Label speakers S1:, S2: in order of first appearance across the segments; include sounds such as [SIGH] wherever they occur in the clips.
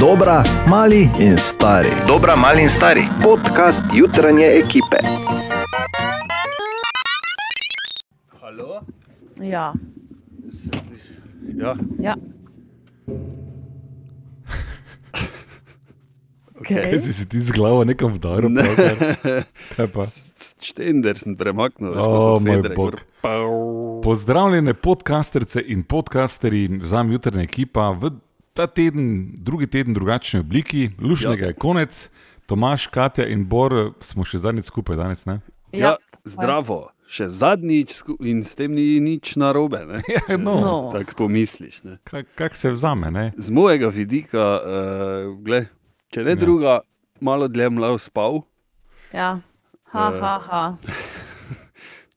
S1: Dobra, mali in stari.
S2: Dobra, mali in stari.
S1: Podcast jutranje ekipe.
S3: Halo?
S4: Ja,
S3: Se sliši. Ja,
S4: ja.
S5: Kaj si si ti z glavo nekam vdaril?
S3: Ne.
S5: pravkar? Kaj pa?
S3: [LAUGHS] štender sem premaknil, veš, ko so
S5: O, moj
S3: fedre
S5: bog.
S3: gor. Pau.
S5: Pozdravljene podcasterce in podcasterji, zam jutrna ekipa v ta teden, drugi teden drugačni obliki, lušnega je konec. Tomaš, Katja in Bor eh, smo še zadnjič skupaj danes, ne?
S3: Ja,
S4: tako je.
S3: zdravo, še zadnjič sku- in s tem ni nič narobe,
S5: [LAUGHS]
S3: ne?
S5: No,
S4: No.
S3: tako pomisliš. Ne?
S5: kak, kak se vzame, ne?
S3: Z mojega vidika, uh, gle, če ne
S5: Ja.
S3: ja. druga, malo dlje mlav spal,
S4: Ja. Ha,
S3: Eh.
S4: ha, ha.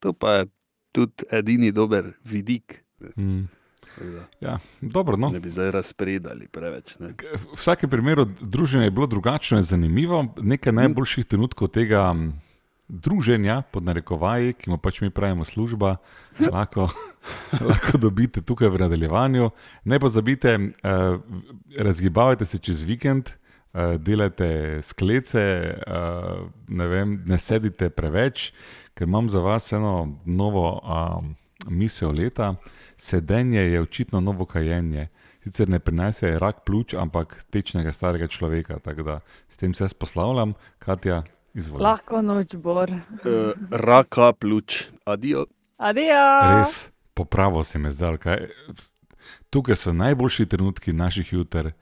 S3: to pa je tudi edini dober vidik. ne.
S5: Mm,
S3: Tako da
S5: ja, dobro, no.
S3: Ne bi zdaj razpredali preveč. Ne?
S5: V vsakem primeru druženje je bilo drugačno in zanimivo. Nekaj najboljših trenutkov tega m, druženja, pod narekovaji, ki mu pač mi pravimo služba, lahko, lahko dobite tukaj v nadaljevanju. Ne pozabite, eh, razgibavajte se čez vikend. eh, Delajte sklece, eh, ne, vem, ne sedite preveč, ker imam za vas eno novo um, misel leta. Sedenje je očitno novo kajenje sicer ne prenese rak pljuč, ampak tečnega starega človeka. Tako da s tem se jaz poslavljam, Katja, izvolite.
S4: Lahko noč bor.
S3: Uh, raka pljuč, adijo.
S4: Adijo.
S5: Res, popravo se mi zdaj. Kaj... Tukaj so najboljši trenutki naših jutr,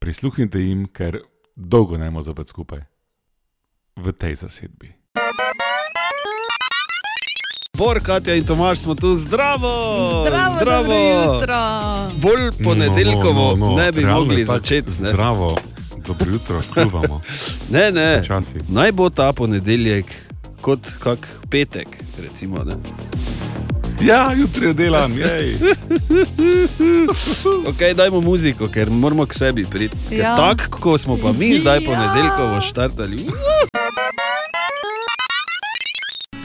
S5: prisluhnite jim, ker dolgo ne bomo zopet skupaj v tej zasedbi.
S3: Bor, Katja in Tomaš smo tu zdravo!
S4: Zdravo, dobro jutro.
S5: No,
S3: Bolj ponedeljkovo no, no, no, ne bi
S5: realno je
S3: mogli
S5: pač
S3: začeti. Ne?
S5: Zdravo, dobro jutro, kljubamo.
S3: [LAUGHS] Ne, ne.
S5: Počasi.
S3: Naj bo ta ponedeljek kot kak petek. Recimo, ne.
S5: Ja, jutri delam,
S3: [LAUGHS]
S5: jej.
S3: okay, dajmo muziko, ker moramo k sebi priti.
S4: Ja.
S3: Ja. Tako kot smo pa mi zdaj
S4: Ja.
S3: ponedeljkovo štartali.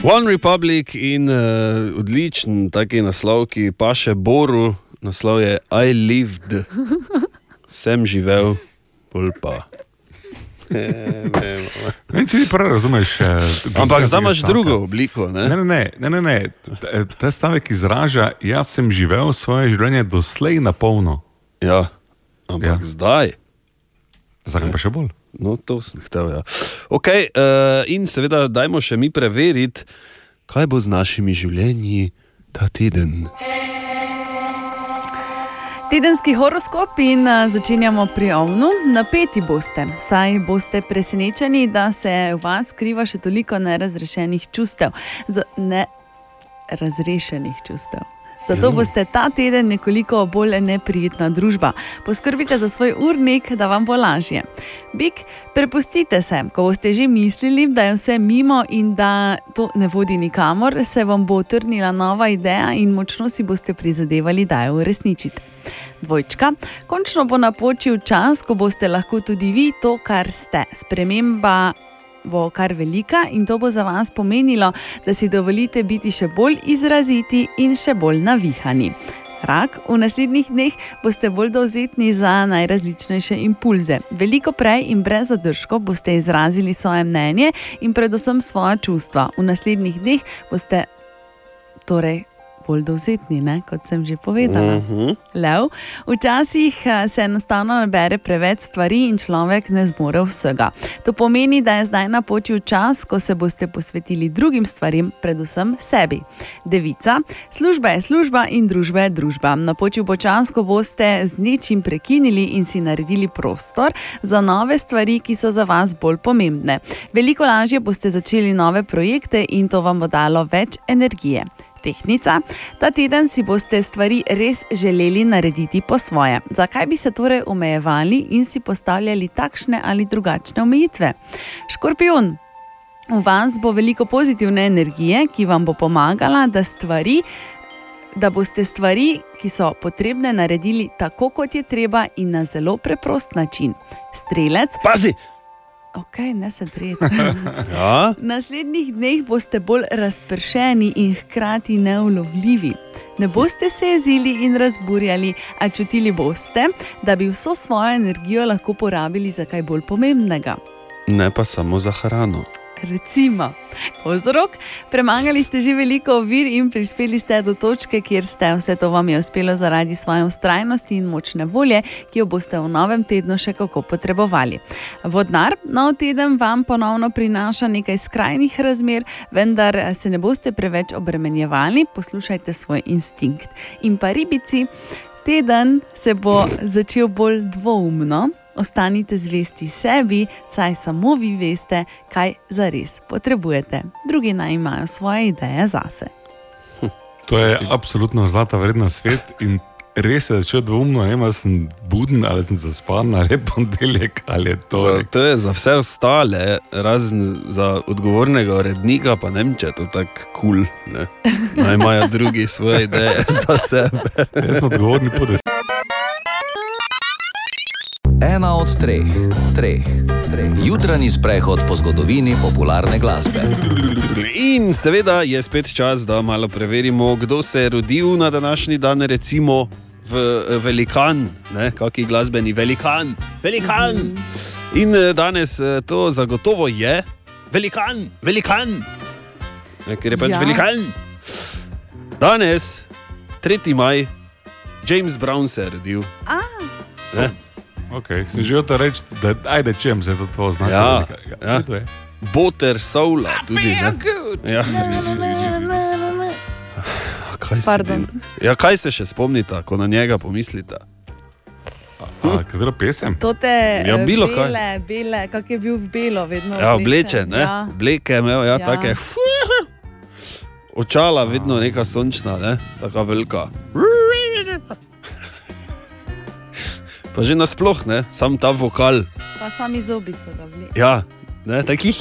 S3: One Republic in uh, odličen taki naslov, ki pa še Boru, naslov je I lived, sem živel, bolj pa. Ne, ne,
S5: Ne vem, če ti prav razumeš. eh,
S3: Ampak
S5: tega
S3: zdaj imaš
S5: stavka.
S3: drugo obliko. Ne?
S5: Ne, ne, ne, ne, ne, ne. Ta- eh, Ta stavek izraža, jaz sem živel svoje življenje doslej na polno.
S3: Ja, ampak
S5: Ja.
S3: ja. zdaj.
S5: Zakaj pa še bolj?
S3: No, to sem hotel. Ja. Okay, uh, in seveda, dajmo še mi preveriti, kaj bo z našimi življenji ta teden.
S6: Tedenski horoskop in a, začenjamo pri ovnu. Napeti boste, saj boste presenečeni, da se v vas skriva še toliko nerazrešenih čustev. Z nerazrešenih čustev. Zato boste ta teden nekoliko bolj neprijetna družba. Poskrbite za svoj urnik, da vam bo lažje. Bik, prepustite se, ko boste že mislili, da je vse mimo in da to ne vodi nikamor, se vam bo utrnila nova ideja in močno si boste prizadevali, da jo uresničite. Dvojčka, končno bo napočil čas, ko boste lahko tudi vi to, kar ste. Sprememba bo kar velika in to bo za vas pomenilo, da si dovolite biti še bolj izraziti in še bolj navihani. Rak, v naslednjih dneh boste bolj dovzetni za najrazličnejše impulze. Veliko prej in brez zadržkov boste izrazili svoje mnenje in predvsem svoje čustva. V naslednjih dneh boste torej bolj dovzetni, ne? kot sem že povedala.
S3: -huh.
S6: Lev. Včasih eh, se enostavno nabere preveč stvari in človek ne zmore vsega. To pomeni, da je zdaj napočil čas, ko se boste posvetili drugim stvarem, predvsem sebi. Devica, služba je služba in družba je družba. Napočil bo čas, ko boste z nečim prekinili in si naredili prostor za nove stvari, ki so za vas bolj pomembne. Veliko lažje boste začeli nove projekte in to vam bo dalo več energije tehnica. Ta teden si boste stvari res želeli narediti po svoje. Zakaj bi se torej omejevali in si postavljali takšne ali drugačne omejitve? Škorpion. V vas bo veliko pozitivne energije, ki vam bo pomagala, da stvari. Da boste stvari, ki so potrebne, naredili tako, kot je treba, in na zelo preprost način. Strelec,
S3: Pazi!
S6: ok, ne se dreti.
S3: Ja,
S6: V naslednjih dneh boste bolj razpršeni in hkrati neulovljivi. Ne boste se jezili in razburjali, a čutili boste, da bi vso svojo energijo lahko porabili za kaj bolj pomembnega.
S3: Ne pa samo za hrano.
S6: Recimo, vzrok, premagali ste že veliko ovir in prispeli ste do točke, kjer ste. Vse to vam je uspelo zaradi svoje ustrajnosti in močne volje, ki jo boste v novem tednu še kako potrebovali. Vodnar, nov teden vam ponovno prinaša nekaj skrajnih razmer, vendar se ne boste preveč obremenjevali, poslušajte svoj instinkt. In pa ribici, teden se bo začel bolj dvoumno. Ostanite zvesti sebi, saj samo vi veste, kaj zares potrebujete. Drugi naj imajo svoje ideje zase.
S5: To je absolutno zlata vredna svet in res je začel dvomno, ne vem, ali sem buden ali sem zaspan, ali je ponedeljek ali je
S3: Za,
S5: torek.
S3: to je za vse ostale, razen za odgovornega urednika, pa ne vem, če je to tako kul. Cool, Naj imajo drugi svoje ideje za sebe.
S5: Jaz sem odgovorni po desetih.
S2: Ena od treh, treh, treh. Jutranji sprehod po zgodovini popularne glasbe.
S3: In seveda je spet čas, da malo preverimo, kdo se je rodil na današnji dan, recimo v eh, Velikan, ne, kaki glasbeni Velikan. Velikan! In eh, danes eh, to zagotovo je Velikan, Velikan, ne, ker je pač
S6: Ja.
S3: ja. Velikan. Danes, 3. maj, James Brown se je rodil. Ne?
S5: Okay, sem želel to reči, da ajde čem se to tvoje znanje.
S3: Ja, ja.
S5: to je.
S3: Boter Soula, tudi ne. Ja. A Kaj se,
S6: Pardon.
S3: ja, kaj se še spomnite, ko na njega pomislite?
S5: A, Katero pesem?
S6: To te
S3: Ja,
S6: eh,
S3: bilo kaj.
S6: bele, bele, kak je bil v belo, vedno.
S3: Ja,
S6: oblečen,
S3: obleče, ne?
S6: Ja.
S3: Obleke imel, ja,
S6: Ja.
S3: ja. take. Očala, vedno neka sončna, ne? Taka velika. Pa že nasploh, ne? Sam ta vokal.
S6: Pa sami zobi so ga
S3: [LAUGHS]
S6: bili.
S3: Ja, ne? Taki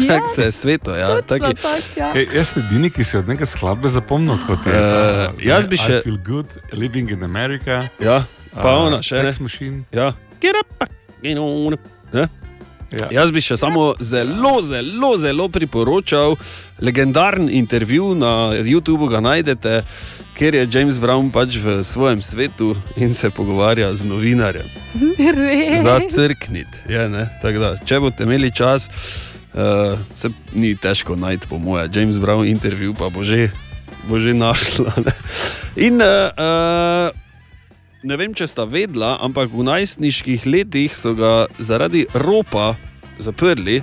S6: Ja,
S3: hek [LAUGHS] se je sveto, ja.
S6: točno
S3: Taki.
S6: tak, ja.
S5: Ej, jaz sem edini, ki se od neke skladbe zapomnil kot je.
S3: Eh,
S5: ta,
S3: jaz bi
S5: I
S3: še-
S5: Feel good, living in America.
S3: Ja, pa
S5: eh,
S3: ona še ne.
S5: Sex machine.
S3: Ja. Get up, get on up. Ne?
S5: Ja.
S3: Jaz bi še samo zelo, zelo, zelo priporočal legendarni intervju na YouTubu, ga najdete, kjer je James Brown pač v svojem svetu in se pogovarja z novinarjem.
S6: Res.
S3: Za crknit. Je, ne? Tako da, če boste imeli čas, uh, se ni težko najti, po mojem, James Brown intervju pa bo že, bo že našla. Ne? In uh, uh, ne vem, če sta vedla, ampak v najstniških letih so ga zaradi ropa zaprli.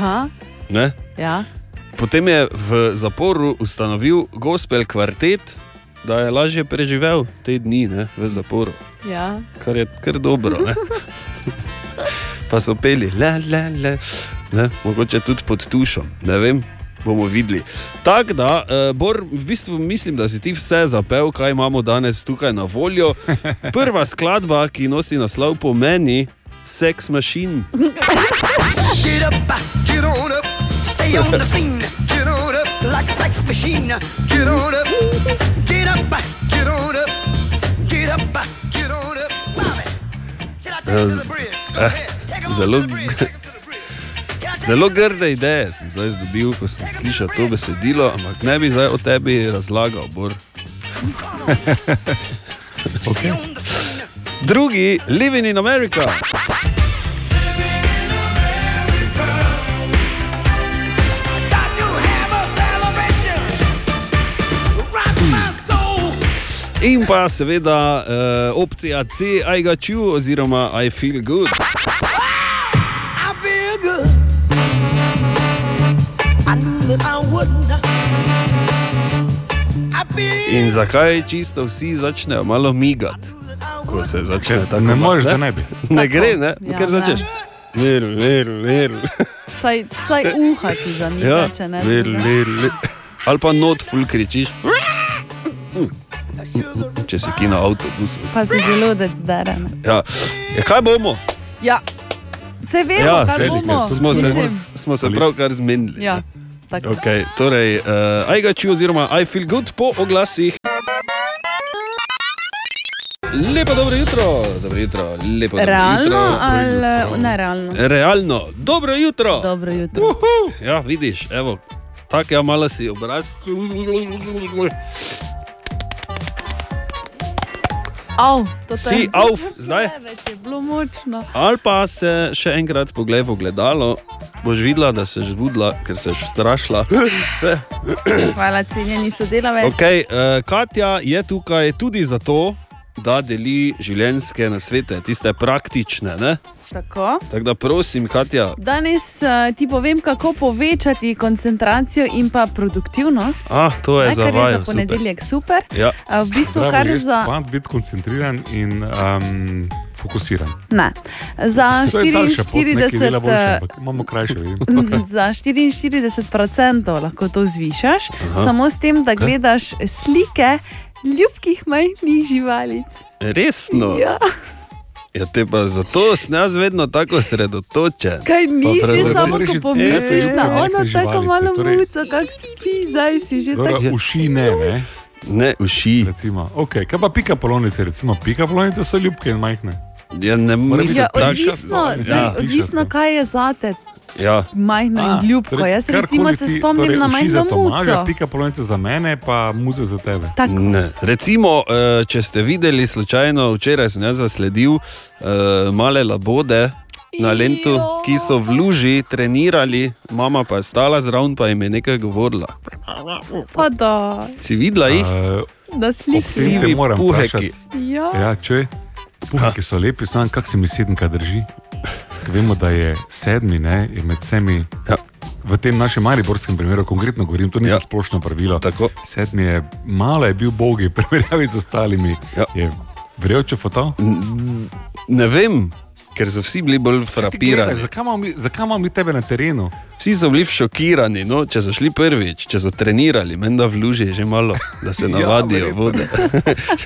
S6: Ja,
S3: Ne?
S6: ja.
S3: Potem je v zaporu ustanovil gospel kvartet, da je lažje preživel te dni ne, v zaporu.
S6: ja.
S3: kar je kar dobro.
S7: [LAUGHS]
S3: ne. pa so peli, le, le, le. Ne, mogoče tudi pod tušom, ne vem. Bomo videli. Tako da, uh, Bor, v bistvu mislim, da si ti vse zapel, kaj imamo danes tukaj na
S7: [LAUGHS]
S3: voljo. Prva skladba, ki nosi naslov po meni, Sex Machine.
S7: Get up, get on up, stay on the scene. Get on up like a sex machine. Get on up, get up, get on up, get up, get on up. Bobby, should I take him to the bridge? Go ahead, take him on
S3: Eh, zelo
S7: to the bridge, take him to the bridge. Can I take
S3: Zelo
S7: him to the
S3: grde ideje sem zdaj dobil, ko sem slišal to besedilo, ampak ne bi zdaj o tebi razlagal, Bor.
S7: bridge? Stay on the scene.
S3: Drugi, Living in America.
S7: Thought you have a celebration. Rock my soul.
S3: In pa seveda uh, opcija C, I got you, oziroma I feel good.
S7: I feel good. I knew that I wouldn't. I feel
S3: In zakaj čisto vsi začnejo malo migati,
S7: that I
S3: ko
S7: wouldn't.
S3: se začne tako?
S5: Ne moreš, da
S3: malo,
S5: ne bi.
S3: [LAUGHS] Ne gre, ne?
S6: Ja,
S3: Ja, Ker
S6: ne.
S3: začneš. Veru, veru, veru.
S6: Saj, saj uha ti za njega,
S3: Ja,
S6: če ne.
S3: veru,
S6: drugega.
S3: veru, veru. Ali pa not full kričiš, Hm. če si ki na avtobusu.
S6: Pa si želodec zdaren.
S3: Ja. Ja, kaj bomo?
S6: Ja, se vemo,
S3: Ja,
S6: kaj
S3: sej
S6: bomo.
S3: smo se,
S6: Mislim,
S3: smo se pravkar zmenili.
S6: Ja, tako.
S3: Okay, torej, uh, I got you, oziroma I feel good po oglasih. Lepo dobro jutro, dobro jutro, lepo dobro jutro.
S6: Realno ali nerealno?
S3: Realno, dobro jutro.
S6: Dobro jutro.
S3: Uhu, ja, vidiš, evo, Tako ja, malo si obraz.
S6: Au, to
S3: Si
S6: je.
S3: auf, zdaj.
S6: Več je bilo močno.
S3: Ali pa se še enkrat poglej v ogledalo, boš videla, da se je zbudila, ker se je
S6: [CLEARS THROAT]
S3: strašila.
S6: Hvala, cenjeni sodelavec.
S3: Okay, uh, Katja je tukaj tudi zato, da deli življenjske nasvete, tiste praktične. ne?
S6: Tako.
S3: Tako da prosim, Katja.
S6: Danes uh, ti povem, kako povečati koncentracijo in pa produktivnost.
S3: [LAUGHS] Ah, to je
S6: Ne,
S3: za
S6: kar je
S3: vajo.
S6: za ponedeljek super.
S3: Ja.
S6: Uh, v bistvu,
S5: Treba
S6: kar
S5: je
S6: za.
S5: spati, biti koncentriran in um, fokusiran.
S6: Ne. Za
S5: To je daljša pot, nekaj je bila boljša,
S6: 44.
S5: ampak imamo krajše. vidim.
S6: [LAUGHS]
S5: [LAUGHS]
S6: eh, Za 44% lahko to zvišaš, Aha. samo s tem, da gledaš slike ljubkih majhnih živalic.
S3: Resno.
S6: Ja.
S3: Ja, te pa zato sem jaz vedno tako osredotočen.
S6: Kaj ni
S5: prav,
S6: že
S5: dobro,
S6: samo, ko
S5: reči,
S6: pomisliš
S5: eto,
S6: na
S5: ljubke
S6: ono tako
S5: majhne živalice,
S6: malo
S5: torej-
S6: muco, kako spi, zdaj si že
S5: Dobro,
S6: tako.
S5: Torej,
S6: Ja,
S5: Uši ne, ne.
S3: Ne, uši.
S5: Recimo. Okay, kaj pa pika polonice? Recimo, pika polonice so ljubke in majhne.
S3: Ja, ne morem
S6: Ja,
S5: takšna
S6: odvisno,
S5: stvar.
S6: zdaj,
S3: Ja.
S6: odvisno, kaj je zate
S3: Ja.
S6: majhno in ljubko.
S5: torej,
S6: Jaz recimo
S5: karkoli
S6: se
S5: ti-
S6: spomnim
S5: torej,
S6: na
S5: uši
S6: majhno
S5: za Tomaža,
S6: muco.
S5: Pika polonice za mene, pa muze za tebe.
S6: Tako.
S3: Ne. Recimo, eh, če ste videli slučajno, včeraj sem jaz zasledil eh, male labode na Lentu,
S6: Jo.
S3: ki so v luži trenirali, mama pa je stala zraven, pa jim je nekaj govorila.
S6: Pa da,
S3: Si videla jih?
S5: Uh,
S6: da
S5: Vsi
S6: sliki.
S3: Sivi
S5: te moram
S3: puheki.
S5: vprašati.
S6: Ja.
S5: Ja, če puhki so lepi, sam kak se mi sedemka drži. Ker Vemo, da je sedmi, ne, je med vsemi.
S3: Ja.
S5: V tem našem mariborskem primeru, konkretno govorim, to ni
S3: Ja.
S5: ja. splošno pravilo.
S3: Tako.
S5: Sedmi je, malo je bil bogi, primerjavi z ostalimi.
S3: Ja.
S5: Je vrejoče fotal?
S3: Ne vem, ker so vsi bili bolj frapirani.
S5: Zakaj imamo mi- zakaj imamo mi tebe na terenu?
S3: Vsi so bili šokirani, no, če so šli prvič, če so trenirali, menda v luži je že malo, da se navadijo ja,
S5: verjetno.
S3: vode.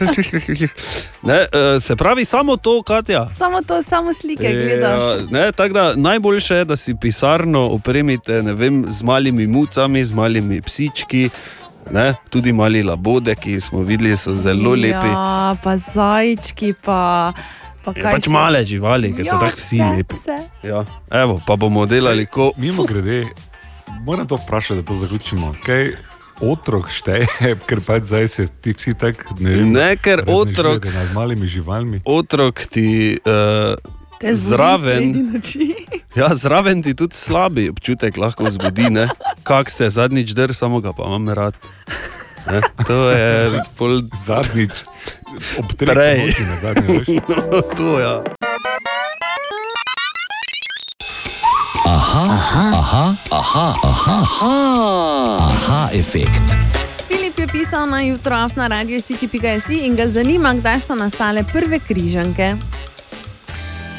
S3: [LAUGHS] ne, eh, se pravi, samo to, Katja.
S6: Samo to, samo slike gledaš.
S3: Ja, ne, tako da najboljše je, da si pisarno opremite ne vem, z malimi mucami, z malimi psički. Ne? Tudi mali labode, ki smo videli, so zelo ja. lepi.
S6: Ja, pa zajčki, pa, pa
S3: Je
S6: kaj.
S3: Pač
S6: še?
S3: male živali, ki so
S6: Ja,
S3: tako vsi
S6: vse,
S3: lepi.
S6: vse.
S3: Ja. Evo, pa bomo delali kot
S5: Mimo grede, moram to vprašati, da to zaključimo. Kaj otrok šteje, [LAUGHS] ker pač zdaj se ti vsi tako ne vem.
S3: Ne, ker
S5: raznežujete
S3: otrok-
S5: Nad malimi živalmi.
S3: otrok ti.
S6: Te
S3: Uh,
S6: zbudi
S3: zraven,
S6: sredi noči.
S3: [LAUGHS] ja, zraven ti tudi slabi občutek lahko zbudi, ne? kak se zadnjič drž, samo ga pa imam rad. Ne? To je pol
S5: Zadnjič, ob treh
S3: Prej.
S5: ponoči nazadnje,
S3: [LAUGHS]
S5: veš.
S3: to, ja.
S2: Aha, aha, aha, aha, aha efekt.
S6: Filip je pisal na jutro af na radio City.js in ga zanima, kdaj so nastale prve križanke.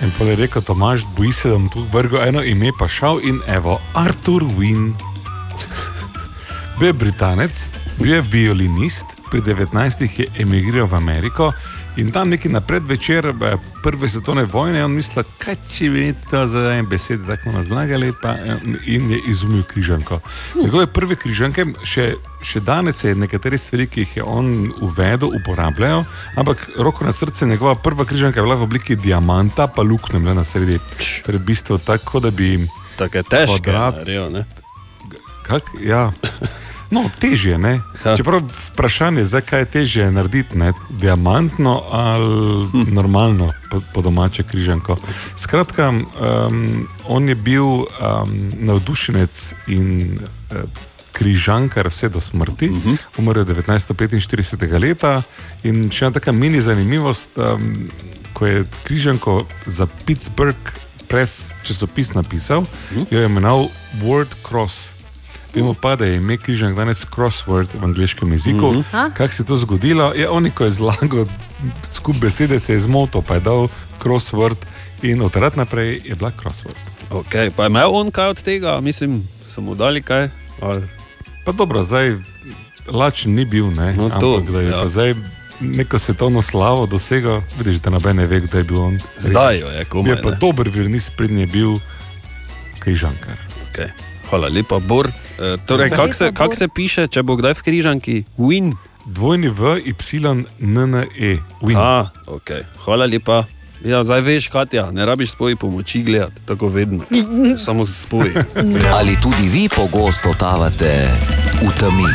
S5: In pol je rekel Tomaž, boji se, da mu tu vrgo eno ime pa šel in evo, Arthur Wynne. Bil je Britanec, bil je violinist, pri 19-ih je emigriral v Ameriko in tam neki napred večer eh, Prve svetovne vojne je on mislil, kaj če bi to za en besed tako nazlagali pa, eh, in je izumil križanko. Njegove prve križanke, še, še danes se nekatere stvari, ki jih je on uvedel, uporabljajo, ampak roko na srce, njegova prva križanka je bila v obliki diamanta, pa luknja je bila na sredi. Torej, v bistvu tako, da bi jim
S3: Tako je težko.
S5: Kvadrat. Kak, ja. No, težje je.
S3: Ja.
S5: Čeprav vprašanje je, zakaj je težje narediti ne? diamantno ali hm. normalno, po, po domače križanko. Skratka, um, on je bil um, navdušenec in uh, križankar vse do smrti. Uh -huh. Umrl je 1945. leta in še ena taka mini zanimivost, um, ko je križanko za Pittsburgh Press časopis napisal, uh -huh. jo je imenoval World Cross. Vemo pa, da je ime križank danes crossword v angliškem jeziku.
S3: Mhm.
S5: Mm
S6: Aha.
S5: -hmm. Kako se je to zgodilo? Je on, ko je zlagal skupaj besede, se je zmotil, pa je dal crossword in od takrat naprej je bila crossword.
S3: Okay, pa je imel on kaj od tega, mislim, so mu dali kaj. Ali...
S5: Pa dobro, zdaj lačen ni bil, ne?
S3: No, to,
S5: ampak da je
S3: ja.
S5: ja. zdaj neko svetovno slavo dosegel, vidiš, da noben ne ve, kdo je bil on.
S3: Zdaj jo je komaj.
S5: Je pa
S3: ne.
S5: dober violinist, prednji je bil križankar.
S3: Okay. Hvala lepa, Bor. E, torej,
S6: Hvala
S3: kako se,
S6: lepa,
S3: kak
S6: Bor.
S3: se piše, če bo kdaj v križanki? Win.
S5: Dvojni v, y, n, n, e. Win.
S3: A, okay. Hvala lepa, Ja, zdaj veš, Katja, ne rabiš spoji pomoči gledati, tako vedno. Samo spoji.
S2: Ali tudi vi pogosto totavate v temi?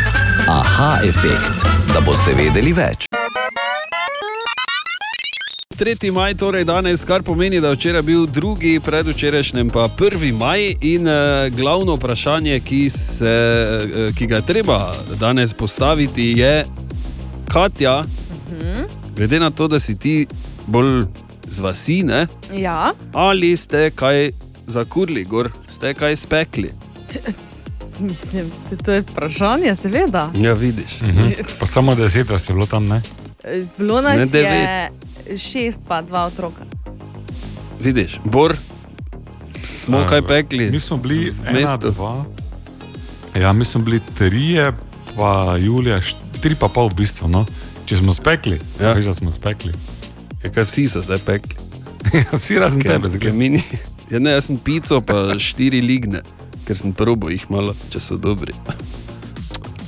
S2: Aha, efekt, da boste vedeli več.
S3: 3. maj torej danes, kar pomeni, da je včeraj bil drugi, predvčerajšnjem pa 1. maj in eh, glavno vprašanje, ki, se, eh, ki ga je treba danes postaviti, je, Katja,
S6: Mhm.
S3: glede na to, da si ti bolj z vasi, ne,
S8: Ja,
S3: ali ste kaj zakurili, gor, ste kaj spekli.
S6: Mislim, to je vprašanje, seveda.
S3: Ja, vidiš.
S5: Mhm. Pa samo deset vas je bilo tam, ne?
S6: Eh, Bilo
S3: Ne,
S6: nas je
S3: devet.
S6: šest, pa dva otroka.
S3: Vidiš, bor, smo kaj pekli.
S5: Mi smo bili
S3: V
S5: ena,
S3: mestu.
S5: dva. Ja, mi smo bili trije, pa Julija, štiri pa pol v bistvu. No. Če smo spekli,
S3: Ja.
S5: ja. veš, da smo spekli.
S3: Ja, kaj vsi so zdaj pekli.
S5: Vsi razen
S3: Ker-
S5: tebe,
S3: ker
S5: zakaj?
S3: mi ni- Ja, ne, jaz sem pico, pa štiri ligne, ker sem probo jih malo, če so dobri.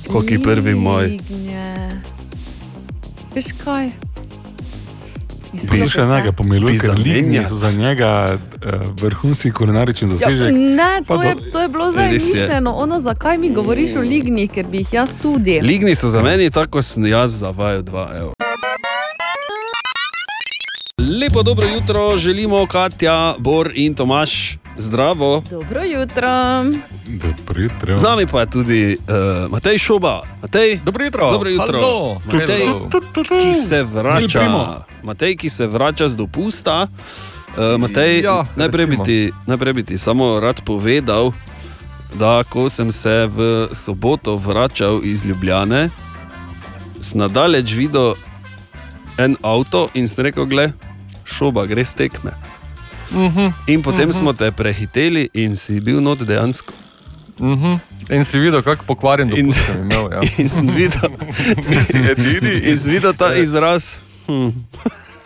S3: Koki prvi moj.
S6: Lignje. Veš kaj?
S5: Poslušaj enega, pomiluj, ker
S3: Pizda menja.
S5: lignje so za njega eh, vrhunski kulinarični
S6: Ja,
S5: dosežek.
S6: ne,
S5: Pa
S6: to
S5: do-
S6: je, to je bilo zdaj
S3: Res je.
S6: mišljeno. Ono, zakaj mi govoriš o lignih, ker bi jih jaz tudi.
S3: Ligni so za meni, tako sem jaz zavajal dva evra. Lepo dobro jutro, želimo Katja, Bor in Tomaš, zdravo.
S6: Dobro jutro.
S5: Dobro jutro.
S3: Z nami pa je tudi uh, Matej Šoba. Matej,
S9: Dobro jutro.
S3: Dobro jutro.
S9: Halo.
S3: Matej,
S9: Hello.
S3: ki se
S5: Mi
S3: vrača,
S5: primo.
S3: Matej, ki se vrača z dopusta. Uh, Matej, ja,
S9: Ja,
S3: najprej, bi
S9: recimo.
S3: ti, najprej bi ti samo rad povedal, da ko sem se v soboto vračal iz Ljubljane, sem nadaleč videl en avto in sem rekel, gled, šoba, gre stekme. In potem smo te prehiteli in si bil not dejansko.
S9: Mhm. In si videl, kako pokvarjen
S3: In-
S9: dopust sem imel. Ja.
S3: [LAUGHS] In sem videl, [LAUGHS] in sem videl ta izraz. Hm,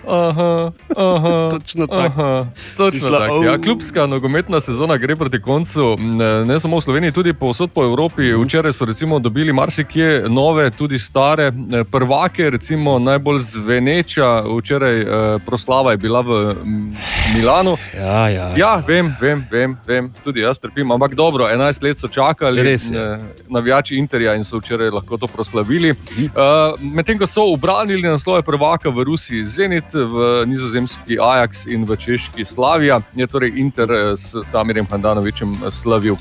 S9: Ja. Aha, aha.
S3: točno oh. tako.
S9: Aha, točno
S3: Mislila,
S9: tako. Ja,
S3: "Au."
S9: klubska nogometna sezona gre proti koncu, ne, ne samo v Sloveniji, tudi povsod po Evropi. Včeraj so recimo dobili marsikje nove, tudi stare eh, prvake, recimo najbolj zveneča. Včeraj eh, proslava je bila v mm, Milanu.
S3: Ja, ja.
S9: Ja, vem, vem, vem, vem, tudi jaz trpim, ampak dobro, 11 let so čakali,
S3: Res je.
S9: eh, navijači Interja in so včeraj lahko to proslavili.
S3: Mhm.
S9: Uh, Medtem ko so obranili naslove prvaka v Rusiji Zenit, v nizozemski Ajax in v češki Slavija, je torej Inter eh, s Samirjem Handanovičem eh, slavil.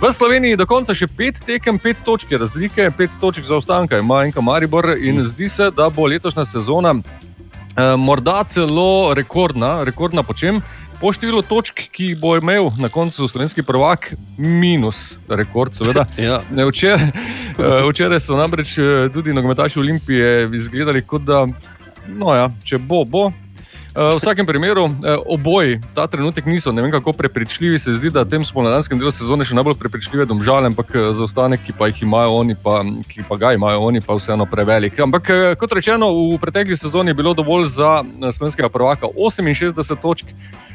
S9: V Sloveniji do konca še pet tekem, pet točk je razlike, pet točk zaostanka ima enka Maribor in
S3: Mhm.
S9: zdi se, da bo letošnja sezona eh, morda celo rekordna, rekordna po čem. Po številu točk, ki jih bo imel na koncu slovenski prvak, minus rekord, seveda.
S3: Ja.
S9: Ne, Včeraj, [LAUGHS] eh, včeraj so namreč eh, tudi nogometaši Olimpije izgledali kot da, no ja, če bo, bo. Eh, V vsakem primeru, eh, oboji ta trenutek niso, ne vem kako prepričljivi. Se zdi, da v tem spomladanskem delu sezone še najbolj prepričljive domžale, ampak eh, zaostanek, ki pa jih imajo oni, pa, ki pa ga imajo oni, pa vseeno prevelik. Ampak eh, kot rečeno, v pretekli sezoni je bilo dovolj za eh, slovenskega prvaka 68 točk,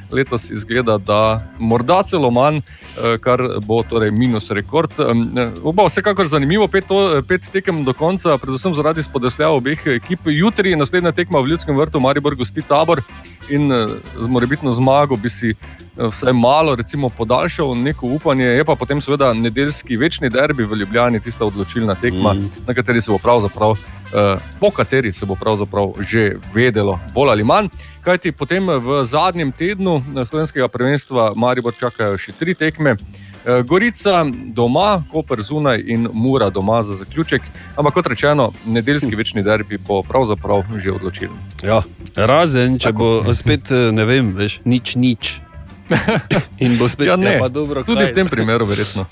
S9: letos izgleda, da morda celo manj, eh, kar bo torej minus rekord. Em, eh, Oba, vsekakor zanimivo, pet, to, pet tekem do konca, predvsem zaradi spodrsljava obeh ekip. Jutri je naslednja tekma v Ljudskem vrtu, Maribor gosti tabor in eh, z morebitno zmago bi si eh, vsaj malo recimo, podaljšal neko upanje. Je pa potem seveda nedeljski večni derbi v Ljubljani, tista odločilna tekma, mm. na kateri se bo pravzaprav, eh, po kateri se bo pravzaprav že vedelo, bolj ali manj. Kajti potem eh, v zadnjem tednu eh, slovenskega prvenstva Maribor čakajo še tri tekme. Eh, Gorica doma, Koper zunaj in Mura doma za zaključek. Ampak kot rečeno, nedeljski večni derbi bo pravzaprav že odločilen.
S3: Ja. Razen, če Tako. bo spet, eh, ne vem, veš, nič,
S9: [LAUGHS]
S3: nič. In bo spet
S9: Ja, ne.
S3: pa dobro,
S9: Tudi
S3: kaj?
S9: v tem primeru,
S3: [LAUGHS]
S9: verjetno.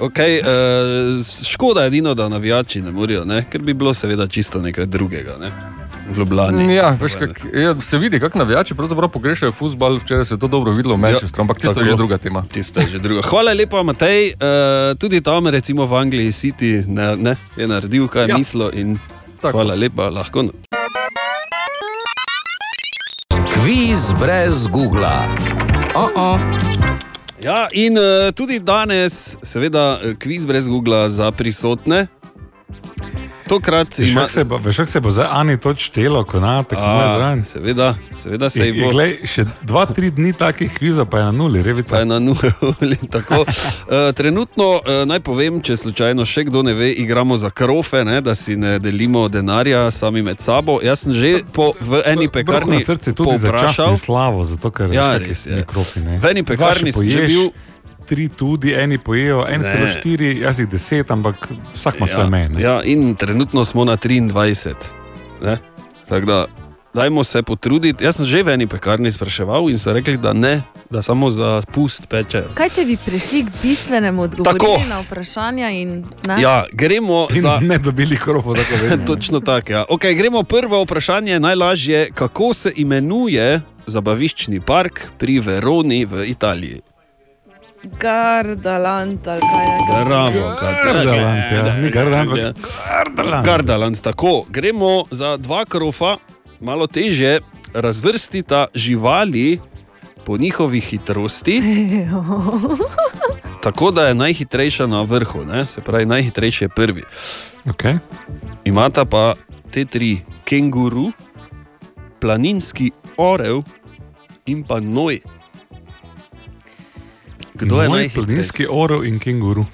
S3: okay, uh, škoda je edino, da navijači ne morajo, ne? ker bi bilo seveda čisto nekaj drugega. Ne? V Ljubljani.
S9: Ja, veš, kak, je, se vidi, kako navijači pravzaprav pogrešajo futbol. Včeraj se je to dobro videlo v Manchesteru, ampak tisto
S3: Ja, tako.
S9: je že druga tema.
S3: Tisto je že drugo. Hvala lepa, Matej. Uh, tudi tam, recimo v Angliji, City ne, ne, je naredil, kaj je ja.
S9: Ja.
S3: mislil. in
S9: Tako.
S3: Hvala lepa, lahko. no.
S2: Kviz brez Google. Oh -oh.
S3: Ja, in uh, eh, tudi danes, seveda, eh, kviz brez Google za prisotne. tokrat
S5: Veš,
S3: ima
S5: kako se bo- Veš, kako se bo zdaj Ani to čtelo, ko na tako ima
S3: A,
S5: zraven.
S3: Seveda, seveda se
S5: Je,
S3: jih
S5: je,
S3: bo.
S5: glej, še dva, tri dni takih kvizov, pa je na nuli,
S3: Pa je
S5: revica.
S3: na nuli. [LAUGHS] tako. Eh, Trenutno, eh, naj povem, če slučajno še kdo ne ve, igramo za krofe, ne, da si ne delimo denarja sami med sabo. Jaz sem že po, v eni
S5: Brko
S3: pekarni
S5: na srce tudi za
S3: povprašal.
S5: častno slavo, zato ker
S3: Ja,
S5: veš, kak je
S3: res
S5: s
S3: je.
S5: mikrofoni.
S3: V eni pekarni sem že bil.
S5: Tri tudi, eni pojejo, eni
S3: Ne.
S5: celo štiri, jaz jih deset, ampak vsak ima svoje meje. ne.
S3: ja, in trenutno smo na 23. ne. Tako da, dajmo se potruditi. Jaz sem že v eni pekarni spraševal in so rekli, da ne, da samo za pust pečejo.
S6: Kaj, če bi prišli k bistvenemu
S3: Tako.
S6: odgovoru na vprašanja? In, ne?
S3: Ja, gremo
S5: In
S3: za.
S5: ne dobili kropo, tako vedno.
S3: [LAUGHS] Točno tako. Ja. Okay, gremo prvo vprašanje, najlažje. Kako se imenuje zabaviščni park pri Veroni v Italiji?
S6: Gardalant ali kaj takega.
S3: Bravo,
S5: Gardaland, ja. Ni Gardaland, ampak
S3: Ja.
S5: Gardaland.
S3: Gardaland, tako. Gremo za dva krofa, malo teže razvrstita živali po njihovi hitrosti. Tako da je najhitrejša na vrhu, ne? se pravi, najhitrejši je prvi.
S5: Okay.
S3: Imata pa te tri: kenguru, planinski orel in pa noj. Kdo je
S5: Moj
S3: najhitrejši?
S5: planinski orel in kenguru.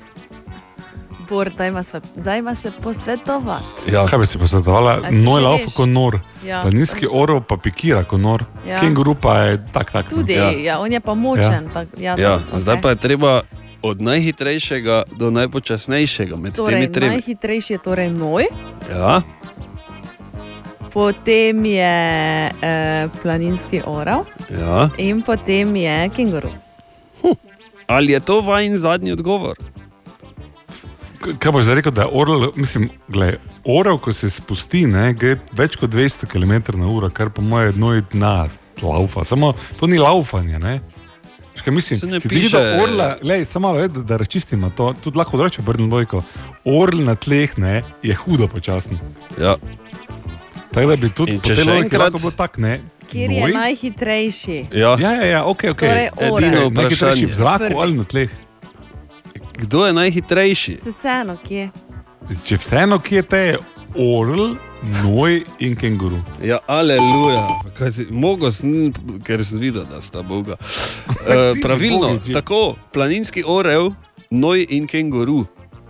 S6: Bor, daj ima sve- daj ima se posvetovati.
S3: Ja,
S5: Kaj bi si posvetovala?
S6: A ti
S5: Noj
S6: že
S5: laufa
S6: veš?
S5: kot nor.
S6: Ja.
S5: Planinski orel pa pikira kot nor.
S6: Ja.
S5: Kenguru pa je tak, tak. no.
S6: Tudi,
S3: Ja.
S6: ja. Ja, on je pa močen. Ja. Tak, ja,
S3: ja,
S6: tak,
S3: zdaj
S6: ok.
S3: pa je treba od najhitrejšega do najpočasnejšega med
S6: Torej,
S3: temi tremi.
S6: najhitrejši je torej noj,
S3: Ja,
S6: potem je eh, planinski orel
S3: ja.
S6: in potem je kenguru.
S3: Ali je to vajen zadnji odgovor?
S5: K- Kaj boš zdaj rekel, da je orel, mislim, gled, orel, ko se spusti, ne, gre več kot 200 km na uro, kar po mojem dno je dna laufa. Samo to ni laufanje, ne. Veš, kaj
S3: Se
S5: Mislim,
S3: ne
S5: če vidiš
S3: piše-
S5: orla, lej, samo malo, eh, da, da razčistimo to, tudi lahko reče obrnil dojko. Orl na tleh ne, je hudo počasen.
S3: Ja.
S5: Tako da bi tudi
S3: In
S5: po
S3: če
S5: tej
S3: še
S5: logiki
S3: enkrat-
S5: lahko bilo tako, ne.
S6: Kjer je
S5: noj?
S6: najhitrejši?
S3: Ja.
S5: Ja, ja, ja, ok, ok.
S6: Torej, orel.
S5: Edino
S3: Edino
S5: vprašanje.
S3: vprašanje.
S5: V zraku
S6: Prvi.
S5: ali na tleh.
S3: Kdo je najhitrejši?
S6: Se vseeno, kje?
S5: Če vseeno, kje te je orl, noj in kenguru.
S3: Ja, aleluja. Kaj si- Mogel sem, ker sem videl, da sta Boga.
S5: [LAUGHS]
S3: E,
S5: ti si
S3: pravilno,
S5: Bogi, Jim.
S3: tako planinski orel, noj in kenguru.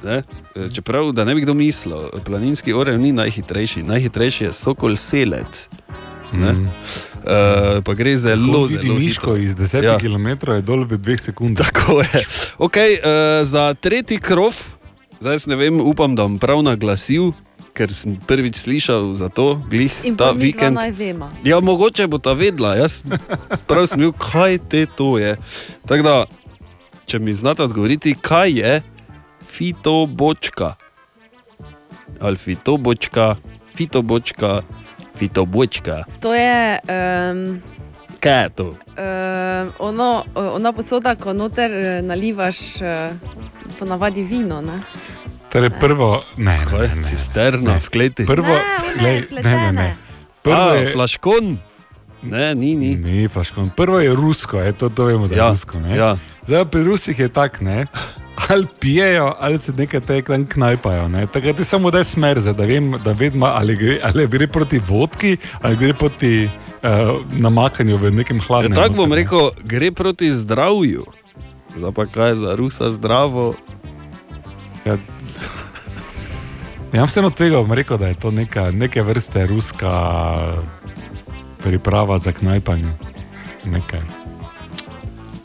S3: Ne? E, Čeprav, da ne bi kdo mislil, planinski orel ni najhitrejši, najhitrejši je sokol selec. Ne?
S5: Mm.
S3: E, pa gre zelo,
S5: Lodi
S3: zelo hitro.
S5: Miško iz 10
S3: Ja.
S5: ja. km je dol v 2 sekundah.
S3: Tako je. Okay, uh, za tretji krov, zdaj jaz ne vem, upam, da bom prav naglasil, ker sem prvič slišal za to, glih
S6: In pa
S3: ta
S6: mi dva
S3: vikend.
S6: naj vemo.
S3: Ja, mogoče bo ta vedla, jaz prav sem bil, kaj te to je. Tako da, če mi znate odgovoriti, kaj je fitobočka. Ali fitobočka, fitobočka, fitobočka.
S6: To je um,
S3: Kaj je to?
S6: um, ono, ona posoda, ko noter eh, nalivaš, eh, ponavadi vino. Ne?
S5: Torej prvo, ne,
S3: Kaj
S5: ne,
S3: je
S5: ne, ne.
S3: Eh, cisterna v kleti?
S5: Prvo,
S6: Ne, ona je
S5: glej, ne, ne,
S6: pletena.
S5: ne. Prvo
S3: A,
S5: je,
S3: flaškon. Ne, ni, ni.
S5: ni, flaškon. Prvo je rusko, je, to, to vemo, da je
S3: Ja,
S5: rusko. Ne?
S3: ja.
S5: Zdaj pri Rusih je tak, ne. Ali pijejo, ali se nekaj tega tam knajpajo. ne. Tako da ti samo daj smer, zdaj, da vem, da vedno ali gre, ali gre proti vodki, ali gre proti uh, namakanju v nekem
S3: Ja,
S5: hladnem.
S3: Tako bom
S5: noter, ne.
S3: rekel, gre proti zdravju. Zdaj pa kaj je za Rusa zdravo?
S5: Ja, ja vseeno tega bom rekel, da je to neka, neke vrste ruska priprava za knajpanje. Nekaj.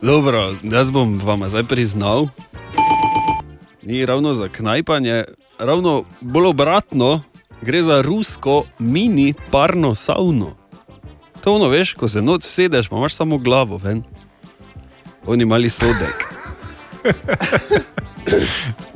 S3: Dobro, jaz bom vam zdaj priznal, ni ravno za knajpanje, ravno bolj obratno, gre za rusko mini parno savno. To je ono, veš, ko se noč sedeš, pa imaš samo glavo ven. Oni mali
S5: [LAUGHS]
S3: sodek.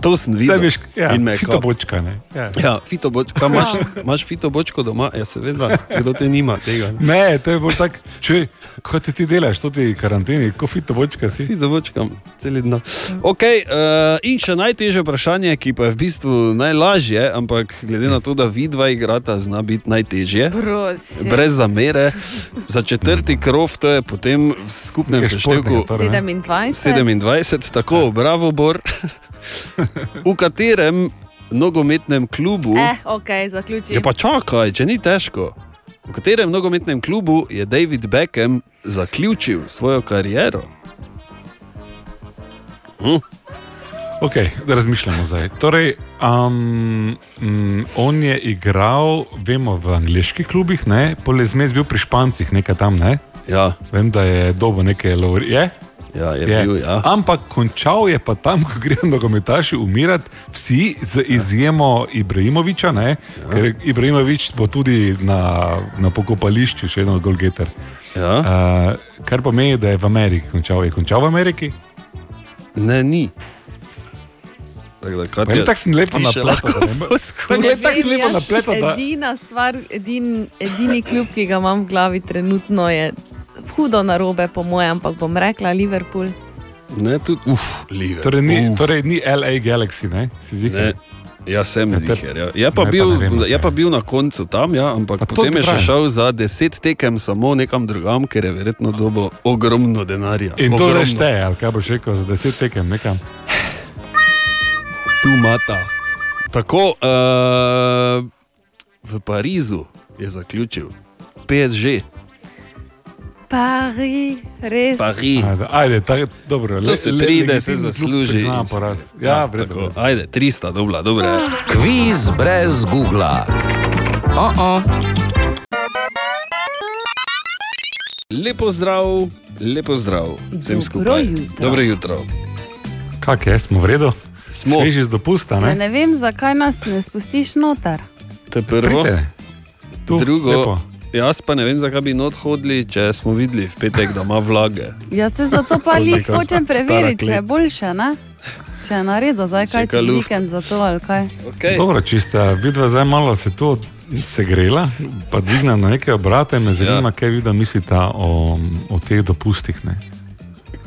S3: to sem videl.
S5: Zdaj veš, ja,
S3: In me je
S5: to bočka. Ne, ja.
S3: Ja, fitobočka,
S5: [LAUGHS]
S3: imaš, imaš fitobočko doma, ja seveda, kdo te nima tega. ne?
S5: ne to je bolj tako, če kaj ti, ti delaš, to ti karanteni, ko fito bočka si.
S3: Fitobočkam, celi dan. Okay, uh, in še najtežje vprašanje, ki pa je v bistvu najlažje, ampak glede na to, da vidva igrata, zna biti najtežje.
S6: Prosim.
S3: Brez zamere, za četrti krov, to je potem v skupnem
S5: Nekaj športnega,
S3: seštevku
S5: torej.
S6: 27.
S3: 27, tako, bravo, Bor, v katerem nogometnem klubu,
S6: Eh, ok, zaključi.
S3: ja pa čakaj, če ni težko. V katerem nogometnem klubu je David Beckham zaključil svojo kariero?
S5: Okay, da razmišljamo zdaj. Torej, um, mm, on je igral, vemo, v angliških klubih, ne, poleg zmes bil pri Špancih, nekaj tam, ne.
S3: Ja,
S5: Vem, da je dobo neke laurije.
S3: ja je, je bil. Ja.
S5: Ampak končal je pa tam, [LAUGHS] ko grejo nogometaši umirati, vsi
S3: Ja.
S5: z izjemo Ibrahimoviča, ne, ja. ker Ibrahimovič bo tudi na, na pokopališču še vedno Golgeter.
S3: Ja.
S5: Uh, kar pomeni, da je v Ameriki končal. Je končal v Ameriki?
S3: Ne, ni. Tako da,
S5: Pa
S3: Katja,
S5: je tako sem lepo
S3: ti še
S5: napletel.
S3: lahko
S5: ne?
S3: [LAUGHS] poskušaš.
S5: je tako
S6: Vem,
S5: lepo
S6: jaz
S5: napletla, da-
S6: Edina stvar, edin, edini klub, ki ga imam v glavi trenutno, je hudo na robe, po mojem, ampak bom rekla Liverpool.
S3: Ne, tudi, uf, live.
S5: Torej ni, torej ni LA Galaxy, ne? si
S3: Ne,
S5: ziger.
S3: jaz sem
S5: Ne, te-
S3: ziger. Ja. Je,
S5: ne, pa
S3: pa bil,
S5: ne vemo,
S3: je
S5: kaj.
S3: pa bil na koncu tam, ja,
S5: A
S3: ampak
S5: to
S3: potem
S5: ti
S3: je še
S5: pravim.
S3: šel za deset tekem samo nekam drugam, ker je verjetno dobil ogromno denarja.
S5: In to
S3: ogromno.
S5: že šteje, ali kaj boš rekel, za deset tekem nekam.
S3: Tu mata. Tako, uh, v Parizu je zaključil. PSG,
S6: Pari, res.
S3: Pariz.
S5: Ajde, Ajde, tako je dobro.
S3: To se pride, se zasluži.
S5: Ja,
S3: in se-
S5: poraz. Ja, vredno.
S3: tako. Ajde, 300, dobra, dobra.
S2: Kviz brez Google. Oh -oh.
S3: Lepo zdrav, lepo zdrav. Vsem
S6: Dobro
S3: skupaj.
S6: jutro.
S3: Dobro jutro.
S5: Kak je, smo v redu?
S3: Smo.
S5: Sveži z dopusta,
S6: Ja,
S5: ne?
S6: ne vem, zakaj nas ne spustiš noter.
S3: To je prvo.
S5: Prite. Tu,
S3: Drugo,
S5: lepo.
S3: jaz pa ne vem, zakaj bi not hodili, če smo videli v petek, da ima vlage.
S6: Jaz se zato
S5: [LAUGHS]
S6: pa lih
S5: kakšna
S6: hočem
S5: Oh stara
S6: preveriti, če je
S5: klet.
S6: boljše, ne? Če je naredil, zdaj kaj
S3: Čaka
S6: čez
S3: luft.
S6: vikend za to ali kaj.
S3: Okay.
S5: Dobro, čista, vidva zdaj malo se tu segrela, pa dvigna na neke obrate, me zanima, ja. kaj vidva mislita o, o teh dopustih. Ne?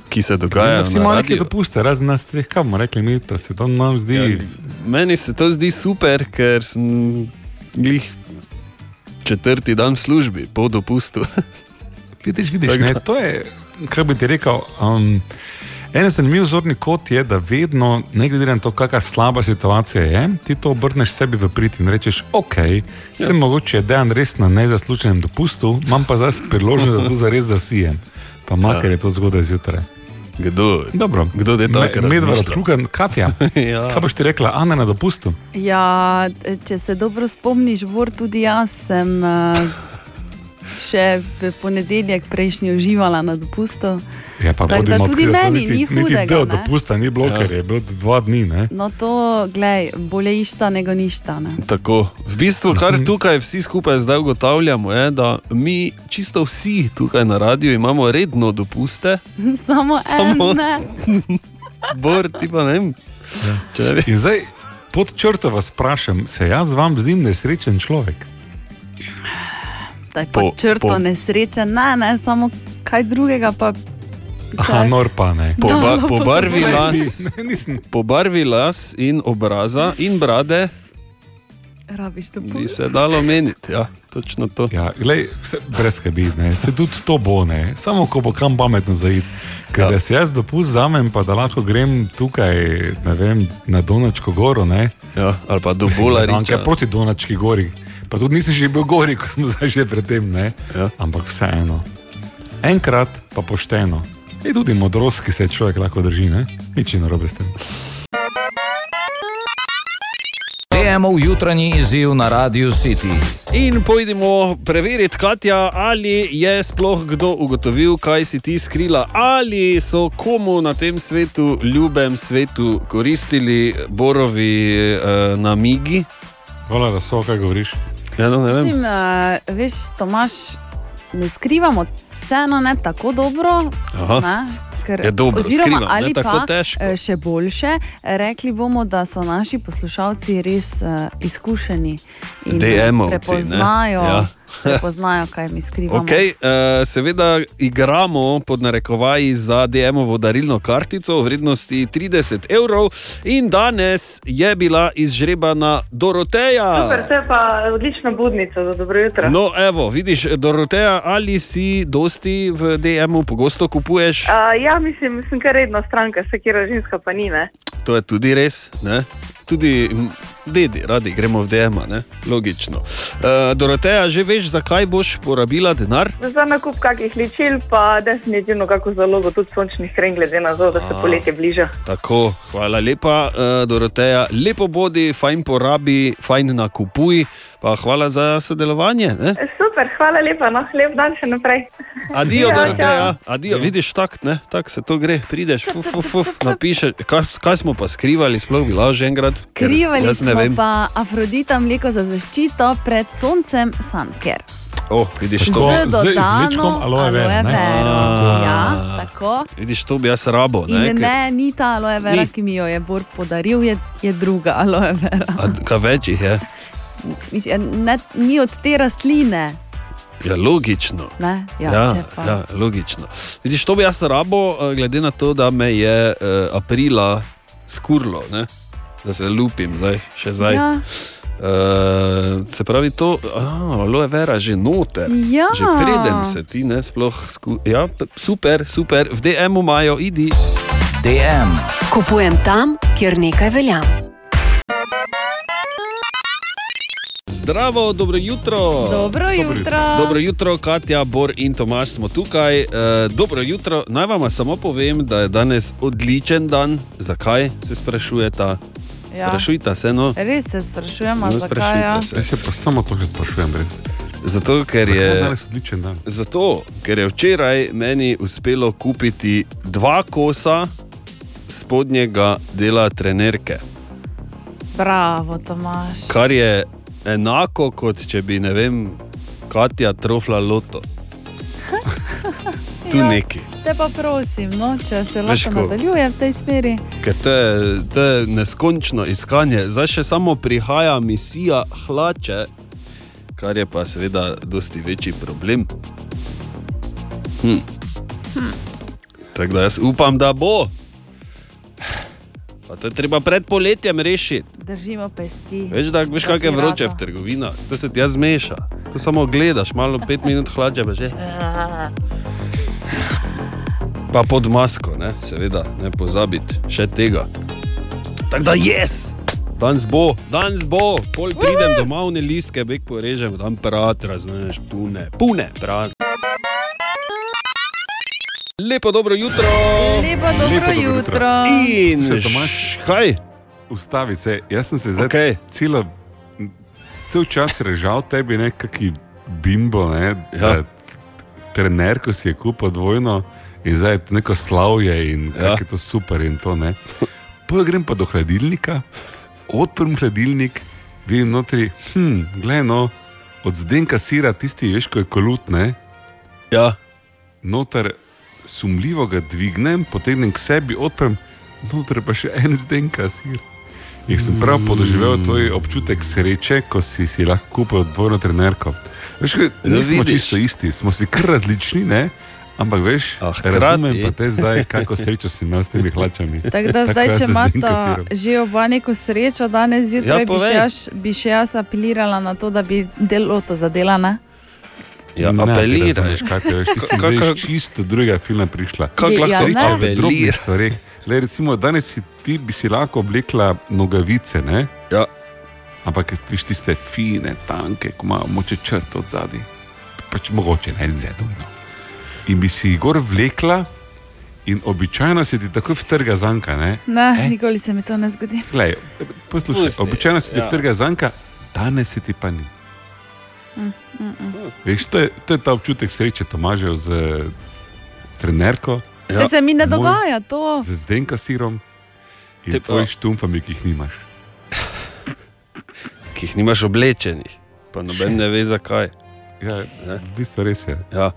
S3: Ki se
S5: Ja,
S3: dogaja.
S5: vsi imamo neke dopuste, razen nas treh, kaj bomo rekli, mi to se tam nam zdi. Ja,
S3: Meni se to zdi super, ker sem glih četrti dan v službi, po dopustu. [LAUGHS]
S5: Vidiš, vidiš
S3: Tako
S5: ne,
S3: da.
S5: to je, kaj bi ti rekel. Um, en zanimiv zorni kot je, da vedno, ne glede na to, kakšna slaba situacija je, ti to obrneš sebi v prid in rečeš, ok, ja. sem mogoče je dejan res na nezasluženem dopustu, imam pa zdaj priložnost, da to zares zasijem. Pa makar ja. je to zgodaj zjutraj.
S3: Kdo?
S5: Dobro.
S3: Kdo je tako?
S5: Medvard,
S3: razmišlja?
S5: druga,
S3: [LAUGHS]
S5: Katja.
S3: Ja.
S5: Kaj boš ti rekla, Ana na dopustu?
S6: Ja, če se dobro spomniš, Bor, tudi jaz sem eh, še v ponedeljek prejšnji uživala na dopustu.
S5: Ja, pa
S6: Tako da
S5: bodimo
S6: tudi
S5: odkriti,
S6: meni
S5: niti,
S6: ni
S5: niti
S6: hudega,
S5: del
S6: ne.
S5: dopusta ni bilo, ja. ker je bilo dva dni. Ne?
S6: No, to, glej, bolje išta, nego ništa. Ne? [LAUGHS]
S3: Tako. V bistvu,
S5: Mhm.
S3: kar tukaj vsi skupaj zdaj ugotavljamo, je, da mi čisto vsi tukaj na radiju imamo redno dopuste,
S6: Samo, Samo en,
S3: Samo-
S6: ne.
S3: bor ti pa ne vem. Če ne
S5: Ja.
S3: veš,
S5: In zdaj pod črto vas vprašam, se jaz vam zdim nesrečen človek.
S6: Tako po,
S3: Po-
S6: črto po.
S3: po-
S6: nesreče, ne, ne, samo kaj drugega pa.
S5: Aha, nor No, pa ne.
S3: po, ba, po barvi
S5: Ne,
S3: las.
S5: ni- ne, nisem.
S3: Po barvi las in obraza in brade
S6: Rabiš to
S3: bi
S6: pust.
S3: se dalo meniti. Ja, točno to.
S5: Ja, glej, vse, brez skrbi, ne, se tudi to bo, ne. samo ko bo kam pametno zaid. Ker
S3: Ja.
S5: ja. da se jaz dopust zamem, pa da lahko grem tukaj ne vem, na Donačko goro, ne.
S3: Ja, ali pa do
S5: Mislim, na
S3: Bolariča.
S5: Donke, proti Donački gori. Pa tudi nisem že bil gori, [LAUGHS] kot smo zdaj že predtem, ne.
S3: Ja.
S5: Ampak vseeno. Enkrat pa pošteno. Je tudi modrost, ki se človek lahko drži, ne? Nič ni narobe s tem.
S2: TMO jutranji izziv na Radio City.
S3: In pojdimo preveriti, Katja, ali je sploh kdo ugotovil, kaj si ti skrila, ali so komu na tem svetu, ljubem svetu, koristili borovi eh, namigi.
S5: Hvala, da so, kaj govoriš.
S3: Ja, no, ne vem.
S6: Mislim, eh, veš, Tomaš, ne skrivamo vseeno ne tako dobro.
S3: Aha.
S6: Ne? Ker,
S3: Ja, dobro,
S6: oziroma,
S3: skrivam, ne
S6: ali
S3: tako
S6: pa
S3: težko.
S6: eh, še boljše, eh, rekli bomo, da so naši poslušalci res uh, izkušeni in eh,
S3: DM-ovci, ne?
S6: prepoznajo,
S3: Ja.
S6: [LAUGHS] prepoznajo, kaj mi skrivamo.
S3: Okay, uh, seveda igramo pod narekovaji za DM-ovo darilno kartico v vrednosti 30 evrov, in danes je bila izžrebana Doroteja.
S4: Super, to je pa odlična budnica za dobro jutro.
S3: No, evo, vidiš, Doroteja, ali si dosti v DM-u pogosto kupuješ?
S4: Uh, ja, mislim, sem kar redna stranka, se kjer ženska pa ni. Ne?
S3: To je tudi res. Ne? Tudi m, dedi, radi gremo v DM, ne? logično. Uh, Doroteja, že veš, zakaj boš porabila denar?
S4: Za nakup kakih ličil, pa definitivno kako zalogo tudi sončnih kren, glede na to, da se poletje bliža.
S3: Tako, hvala lepa, uh, Doroteja. Lepo bodi, fajn porabi, fajn nakupuj, pa hvala za sodelovanje. Ne?
S4: E, Super, hvala lepa, no, lep dan še naprej.
S3: Adijo,
S4: Ja,
S3: Doroteja,
S4: ja.
S3: adijo. Vidiš, tako tak se to gre, prideš, fuf, fuf, fuf, napišeš, kaj, kaj smo pa skrivali, sploh bila že enkrat. Ker
S6: Krivali
S3: jaz ne
S6: smo
S3: vem.
S6: pa Afrodita mleko za zaščito pred soncem, sanker.
S3: Oh, vidiš,
S6: Z
S3: to,
S5: z
S6: dodano
S5: izvlečkom aloe
S6: aloe
S5: vere, ne?
S6: vero.
S3: Ah.
S6: Ja, tako.
S3: vidiš, to bi jaz rabo.
S6: In ne,
S3: ker-
S6: ne, ni ta aloe vera,
S3: Ni.
S6: ki mi jo je Bor podaril, je, je druga aloe vera.
S3: A, kaj več jih je?
S6: Mislim, ja, ne, ni od te rastline.
S3: Ja, logično.
S6: Ne? Ja,
S3: Ja,
S6: če pa.
S3: ja, logično. Vidiš, to bi jaz rabo, eh, glede na to, da me je eh, aprila skurlo, ne? da se lupim zdaj, še zdaj.
S6: Ja,
S3: Eh, se pravi, to a, aloe vera že noter.
S6: Ja.
S3: Že preden se ti ne sploh sku... Ja, p- super, super, v DM-u imajo, idi.
S2: DM,
S9: Kupujem tam, kjer nekaj velja.
S3: Zdravo, dobro jutro.
S6: Dobro jutro.
S3: Dobro jutro, Katja, Bor in Tomaš smo tukaj. E, dobro jutro, naj vam samo povem, da je danes odličen dan. Zakaj se sprašujete?
S6: Ja.
S3: Sprašujte se, no,
S6: Res se sprašujemo,
S3: no
S6: zakaj. ja.
S3: sprašujte
S5: Jaz
S3: se.
S5: se pa samo to že sprašujem, res.
S3: Zato, ker
S5: Zakaj je
S3: je,
S5: danes odličen dan.
S3: zato, ker je včeraj meni uspelo kupiti dva kosa spodnjega dela trenerke,
S6: Bravo, Tomaš.
S3: kar je enako kot če bi, ne vem, Katja trofla loto. [LAUGHS]
S6: Ja.
S3: Tu neki.
S6: Te pa prosim, no, če se
S3: Veš,
S6: lahko
S3: ko-
S6: nadaljuje v tej smeri.
S3: Ker to je, to je neskončno iskanje, zdaj še samo prihaja misija hlače, kar je pa seveda dosti večji problem. Hm. Tako da jaz upam, da bo. Pa to je treba pred poletjem rešiti.
S6: Držimo pesti.
S3: Veš, da veš,
S6: Da
S3: kakšne
S6: ti
S3: vroče
S6: rata.
S3: v trgovinah, to se ti jaz zmeša. To samo gledaš, malo pet minut hlače, pa že.
S6: Ah.
S3: Pa pod masko, ne? seveda, ne pozabiti še tega. Tako da jaz! Yes! Danes bo, danes bo, pol pridem domov, ne listke, bek porežem, tam prat, razumeš, pune, pune, prat. Lepo dobro jutro!
S6: Lepo, dobro,
S5: dobro
S6: jutro.
S5: jutro.
S3: In
S5: Se, Tomaž?
S3: š- kaj?
S5: Ustavi se, jaz sem se zdaj
S3: Okej.
S5: celo, cel čas režal tebi, nekakšen bimbo, ne,
S3: Ja.
S5: da t- trener, ko si je kupil dvojno in zdaj je neko slavje in
S3: Ja.
S5: ja. je to super in to ne. Potem grem pa do hladilnika, odprem hladilnik, vidim notri, hm, gledaj no, od zdenka sira tisti, veš, ko je kolut, ne,
S3: Ja,
S5: noter sumljivo ga dvignem, potegnem k sebi, odprem, noter pa še en zdenka sir. In sem prav podoživel tvoj občutek sreče, ko si si lahko kupil dvojno trenerko. Veš, kaj,
S3: Ja,
S5: nismo
S3: vidiš.
S5: čisto isti, smo si kar različni, ne? ampak veš,
S3: A Ah, hkrati-
S5: razumem pa te zdaj, kako srečo si imel s temi
S6: [LAUGHS]
S5: hlačami. [LAUGHS]
S6: Tako da zdaj,
S5: jaz
S6: če
S5: z Zdenka
S6: imata
S5: sirom.
S6: že oba neko srečo, danes zjutraj
S3: Ja,
S6: bi, še
S3: povej.
S6: jaz, bi še jaz apelirala na to, da bi delo to zadela. Ne?
S3: ja
S5: Ne, ti
S3: apeliraj.
S5: razumeš, kaj te veš, ti si
S3: Ka- ka-
S5: zdaj iz čisto druga filma prišla.
S3: Kako
S6: Ja, ne.
S3: lahko rečeš,
S5: v drugih
S3: apeliraš?
S5: stvareh. Le, recimo, danes si, ti bi si lahko oblekla nogavice, ne?
S3: Ja.
S5: ampak viš tiste fine, tanke, ko ima moče črt od zadaj. Pač mogoče ne, ne, dojno. no. In bi si jih gor vlekla, in običajno se ti tako vtrga zanka. Ne?
S6: Ne,
S5: Eh?
S6: nikoli se mi to ne zgodi.
S5: Glej, poslušaj,
S3: Pusti,
S5: Pusti, običajno se ti
S3: ja.
S5: ja. vtrga zanka, danes se ti pa ni.
S6: Mm,
S5: Veš, to je, to je ta občutek sreče, Tomažev z eh, trenerko,
S3: Ja.
S6: Če se mi ne
S5: Moj-
S6: dogaja to,
S5: z zdenka sirom in
S3: Te pa-
S5: tvojimi štumfami, ki jih nimaš.
S3: ki jih nimaš oblečenih, pa noben ne ve zakaj.
S5: Ja,
S3: Ne.
S5: v bistvu res je.
S3: Ja.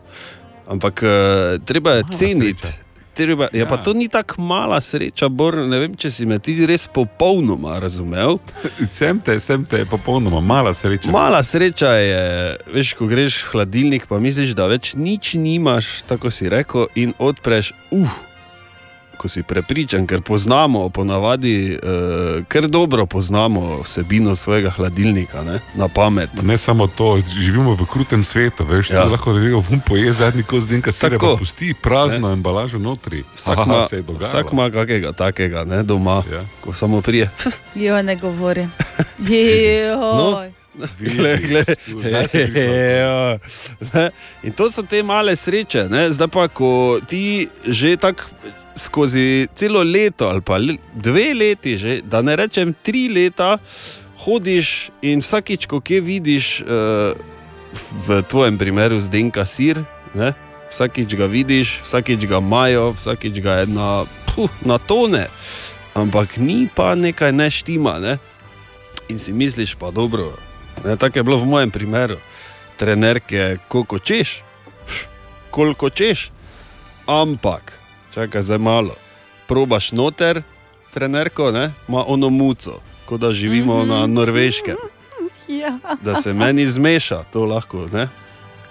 S3: Ampak uh, treba je
S5: Mala
S3: ceniti.
S5: sreča.
S3: Treba,
S5: Ja.
S3: ja, pa to ni tako mala sreča, Bor, ne vem, če si me ti res popolnoma razumel.
S5: [LAUGHS] Sem te, sem te, popolnoma mala sreča.
S3: Mala sreča je, veš, ko greš v hladilnik, pa misliš, da več nič nimaš, tako si rekel, in odpreš, uf, ko si prepričan, ker poznamo, ponavadi, eh, ker dobro poznamo vsebino svojega hladilnika, ne? na pamet.
S5: Ne samo to, živimo v krutem svetu, veš,
S3: Ja.
S5: ja. lahko rečemo, vum poje zadnji kos dinka sira,
S3: Tako.
S5: pa pusti prazno ne. embalažo notri. Aha,
S3: Vsak ima,
S5: se je dogajalo.
S3: vsak ima kakega takega ne, doma,
S5: Ja.
S3: ko samo prije.
S6: Jo, ne Mhm, govori. Jo.
S3: No.
S5: Vidiš,
S3: [LAUGHS] Glej, glej.
S5: zdaj si prišla.
S3: Ja. Ne? In to so te male sreče. Ne? Zdaj pa, ko ti že tako skozi celo leto ali pa le- dve leti, že, da ne rečem tri leta, hodiš in vsakič, ko kje vidiš, eh, v tvojem primeru zdenka sir, ne? vsakič ga vidiš, vsakič ga imajo, vsakič ga je na, puh, na tone. Ampak ni pa nekaj neštima. Ne? In si misliš, pa dobro, Ne, tako je bilo v mojem primeru. Trener, ki je koliko češ, pš, koliko češ, ampak čakaj za malo. Probaš noter, trenerko, ne, ima ono muco, kot da živimo mm -hmm. na norveškem,
S6: Ja.
S3: da se meni zmeša, to lahko, ne,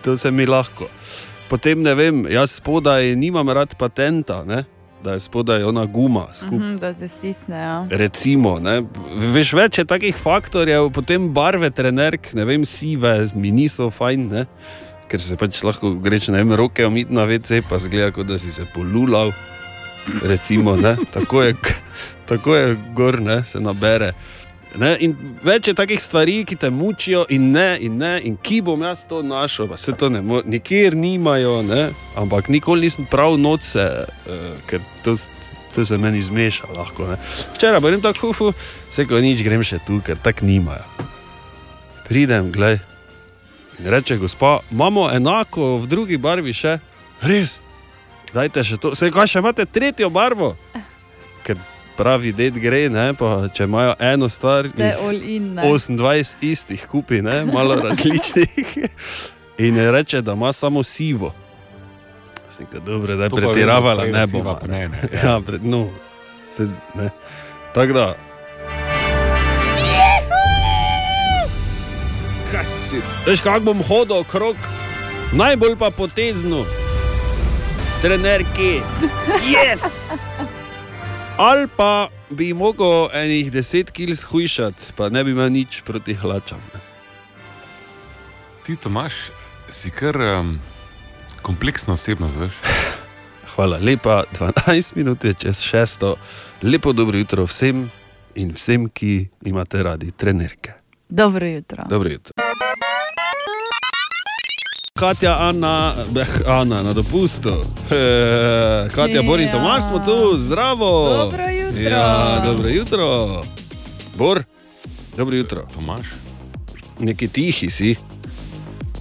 S3: to se mi lahko. Potem ne vem, jaz spodaj nimam rad patenta, ne, da je spodaj ona guma skupaj.
S6: Mhm, da te stisnejo.
S3: Recimo, ne, veš, več je takih faktorjev, potem barve trenerk, ne vem, sive, mi niso fajn, ne, ker se pač lahko greš, ne vem, roke umiti na VC, pa zgleda, kot da si se polulal. Recimo, ne, tako je, k- tako je gor, ne, se nabere. Ne, in več je takih stvari, ki te mučijo, in ne, in ne, in ki bom jaz to našel, pa se to ne more, nikjer nimajo, ne, ampak nikoli nisem prav noč, eh, ker to, s- to se meni zmeša. Lahko, ne. Včeraj pa grem tako, ufu, vse ko nič grem še tu, ker tako nimajo. Pridem, gled. In reče, gospa, imamo enako v drugi barvi še, res, dajte še to, vse ko še imate tretjo barvo. Ker pravi ded gre, ne, pa če imajo eno stvar,
S6: Te
S3: jih-
S6: all in ne.
S3: 28 istih kupi, ne? malo različnih. In reče, da ima samo sivo. Sem rekel, dobro, da je
S5: To pa
S3: pretiravala,
S5: vedno
S3: ne
S5: prej
S3: bo.
S5: nasiva, Ne, ne. Ja.
S3: [LAUGHS] Ja, pred, no, se, ne. Tako da. Kaj si? Veš, kako bom hodil okrog, najbolj pa potezno, trenerki. Yes! Ali pa bi mogel enih deset kil shujšati, pa ne bi imel nič proti hlačam.
S5: Ti, Tomaš, si kar um, kompleksna osebnost, veš?
S3: Hvala lepa, 12 minut je čez šesto. Lepo dobro jutro vsem in vsem, ki imate radi trenerke.
S6: Dobro jutro.
S3: Dobro jutro. Katja, Ana, eh, Ana na dopustu. Eh, Katja,
S6: Ja.
S3: Bor in Tomaš smo tu, zdravo.
S6: Dobro jutro.
S3: Ja, dobro jutro. Bor, dobro jutro.
S5: Tomaš,
S3: Neki tihi si.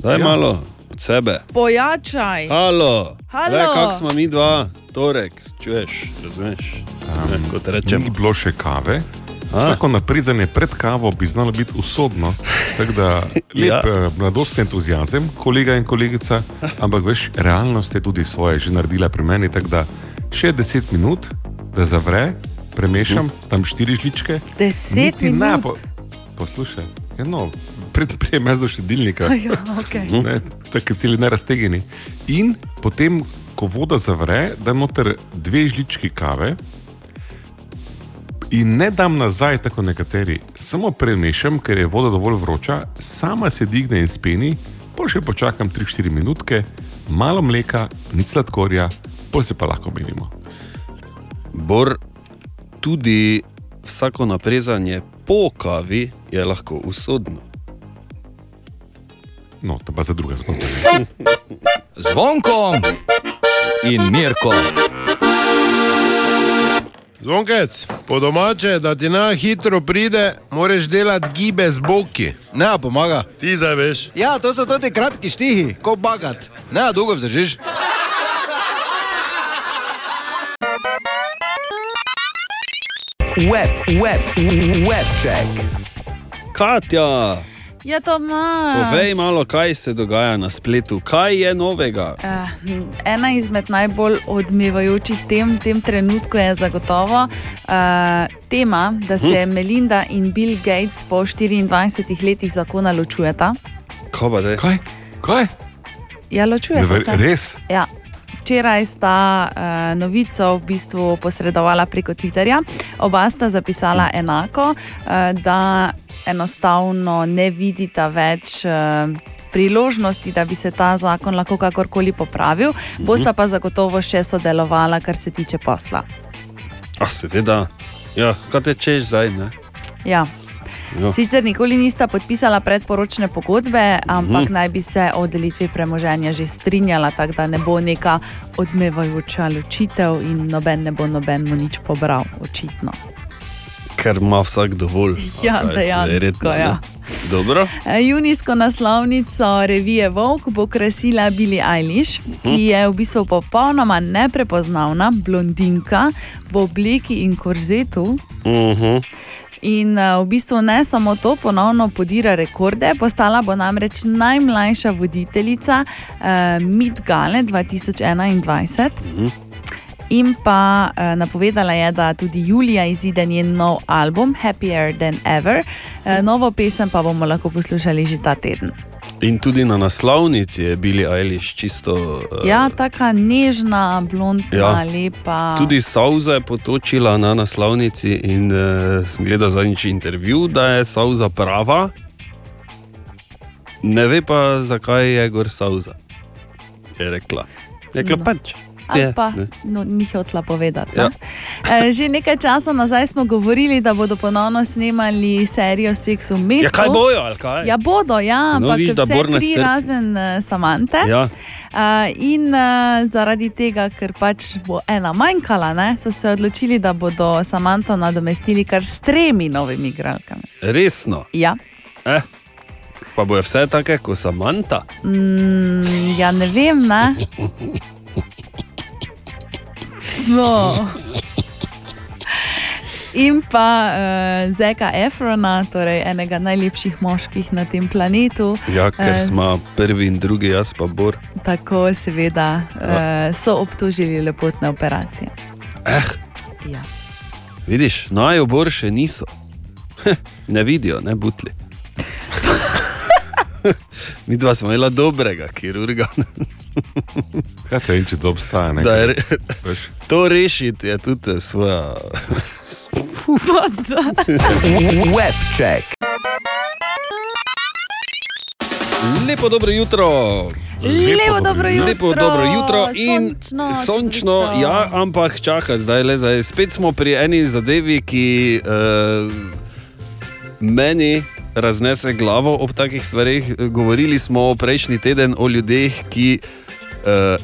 S3: Daj ja.
S5: Ja.
S3: malo od sebe.
S6: Pojačaj.
S3: Halo,
S6: Halo.
S3: Glej, kako smo mi dva, torek, čuješ, razumeš? Um, ne, kot
S5: ni
S3: rečemo.
S5: bilo še kave.
S3: A.
S5: Vsako napredzanje pred kavo bi znalo biti usodno. Tako da lep
S3: [LAUGHS] Ja.
S5: ja. mladostni entuzijazem, kolega in kolegica, ampak veš, realnost je tudi svoje že naredila pri meni. Tako da še 10 minut, da zavre, premešam,
S3: Mhm.
S5: tam štiri žličke.
S6: Deset
S5: Niti ne,
S6: minut.
S5: po- Poslušaj, eno, pred, prej mez do šedilnika.
S6: [LAUGHS] Ja, okay.
S3: Hm? Mhm.
S5: ne, tako celi ne raztegnjeni. In potem, ko voda zavre, da noter dve žlički kave in ne dam nazaj, tako nekateri, samo premešam, ker je voda dovolj vroča, sama se digne in speni, pa še počakam 3-4 minutke, malo mleka, nič sladkorja, pol se pa lahko menimo.
S3: Bor, tudi vsako naprezanje po kavi je lahko usodno.
S5: No, to pa za druga zgodba.
S2: Zvonko in Mirko.
S10: Zvonkec, po domače, da ti na hitro pride, moraš delati gibe z boki.
S7: Ne, pomaga.
S10: Ti zdaj veš.
S7: Ja, to so ti kratki štihi, ko bagat. Ne, dolgo vzdržiš.
S2: Web, web, web check.
S3: Katja,
S6: ja to imaš.
S3: povej malo, kaj se dogaja na spletu, kaj je novega.
S6: Eh, Ena izmed najbolj odmevajočih tem v tem trenutku je zagotovo eh, tema, da se Melinda in Bill Gates po 24 letih zakona ločujeta.
S3: Kaj pa je?
S5: Kaj? Kaj?
S6: Ja,
S5: Ne
S6: ločujeta
S5: ver-
S6: se.
S5: Res?
S6: Ja. včeraj sta eh, novico v bistvu posredovala preko Twitterja. Oba sta
S5: Hm.
S6: zapisala enako, eh, da enostavno ne vidita več. Eh, Priložnosti, da bi se ta zakon lahko kakorkoli popravil,
S5: Mhm.
S6: bosta pa zagotovo še sodelovala, kar se tiče posla.
S3: A seveda, ja, kaj te češ zdaj? Ne?
S6: Ja.
S3: Ja.
S6: Sicer nikoli nista podpisala predporočne pogodbe, ampak
S3: Mhm.
S6: naj bi se o delitvi premoženja že strinjala, tako da ne bo neka odmevajoča ločitev in noben ne bo nobenemu nič pobral, očitno.
S3: Ker ima vsak dovolj.
S6: Ja,
S3: A kaj,
S6: dejansko,
S3: verjetno, ne?
S6: ja.
S3: Dobro.
S6: E, Junijsko naslovnico revije Vogue bo krasila Billie Eilish, ki je v bistvu popolnoma neprepoznavna blondinka v obleki in korzetu,
S3: Uh -huh.
S6: In eh, v bistvu ne samo to, ponovno podira rekorde. Postala bo namreč najmlajša voditeljica eh, Mid Gale 2021. In pa eh, napovedala je, da tudi julija izide njen nov album Happier Than Ever, eh, novo pesem pa bomo lahko poslušali že ta teden.
S3: In tudi na naslovnici je bili Eilish čisto. eh,
S6: Ja, taka nežna, blondna,
S3: Ja.
S6: lepa.
S3: Tudi Sauza je potočila na naslovnici in uh, sem gledal zadnjič intervju, da je Sauza prava. Ne ve pa, zakaj je gor Sauza. Je rekla. Je rekla
S6: No.
S3: no. pač.
S6: ali
S3: Je,
S6: pa
S3: ne.
S6: no, ni hotela povedati.
S3: Ja.
S6: Ja. Že nekaj časa nazaj smo govorili, da bodo ponovno snemali serijo Seks v mestu.
S3: Ja, kaj bojo, ali kaj?
S6: Ja, bodo, ja,
S3: No,
S6: ampak
S3: vidiš, da
S6: vse
S3: Borna
S6: tri
S3: strpi.
S6: razen uh, Samante.
S3: Ja.
S6: Uh, in uh, zaradi tega, ker pač bo ena manjkala, ne, so se odločili, da bodo Samanto nadomestili kar s tremi novimi igralkami.
S3: Resno.
S6: Ja.
S3: Eh. Pa bojo vse take, kot Samanta.
S6: Mm, ja, ne vem, ne. No. In pa uh, Zeka Efrona, torej enega najlepših moških na tem planetu.
S3: Ja, ker
S6: eh,
S3: smo prvi in drugi, jaz pa Bor.
S6: Tako seveda
S3: Ja.
S6: uh, so obtožili lepotne operacije.
S3: Eh,
S6: Ja.
S3: vidiš, najo Bor še niso. ne vidijo, ne butli. [LAUGHS] Mi dva smo imela dobrega
S5: [LAUGHS]
S3: kirurga.
S5: Kaj te vem, če Ja, to obstaja? Ne?
S3: Da je re-
S5: Veš,
S3: To rešiti je tudi eh, svoja. [LAUGHS]
S2: Web check.
S3: Lepo dobro jutro.
S6: Lepo dobro jutro.
S3: Lepo dobro jutro in
S6: Sončno,
S3: sončno,
S6: čudovito.
S3: ja, ampak čaka zdaj le zdaj. Spet smo pri eni zadevi, ki uh, meni raznese glavo ob takih stvarih. Govorili smo prejšnji teden o ljudeh, ki uh,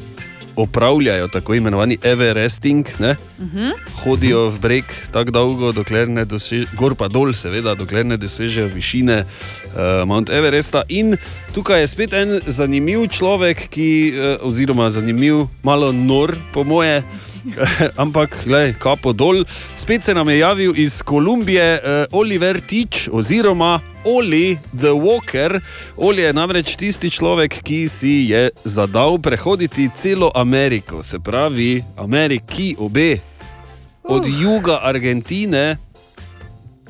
S3: opravljajo tako imenovani everesting. Ne?
S6: Mhm.
S2: [LAUGHS]
S3: hodijo v breg tako dolgo, dokler ne dosežejo, gor pa dol, seveda, dokler ne dosežejo višine uh, Mount Everesta. In tukaj je spet en zanimiv človek, ki, uh, oziroma zanimiv, malo nor, po moje. [LAUGHS] Ampak, le, kapo dol. Spet se nam je javil iz Kolumbije uh, Oliver Tič, oziroma Oli the Walker. Oli je namreč tisti človek, ki si je zadal prehoditi celo Ameriko, se pravi Ameriki obe, od juga Argentine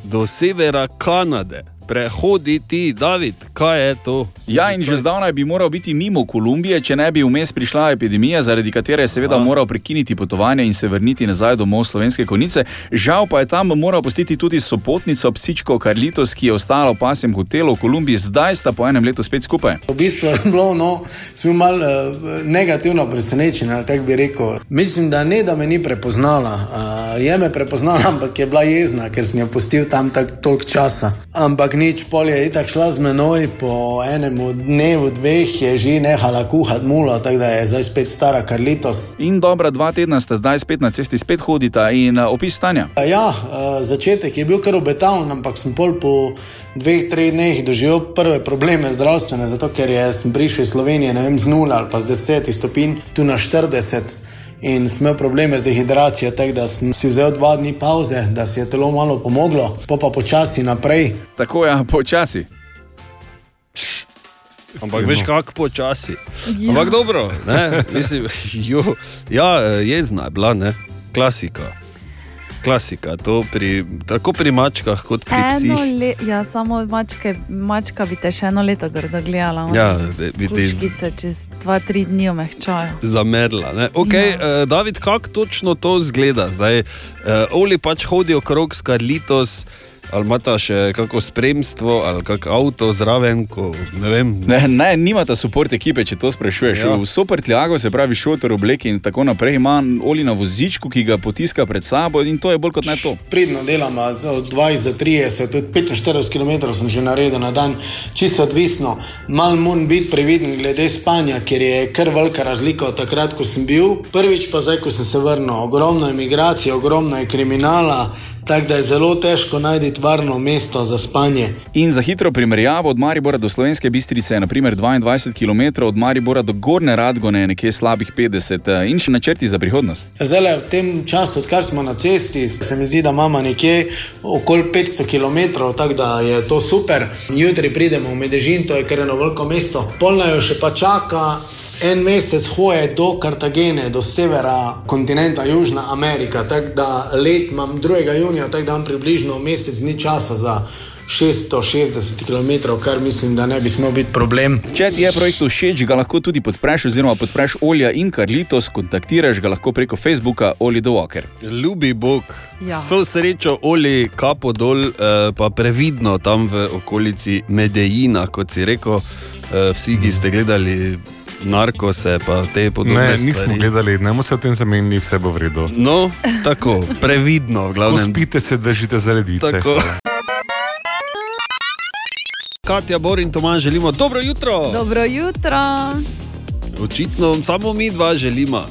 S3: do severa Kanade. Prehoditi, David, kaj je to?
S11: Ja, in že zdavnaj bi moral biti mimo Kolumbije, če ne bi vmes prišla epidemija, zaradi katere je seveda moral prekiniti potovanje in se vrniti nazaj domov v slovenske konice. Žal pa je tam moral postiti tudi sopotnico, psičko Karlitos, ki je ostala v pasjem hotelu v Kolumbiji, zdaj sta po enem letu spet skupaj.
S12: V bistvu je bilo, no, smo malo eh, negativno presenečeni, ali kako bi rekel. Mislim, da ne, da me ni prepoznala. Eh, je me prepoznala, [LAUGHS] ampak je bila jezna, ker sem jo pustil tam tako toliko časa. Ampak nič, pol je itak šla z menoj, po enem dnevu, dveh je že nehala kuhati mulo, tako da je zdaj spet stara Karlitos.
S11: In dobra dva tedna sta zdaj spet na cesti, spet hodita in a, opis stanja.
S12: Ja, eh, začetek je bil kar obetaven, ampak sem pol po dveh, treh dneh doživel prve probleme zdravstvene, zato ker je, sem prišel iz Slovenije ne vem, z 0 ali pa z 10 stopinj tu na 40 in sem imel probleme z dehidracijo, tako da sem si vzel dva dni pauze, da si je telo malo pomoglo, pa pa počasi naprej.
S11: Tako ja, počasi.
S3: Ampak veš, kako počasi.
S11: Ja.
S3: Ja. Ampak dobro, [LAUGHS] ne, mislim, jo, ja, eh, jezna je bila, ne, klasika. Klasika, to pri, tako pri mačkah kot pri
S6: Eno
S3: psih.
S6: leto, ja, samo mačke, mačka bi te še eno leto grdo gledala.
S3: Ja, de- bi ti-
S6: Kuški se čez dva, tri dni omehčajo.
S3: Zamerla. ne. Okay, ja. uh, David, kako točno to zgleda? Zdaj, uh, Oli pač hodijo krog s Karlitos, ali imata še kako spremstvo, ali kak avto zraven. Ko, ne vem.
S11: Ne, ne, nimata podpor ekipe, če to sprašuješ.
S3: Ja.
S11: Ja. Vso prtljago, se pravi šotor, obleke in tako naprej, ima Oli na vozičku, ki ga potiska pred sabo in to je bolj kot ne to.
S12: Pridno delam, a od 20 do 30, tudi 45 km sem že naredil na dan, čisto odvisno. Mal moram biti previden glede spanja, ker je kar velika razlika od takrat, ko sem bil. Prvič pa zdaj, ko sem se vrnil, ogromno je migracij, ogromno je kriminala, tako da je zelo težko najti varno mesto za spanje.
S11: In za hitro primerjavo, od Maribora do Slovenske Bistrice je naprimer 22 km, od Maribora do Gorne Radgone je nekje slabih 50 eh, in še načrti za prihodnost.
S12: Zdaj, le, v tem času, odkar smo na cesti, se mi zdi, da imamo nekje okoli 500 km, tako da je to super. Jutri pridemo v Medežin, to je kar eno veliko mesto. Polnajo še pa čaka. En mesec hoje do Kartagene, do severa kontinenta Južna Amerika, tako da let imam 2. junija, tako da imam približno mesec dni časa za 660 km, kar mislim, da ne bi smel biti problem.
S11: Če ti je projekt všeč, ga lahko tudi podpreš, oziroma podpreš Olja in Karlitos, kontaktiraš ga lahko preko Facebooka Oli the Walker.
S3: Ljubi Bog,
S11: Ja.
S3: ja. so srečo, oli kapo dol, eh, pa previdno tam v okolici Medejina, kot si rekel. Eh, vsi, ki ste gledali narkose, pa te podobne
S5: Ne,
S3: stvari.
S5: nismo gledali, ne bomo se o tem zamenjali, vse bo v redu.
S3: No, tako, previdno, v glavnem.
S5: Spite se, držite za ledvice.
S3: Tako. Katja, Bor in Tomaž želimo dobro jutro.
S6: Dobro jutro.
S3: Očitno samo mi dva želimo.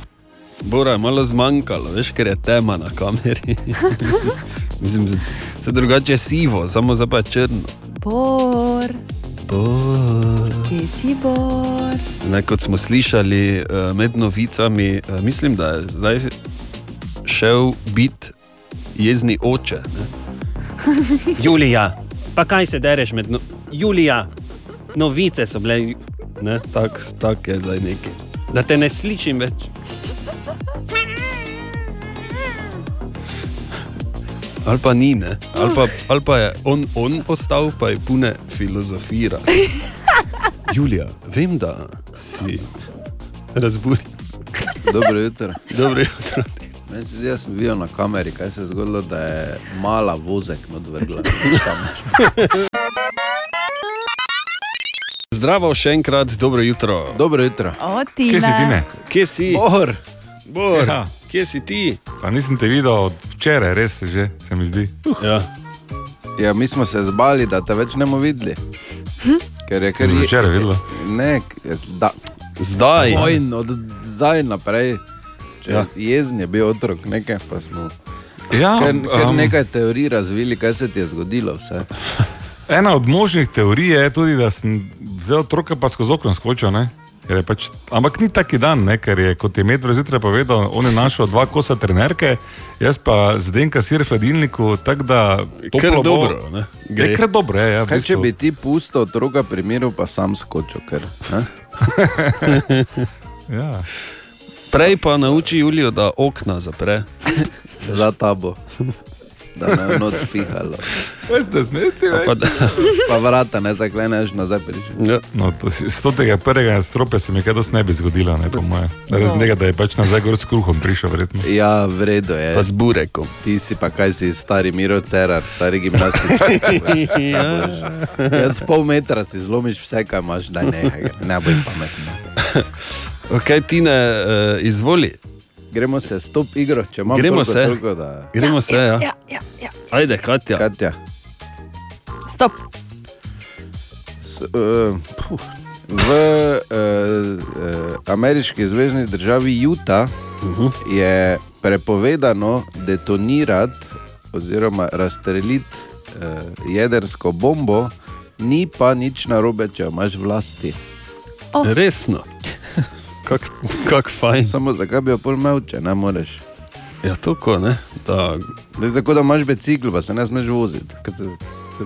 S3: Bora je malo zmanjkalo, veš, ker je tema na kameri. [LAUGHS] Mislim, z- se drugače je sivo, samo zdaj pa je črno.
S6: Bor,
S3: Bor.
S6: kje si bor?
S3: Ne, kot smo slišali eh, med novicami, eh, mislim, da je zdaj šel biti jezni oče. Ne?
S13: [LAUGHS] Julija, pa kaj se dereš med no... Julija? Novice so bile,
S3: Ne, Tako tak je zdaj neki.
S13: da te ne slišim več.
S3: Ali pa ni, ne? ali pa, ali pa je on, on postal, pa je pune
S13: [LAUGHS]
S3: filozofira. Julija, vem, da si razburjen.
S14: Dobro jutro.
S3: Dobro jutro.
S14: Meni se zdi, da sem videl na kameri, kaj se je zgodilo, da je mala vozek
S7: [LAUGHS]
S14: nadvrgla.
S3: Zdravo, še enkrat, dobro jutro.
S14: Dobro jutro.
S6: O, Tina.
S3: Kje si?
S14: Bor.
S3: Bor.
S5: Ja.
S3: Kje si ti?
S5: Pa nisem te videl od včeraj, res že, se mi zdi.
S3: Ja.
S14: ja, mi smo se zbali, da te več ne bomo videli. Ker je kar
S5: Sem že včeraj videla.
S14: Ne, k- da.
S3: Zdaj.
S14: Vojn, od zdaj naprej.
S5: Ja.
S14: Ja. Jezen je bil otrok, nekaj pa smo.
S5: Ja,
S14: ker, ker
S5: um,
S14: nekaj teorij razvili, kaj se ti je zgodilo. Vse.
S5: Ena od možnih teorij je tudi, da sem vzel otroka pa skozi okno skočil. Ne? Ker je Pač, ampak ni taki dan, ne? ker je kot je Medved zjutraj povedal, on je našel dva kosa trenerke, jaz pa zdaj kasir v hladilniku, tako da
S14: Kar
S5: toplo bo.
S14: dobro, ne, gre.
S5: Je kar dobro, je. Ja, v
S14: Kaj, če
S5: bistvu.
S14: bi ti pusto otroka primeru, pa sam skočil. Ker, ne?
S5: ja.
S3: Prej pa nauči Julijo, da okna zapre.
S14: [LAUGHS] Za
S3: [LAUGHS]
S14: tabo. Da ne bo noč pihalo.
S5: [LAUGHS] Veste, smeti,
S14: pa, [LAUGHS] pa vrata ne zakleneš nazaj. Prišel.
S3: Ja.
S5: No, to si- s tega prvega stropa se mi kaj dosti ne bi zgodilo, ne po moje. Razen tega, da je pač nazaj gor s kruhom prišel,
S14: [LAUGHS]
S5: verjetno.
S14: Ja, v redu je.
S5: Pa z
S14: Pa z
S3: burekom.
S14: Ti si pa kaj si, stari Miro Cerar, stari [LAUGHS] gimnastik.
S3: Ja.
S14: Jaz pol metra si zlomiš vse, kar imaš, da ne, ne boj pametno.
S3: Okay, Tine, eh, izvoli.
S14: Gremo se, stop igro, če imamo
S3: Gremo
S14: toliko,
S3: se.
S14: toliko, da...
S3: Gremo se, ja.
S6: Ja, ja, ja.
S3: Ajde, Katja.
S14: Katja.
S6: Stop.
S14: S, uh, puh, v uh, uh, ameriški zvezdni državi Utah uh -huh. je prepovedano detonirati oziroma razstreliti uh, jedrsko bombo, ni pa nič narobe, če jo imaš v lasti.
S6: Oh.
S3: Resno. Kak, kak fajn.
S14: Samo zakaj bi jo pol imel, če ne moreš?
S3: Ja, tako ne. Da...
S14: Da, tako da imaš bicikl, pa se ne smeš voziti. Kaj te-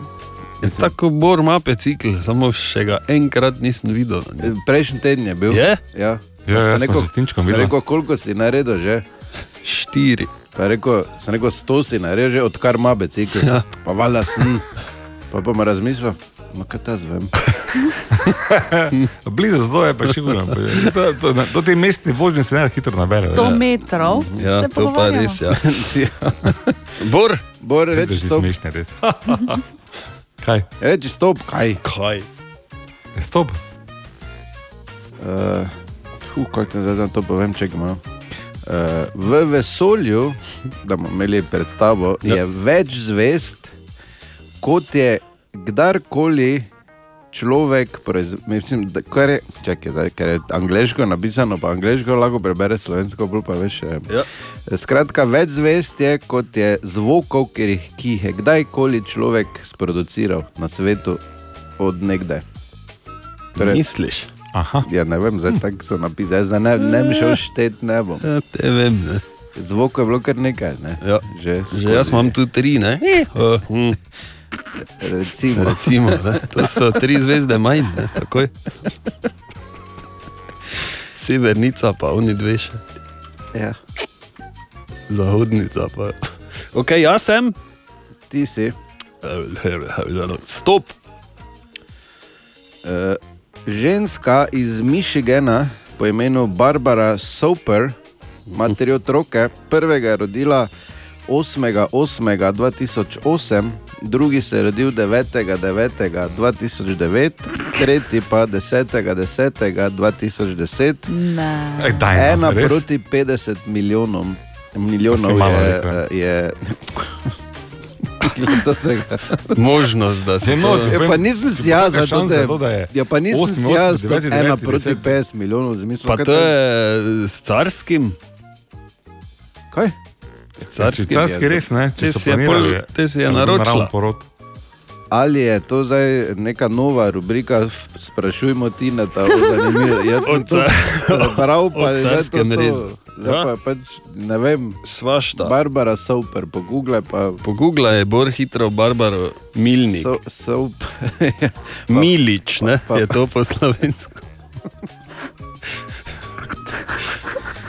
S3: Je tako bor ima pecikl, samo še ga enkrat nisem videl.
S14: Prejšnji teden je bil.
S3: Je?
S14: Ja,
S5: Ja,
S14: Sem
S5: jaz sva se s Tinčkom
S14: sem
S5: videla.
S14: rekel, koliko si naredil že?
S3: Štiri.
S14: Pa je rekel, sem rekel, sto si naredil, že odkar ima bicikl.
S5: Ja.
S14: Pa valjda sem. Pa pa me razmislil, no kaj ta zvem.
S5: Blizu zdaj je pa še vedno. To, to, to te mestne vožnje se ne da hitro nabere.
S6: 100 metrov.
S5: Ja,
S3: Ja,
S6: se pogovarjamo.
S5: [LAUGHS]
S3: Bor,
S14: Bor
S5: reči
S14: reči
S5: stop.
S14: stop.
S5: Smešne, res. [LAUGHS] Kaj?
S14: Reči stop, kaj?
S3: Kaj?
S5: Stop.
S14: Uh, hu, kako naj zdaj to povem, če ga imam. Uh, v vesolju, da bomo imeli predstavo,
S3: Ja.
S14: ja. je več zvest, kot je kdarkoli človek proizvod. Mislim, da kar je, čakaj, zdaj, ker je angliško napisano, pa angliško lahko prebere slovensko, bolj pa veš. eh.
S3: Ja.
S14: Skratka, več zvest je, kot je zvokov, ker jih- ki jih je kdajkoli človek sproduciral na svetu od nekdaj. Torej,
S3: Misliš?
S5: Aha.
S14: Ja, ne vem, zdaj tako so napisali, zdaj ne, ne bi šel štet, ne bom.
S3: Ja, te vem, ne.
S14: Zvokov je bilo kar nekaj, ne?
S3: Ja.
S14: Že, Eh.
S3: Že jaz imam tu tri, ne? Uh, hm.
S14: Recimo.
S3: Recimo ne? To so tri zvezde manj, ne? takoj. Severnica, pa oni dve še.
S14: Ja.
S3: Zahodnica, pa. Ok, jaz sem.
S14: Ti si.
S3: Stop.
S14: Uh, ženska iz Michigana po imenu Barbara Soper ima tri otroke. Prvega je rodila 8.8.2008, drugi se je rodil 9.9.2009, tretji pa 10.10.2010.
S6: Ne.
S5: daj, no,
S14: Ena
S5: res?
S14: proti 50 milijonom.
S5: To si
S14: Milijonov
S5: malo
S14: je, eh,
S5: rekel,
S14: je,
S3: Možnost, da se
S5: Ne, no,
S14: Ja, pa nisem si jaz,
S5: kakšna
S14: zato
S5: šansa
S14: da
S5: za to, da je
S14: je. Ja, pa nisem
S5: osem,
S14: si
S5: osem,
S14: jaz,
S5: devet,
S14: zato
S5: devet,
S14: ena
S5: deset.
S14: proti 50 milijonov, zamislil.
S3: Pa to je eh, s carskim.
S14: Kaj?
S3: S carskim.
S5: Ja, Carski res ne,
S3: Te
S5: so
S3: si je,
S5: planirali,
S3: pol, te si je naročila.
S5: naravni porod.
S14: Ali je to zdaj neka nova rubrika, f- sprašujmo ti na ta zanimiva. Jaz sem
S3: Od
S14: to
S3: car-
S14: [LAUGHS] prebral, pa
S3: od
S14: je zdaj to
S3: carskem rezu.
S14: to. Zdaj
S3: Ja.
S14: pa je pač, ne vem.
S3: Svašta.
S14: Barbara Soper, pogooglaj pa.
S3: Pogooglaj je bolj hitro Barbaro Milnik.
S14: So, so,
S3: [LAUGHS] Milič, ne?
S14: pa-
S3: je to po slovensko. [LAUGHS]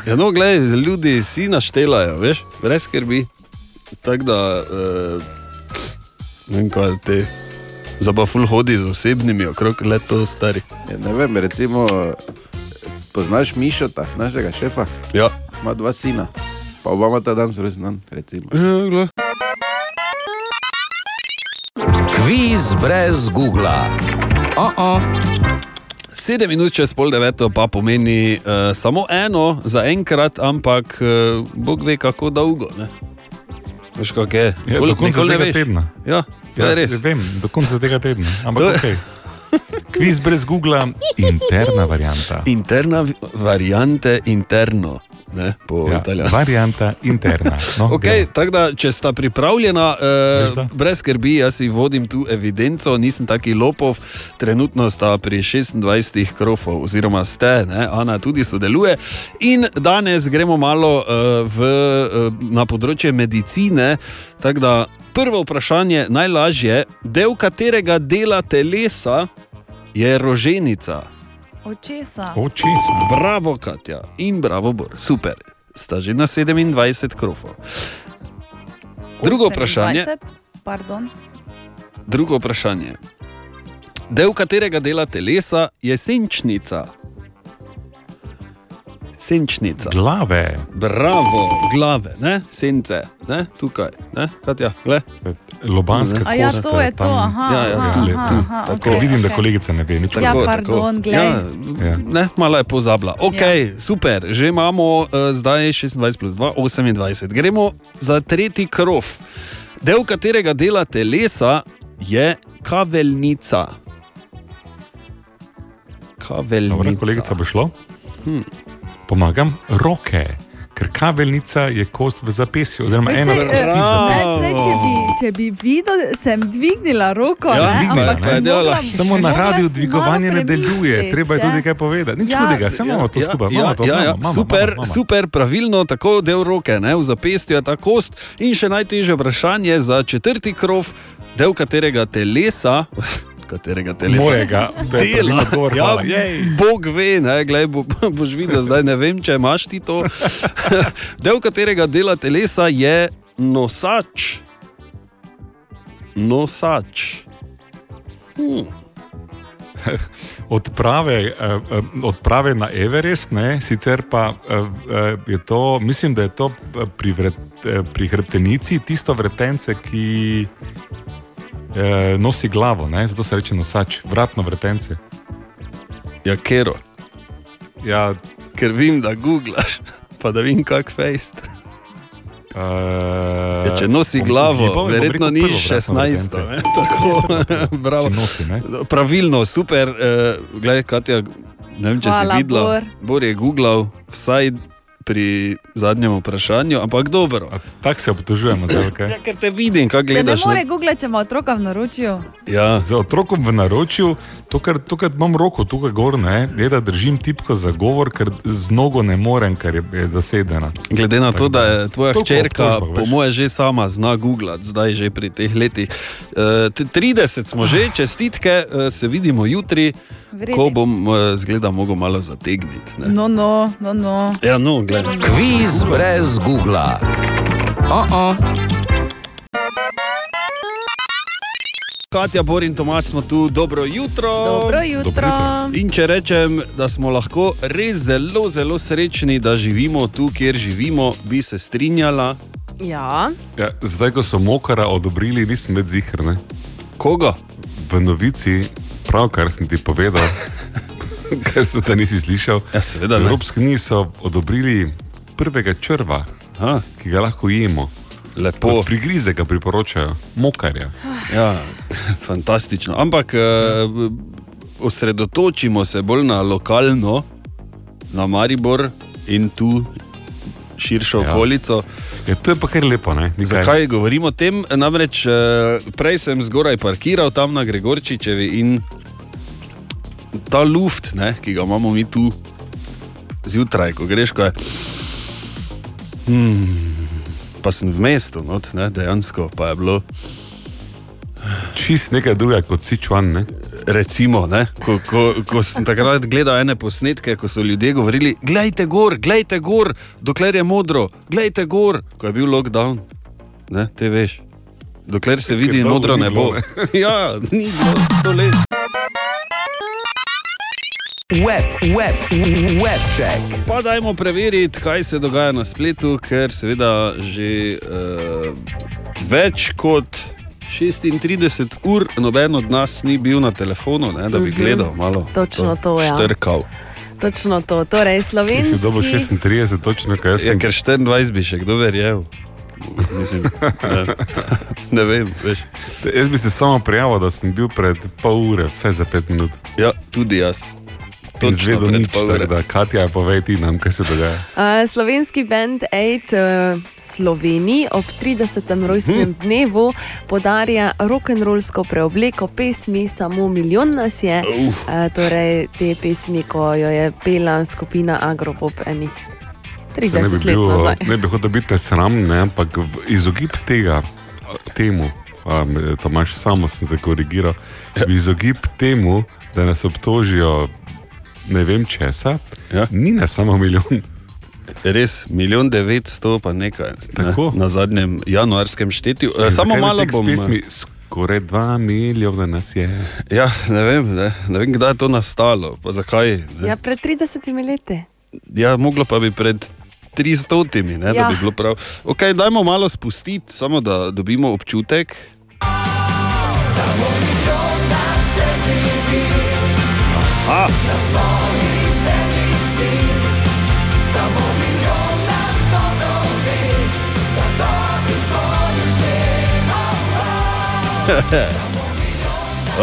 S3: Ja, no, gledaj, ljudi si naštelajo, veš, brez skrbi. Tako da, eh, ne vem, kaj te. Zabavul hodi z osebnimi okrog, le to stari.
S14: ja, ne vem, recimo, poznaš Mišota, našega šefa?
S3: Ja.
S14: Ima dva sina, pa oba ima ta dan zelo znan, recimo.
S2: Kviz brez Google. Oh -oh.
S3: Sedem minut čez pol deveto pa pomeni uh, samo eno za enkrat, ampak uh, Bog ve, kako dolgo. Ne? Veš, kako je.
S5: Ja,
S3: Pol-
S5: do konca
S3: nikoli ne
S5: tega
S3: veš.
S5: tedna.
S3: Ja, to je res.
S5: Vem, do konca tega tedna.
S3: [LAUGHS]
S5: Ampak
S3: To
S5: ok. Kviz brez Google,
S3: [LAUGHS]
S5: interna varianta.
S3: Interna v- variante interno, ne, po ja, italijansko.
S5: varianta interna. No,
S3: Okay, tako da, če sta pripravljena,
S5: Veš da?
S3: eh, brez skrbi, jaz si vodim tu evidenco, nisem taki lopov. Trenutno sta pri 26 krofov, oziroma ste, ne? Ana tudi sodeluje. In danes gremo malo eh, v, eh, na področje medicine. Tako da, prvo vprašanje, najlažje, del katerega dela telesa je roženica.
S6: Od česa?
S5: Očesa.
S3: Bravo, Katja in bravo, Bor, super. Sta že na 27 krofov. Drugo vprašanje,
S6: 28? Pardon.
S3: drugo vprašanje. Del katerega dela telesa je senčnica? Senčnica.
S5: Glave.
S3: Bravo, glave, ne? sence, ne? tukaj, ne? Katja, le.
S5: Lobanska
S6: A ja,
S5: kost,
S6: to je
S5: tam.
S6: to, aha,
S3: Ja, ja,
S6: aha,
S3: tu,
S6: aha,
S3: tu,
S6: aha,
S5: Tako,
S6: okej,
S5: vidim, da
S6: okej.
S5: kolegica ne ve nič.
S6: Ja, pardon, glej.
S5: Ja.
S3: Ja, ne, malo je pozabila. Ok, ja. super, že imamo uh, zdaj 26 plus 2, 28. Gremo za tretji krov. Del katerega dela telesa je kaveljnica.
S5: Dobra,
S3: Kaveljnica.
S5: kolegica bo šlo.
S3: Hm.
S5: Pomagam, roke. Ker kaveljnica je kost v zapestju, oziroma
S6: Veš,
S5: ena
S6: saj,
S5: od kosti v
S6: eh, ne, saj, če,
S5: zapestju.
S6: bi, če bi videl, sem dvignila roko,
S5: Ja,
S6: ne,
S5: dvignila,
S6: ampak
S5: ne.
S6: sem
S5: Delala.
S6: mogla,
S5: Samo na
S6: mogla
S5: radiju
S6: si
S5: dvigovanje
S6: malo
S5: ne deluje,
S6: premisliti,
S5: treba je
S6: ja.
S5: tudi kaj povedati. Nič hudega, samo imamo to skupaj.
S3: Ja,
S5: imamo to,
S3: ja, ja,
S5: imamo, imamo,
S3: super,
S5: imamo, imamo.
S3: super, pravilno, tako del roke, ne, v zapestju je ta kost. In še najtežje vprašanje za četrti krov, del katerega telesa, [LAUGHS] katerega telesa.
S5: Mojega, to je pravilni
S3: dela.
S5: odgovor,
S3: ja,
S5: hvala. Jej.
S3: Bog ve, ne, glej, bo, boš videl, zdaj ne vem, če imaš ti to. [LAUGHS] Del katerega dela telesa je nosač. Nosač.
S5: [LAUGHS]
S3: Hmm.
S5: odprave, eh, eh, odprave na Everest, ne? sicer pa eh, eh, je to, mislim, da je to eh, pri, vret, eh, pri hrbtenici tisto vrtence, ki eh, nosi glavo, ne? zato se reče nosač, vratno vrtence.
S3: Ja, kero.
S5: Ja.
S3: Ker vem, da googlaš, [LAUGHS] pa da vem, kak
S5: [LAUGHS]
S3: fejst. Ja, če nosi
S5: Eh, bom ugibal in
S3: glavo,
S5: bom
S3: verjetno
S5: rekel
S3: ni
S5: prvo vratno
S3: 16.
S5: vrtence.
S3: ne,
S5: [LAUGHS]
S3: Tako, bravo.
S5: Nosi, ne?
S3: Pravilno, super. Uh, glej, Katja, ne vem, če
S6: Hvala,
S3: si videla.
S6: Bor.
S3: Bor je googlal vsaj pri zadnjem vprašanju, ampak dobro.
S5: Tako se obtožujemo zdaj, kaj?
S3: Ja, ker te vidim, kaj
S6: Če ne
S5: no.
S3: gledaš. no.
S6: more googlati, če ima otroka v naročju.
S3: Ja.
S5: Z otrokom v naročju, to, kar, to, kar imam roko tukaj gor, ne, je, da držim tipko za govor, ker z nogo ne morem, ker je, je zasedena.
S3: Glede na to, da je tvoja
S5: Toliko
S3: hčerka,
S5: obtožb,
S3: po
S5: veš.
S3: mojem, že sama zna googlati, zdaj že pri teh letih. Eh, t- 30 smo že, čestitke, eh, se vidimo jutri,
S6: Vredi.
S3: ko bom eh, zgleda mogel malo zategniti. ne.
S6: No, no, no, no.
S3: Ja, no, gledaj.
S2: Kviz brez Googla. Oh -oh.
S3: Katja, Bor in Tomač smo tu, dobro jutro.
S6: Dobro jutro. Dobro jutro.
S3: In če rečem, da smo lahko res zelo, zelo srečni, da živimo tu, kjer živimo, bi se strinjala.
S6: Ja.
S5: Ja, zdaj, ko so mokara odobrili, nisem več zihar. Ne?
S3: Koga?
S5: V novici, pravkar sem ti
S3: [LAUGHS]
S5: povedal, kar se da nisi slišal.
S3: Ja, seveda, ne.
S5: Evropski uniji so odobrili prvega črva,
S3: Aha.
S5: ki ga lahko jemo.
S3: Lepo.
S5: Od prigrize ga priporočajo, mokarja.
S3: Ja, [LAUGHS] fantastično. Ampak eh, osredotočimo se bolj na lokalno, na Maribor in tu širšo
S5: Ja.
S3: ja. okolico.
S5: Ja, to je pa kar lepo, ne? Ni kaj.
S3: Zakaj govorimo o tem? Namreč eh, prej sem zgoraj parkiral tam na Gregorčičevi in ta luft, ne, ki ga imamo mi tu zjutraj, ko greš, ko je. Hmm, pa sem v mestu, not, ne, dejansko pa je bilo.
S5: Čist nekaj drugega kot Sičuan. Ne?
S3: Recimo, ne, ko, ko, ko sem takrat gledal ene posnetke, ko so ljudje govorili: Glejte gor, glejte gor, dokler je modro, glejte gor, ko je bil lockdown. Ne, te veš. Dokler se vidi,
S5: dolgo
S3: modro
S5: ni
S3: ne
S5: bilo,
S3: bo. [LAUGHS] ja, ni bilo sto let.
S2: Web, web, web check.
S3: Pa dajmo preveriti, kaj se dogaja na spletu, ker seveda že uh, več kot 36 ur noben od nas ni bil na telefonu, ne, da bi
S6: Mhm.
S3: gledal malo.
S6: Točno to, ja.
S3: Štrkal.
S6: Točno to. Torej,
S5: Ti si dobil
S6: slovenski.
S5: 36, točno kaj jaz
S3: Ja,
S5: sem.
S3: ker 24 bi še kdo verjel.
S5: [LAUGHS]
S3: Mislim, ne, ne vem, veš.
S5: Jaz bi se samo prijavil, da sem bil pred pol ure, vse za pet minut.
S3: Ja, tudi jaz.
S5: To
S3: Točno
S5: zvedo
S3: pred
S5: nič,
S3: pol ure.
S5: tako da Katja, povej ti nam, kaj se dogaja.
S6: Uh, slovenski band Aid uh, Sloveniji ob 30. rojstnem hmm. dnevu podarja rokenrolsko preobleko pesmi Samo milijon nas je.
S3: Uf.
S6: Uh, torej, te pesmi, ko jo je pela skupina Agropop enih
S5: Se
S6: 30 let
S5: bil,
S6: nazaj.
S5: ne bi hotel biti sram, ne, ampak v izogib tega, temu, um, Tomaš, samo sem se korigiral,
S3: Ja.
S5: v izogib temu, da nas obtožijo ne vem česa,
S3: ja.
S5: ni nas samo milijon.
S3: Res, milijon devetsto pa nekaj. Ne,
S5: Tako.
S3: na zadnjem januarskem štetju. E, samo
S5: Zakaj na
S3: malo
S5: tekst
S3: bom.
S5: Pesmi, skoraj dva milijona nas je.
S3: Ja, ne vem, ne, ne vem, kdaj je to nastalo, pa zakaj. Ne.
S6: Ja, pred 30 leti.
S3: Ja, moglo pa bi pred 300, ne, ja. da
S6: Ja.
S3: bi bilo prav. Ok, dajmo malo spustiti, samo da dobimo občutek. [LAUGHS] Aha.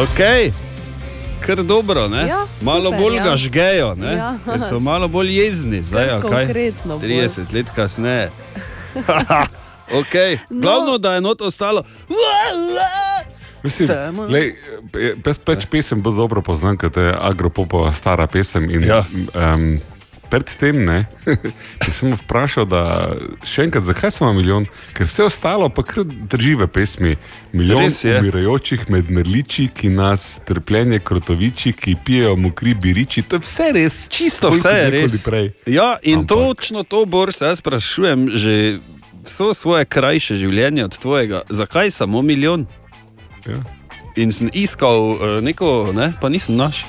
S3: ok, kar dobro, ne?
S6: Ja,
S3: malo
S6: super,
S3: bolj
S6: ja.
S3: ga žgejo, ne?
S6: Ja.
S3: Ker so malo bolj jezni, zdaj a kaj?
S6: Konkretno bolj.
S3: 30 let
S6: [LAUGHS]
S3: kasneje. okay. no. Glavno, da je not ostalo.
S5: Mislim,
S3: Samo-
S5: lej, pe- pe- pač pesem bolj dobro poznam, ker to je agropopova stara pesem. In,
S3: Ja.
S5: um, predtem ne. [LAUGHS] In sem jo vprašal, da še enkrat, zakaj sem imel milijon, ker vse ostalo pa kar drži v pesmi. Milijon
S3: Res je.
S5: umirajočih med mrliči, ki nas trpljenje krotoviči, ki pijejo mokri biriči, to je vse res.
S3: Čisto
S5: Koliko
S3: vse je
S5: dni, kot
S3: res.
S5: bi Prej.
S3: Ja, in Ampak. točno to, Boris, jaz sprašujem že vso svoje krajše življenje od tvojega. Zakaj samo milijon?
S5: Ja.
S3: In sem iskal eh, neko, ne, pa nisem naš.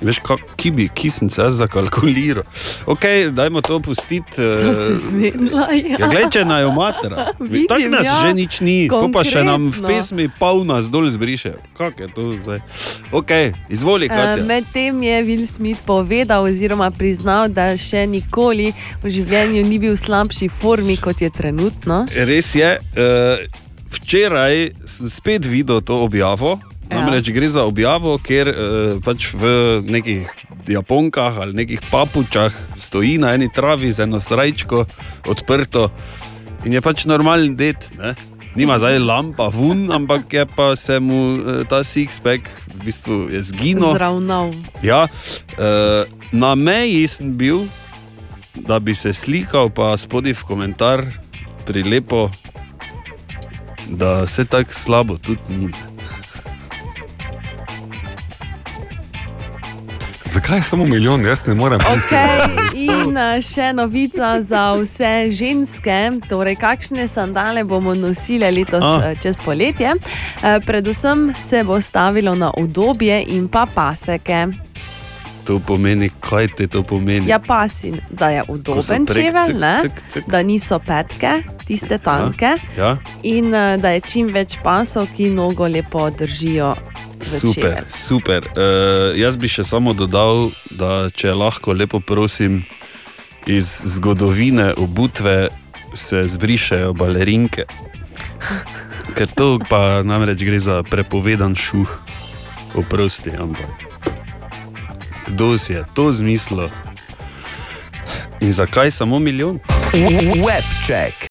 S3: Veš, kak, ki bi, ki sem se jaz zakalkuliral. Ok, dajmo to pustiti.
S8: Eh,
S15: To si zmenila. Ja.
S3: Ja, glej, če naj
S15: [LAUGHS]
S3: omatra.
S15: Vidim,
S3: Tako nas
S15: ja.
S3: ja. že nič ni, ko pa še nam v
S15: Konkretno.
S3: pesmi polna zdol zbriše. Kako je to zdaj? Ok, izvoli,
S6: E,
S3: Katja.
S15: Eh,
S6: Medtem je Will Smith povedal, oziroma priznal, da še nikoli v življenju ni bil v slabši formi kot je trenutno.
S3: Res je. Uh, včeraj sem spet videl to objavo.
S6: Ja.
S3: Namreč gre za objavo, kjer uh, pač v nekih japonkah ali nekih papučah stoji na eni travi z eno srajčko odprto in je pač normalen det. Ne? Nima zdaj lampa vun, ampak je pa se mu eh, ta sixpack v bistvu je zginil.
S6: Zravnal.
S3: Ja, uh, na meji sem bil, da bi se slikal, pa spodaj v komentar prilepo, da se tako slabo tudi ni.
S5: Zakaj samo milijon, jaz ne morem.
S6: Okay, in eh, še novica za vse ženske, torej kakšne sandale bomo nosile letos
S15: Ah.
S6: eh, čez poletje. Eh, Predvsem se bo stavilo na udobje in pa paseke.
S3: To pomeni, kaj te to pomeni.
S6: Ja, pasin, da je udoben
S3: prek,
S6: čevelj,
S3: cik,
S6: ne,
S3: cik, cik.
S6: da niso petke, tiste tanke.
S3: Ja?
S6: in eh, da je čim več pasov, ki nogo lepo držijo. v
S3: Super,
S6: čevelj.
S3: super. Uh, jaz bi še samo dodal, da če lahko lepo prosim, iz zgodovine obutve se zbrišejo balerinke. Ker to pa namreč gre za prepovedan šuh, oprosti, ampak kdo si je to zmislil in zakaj samo milijon? Webček.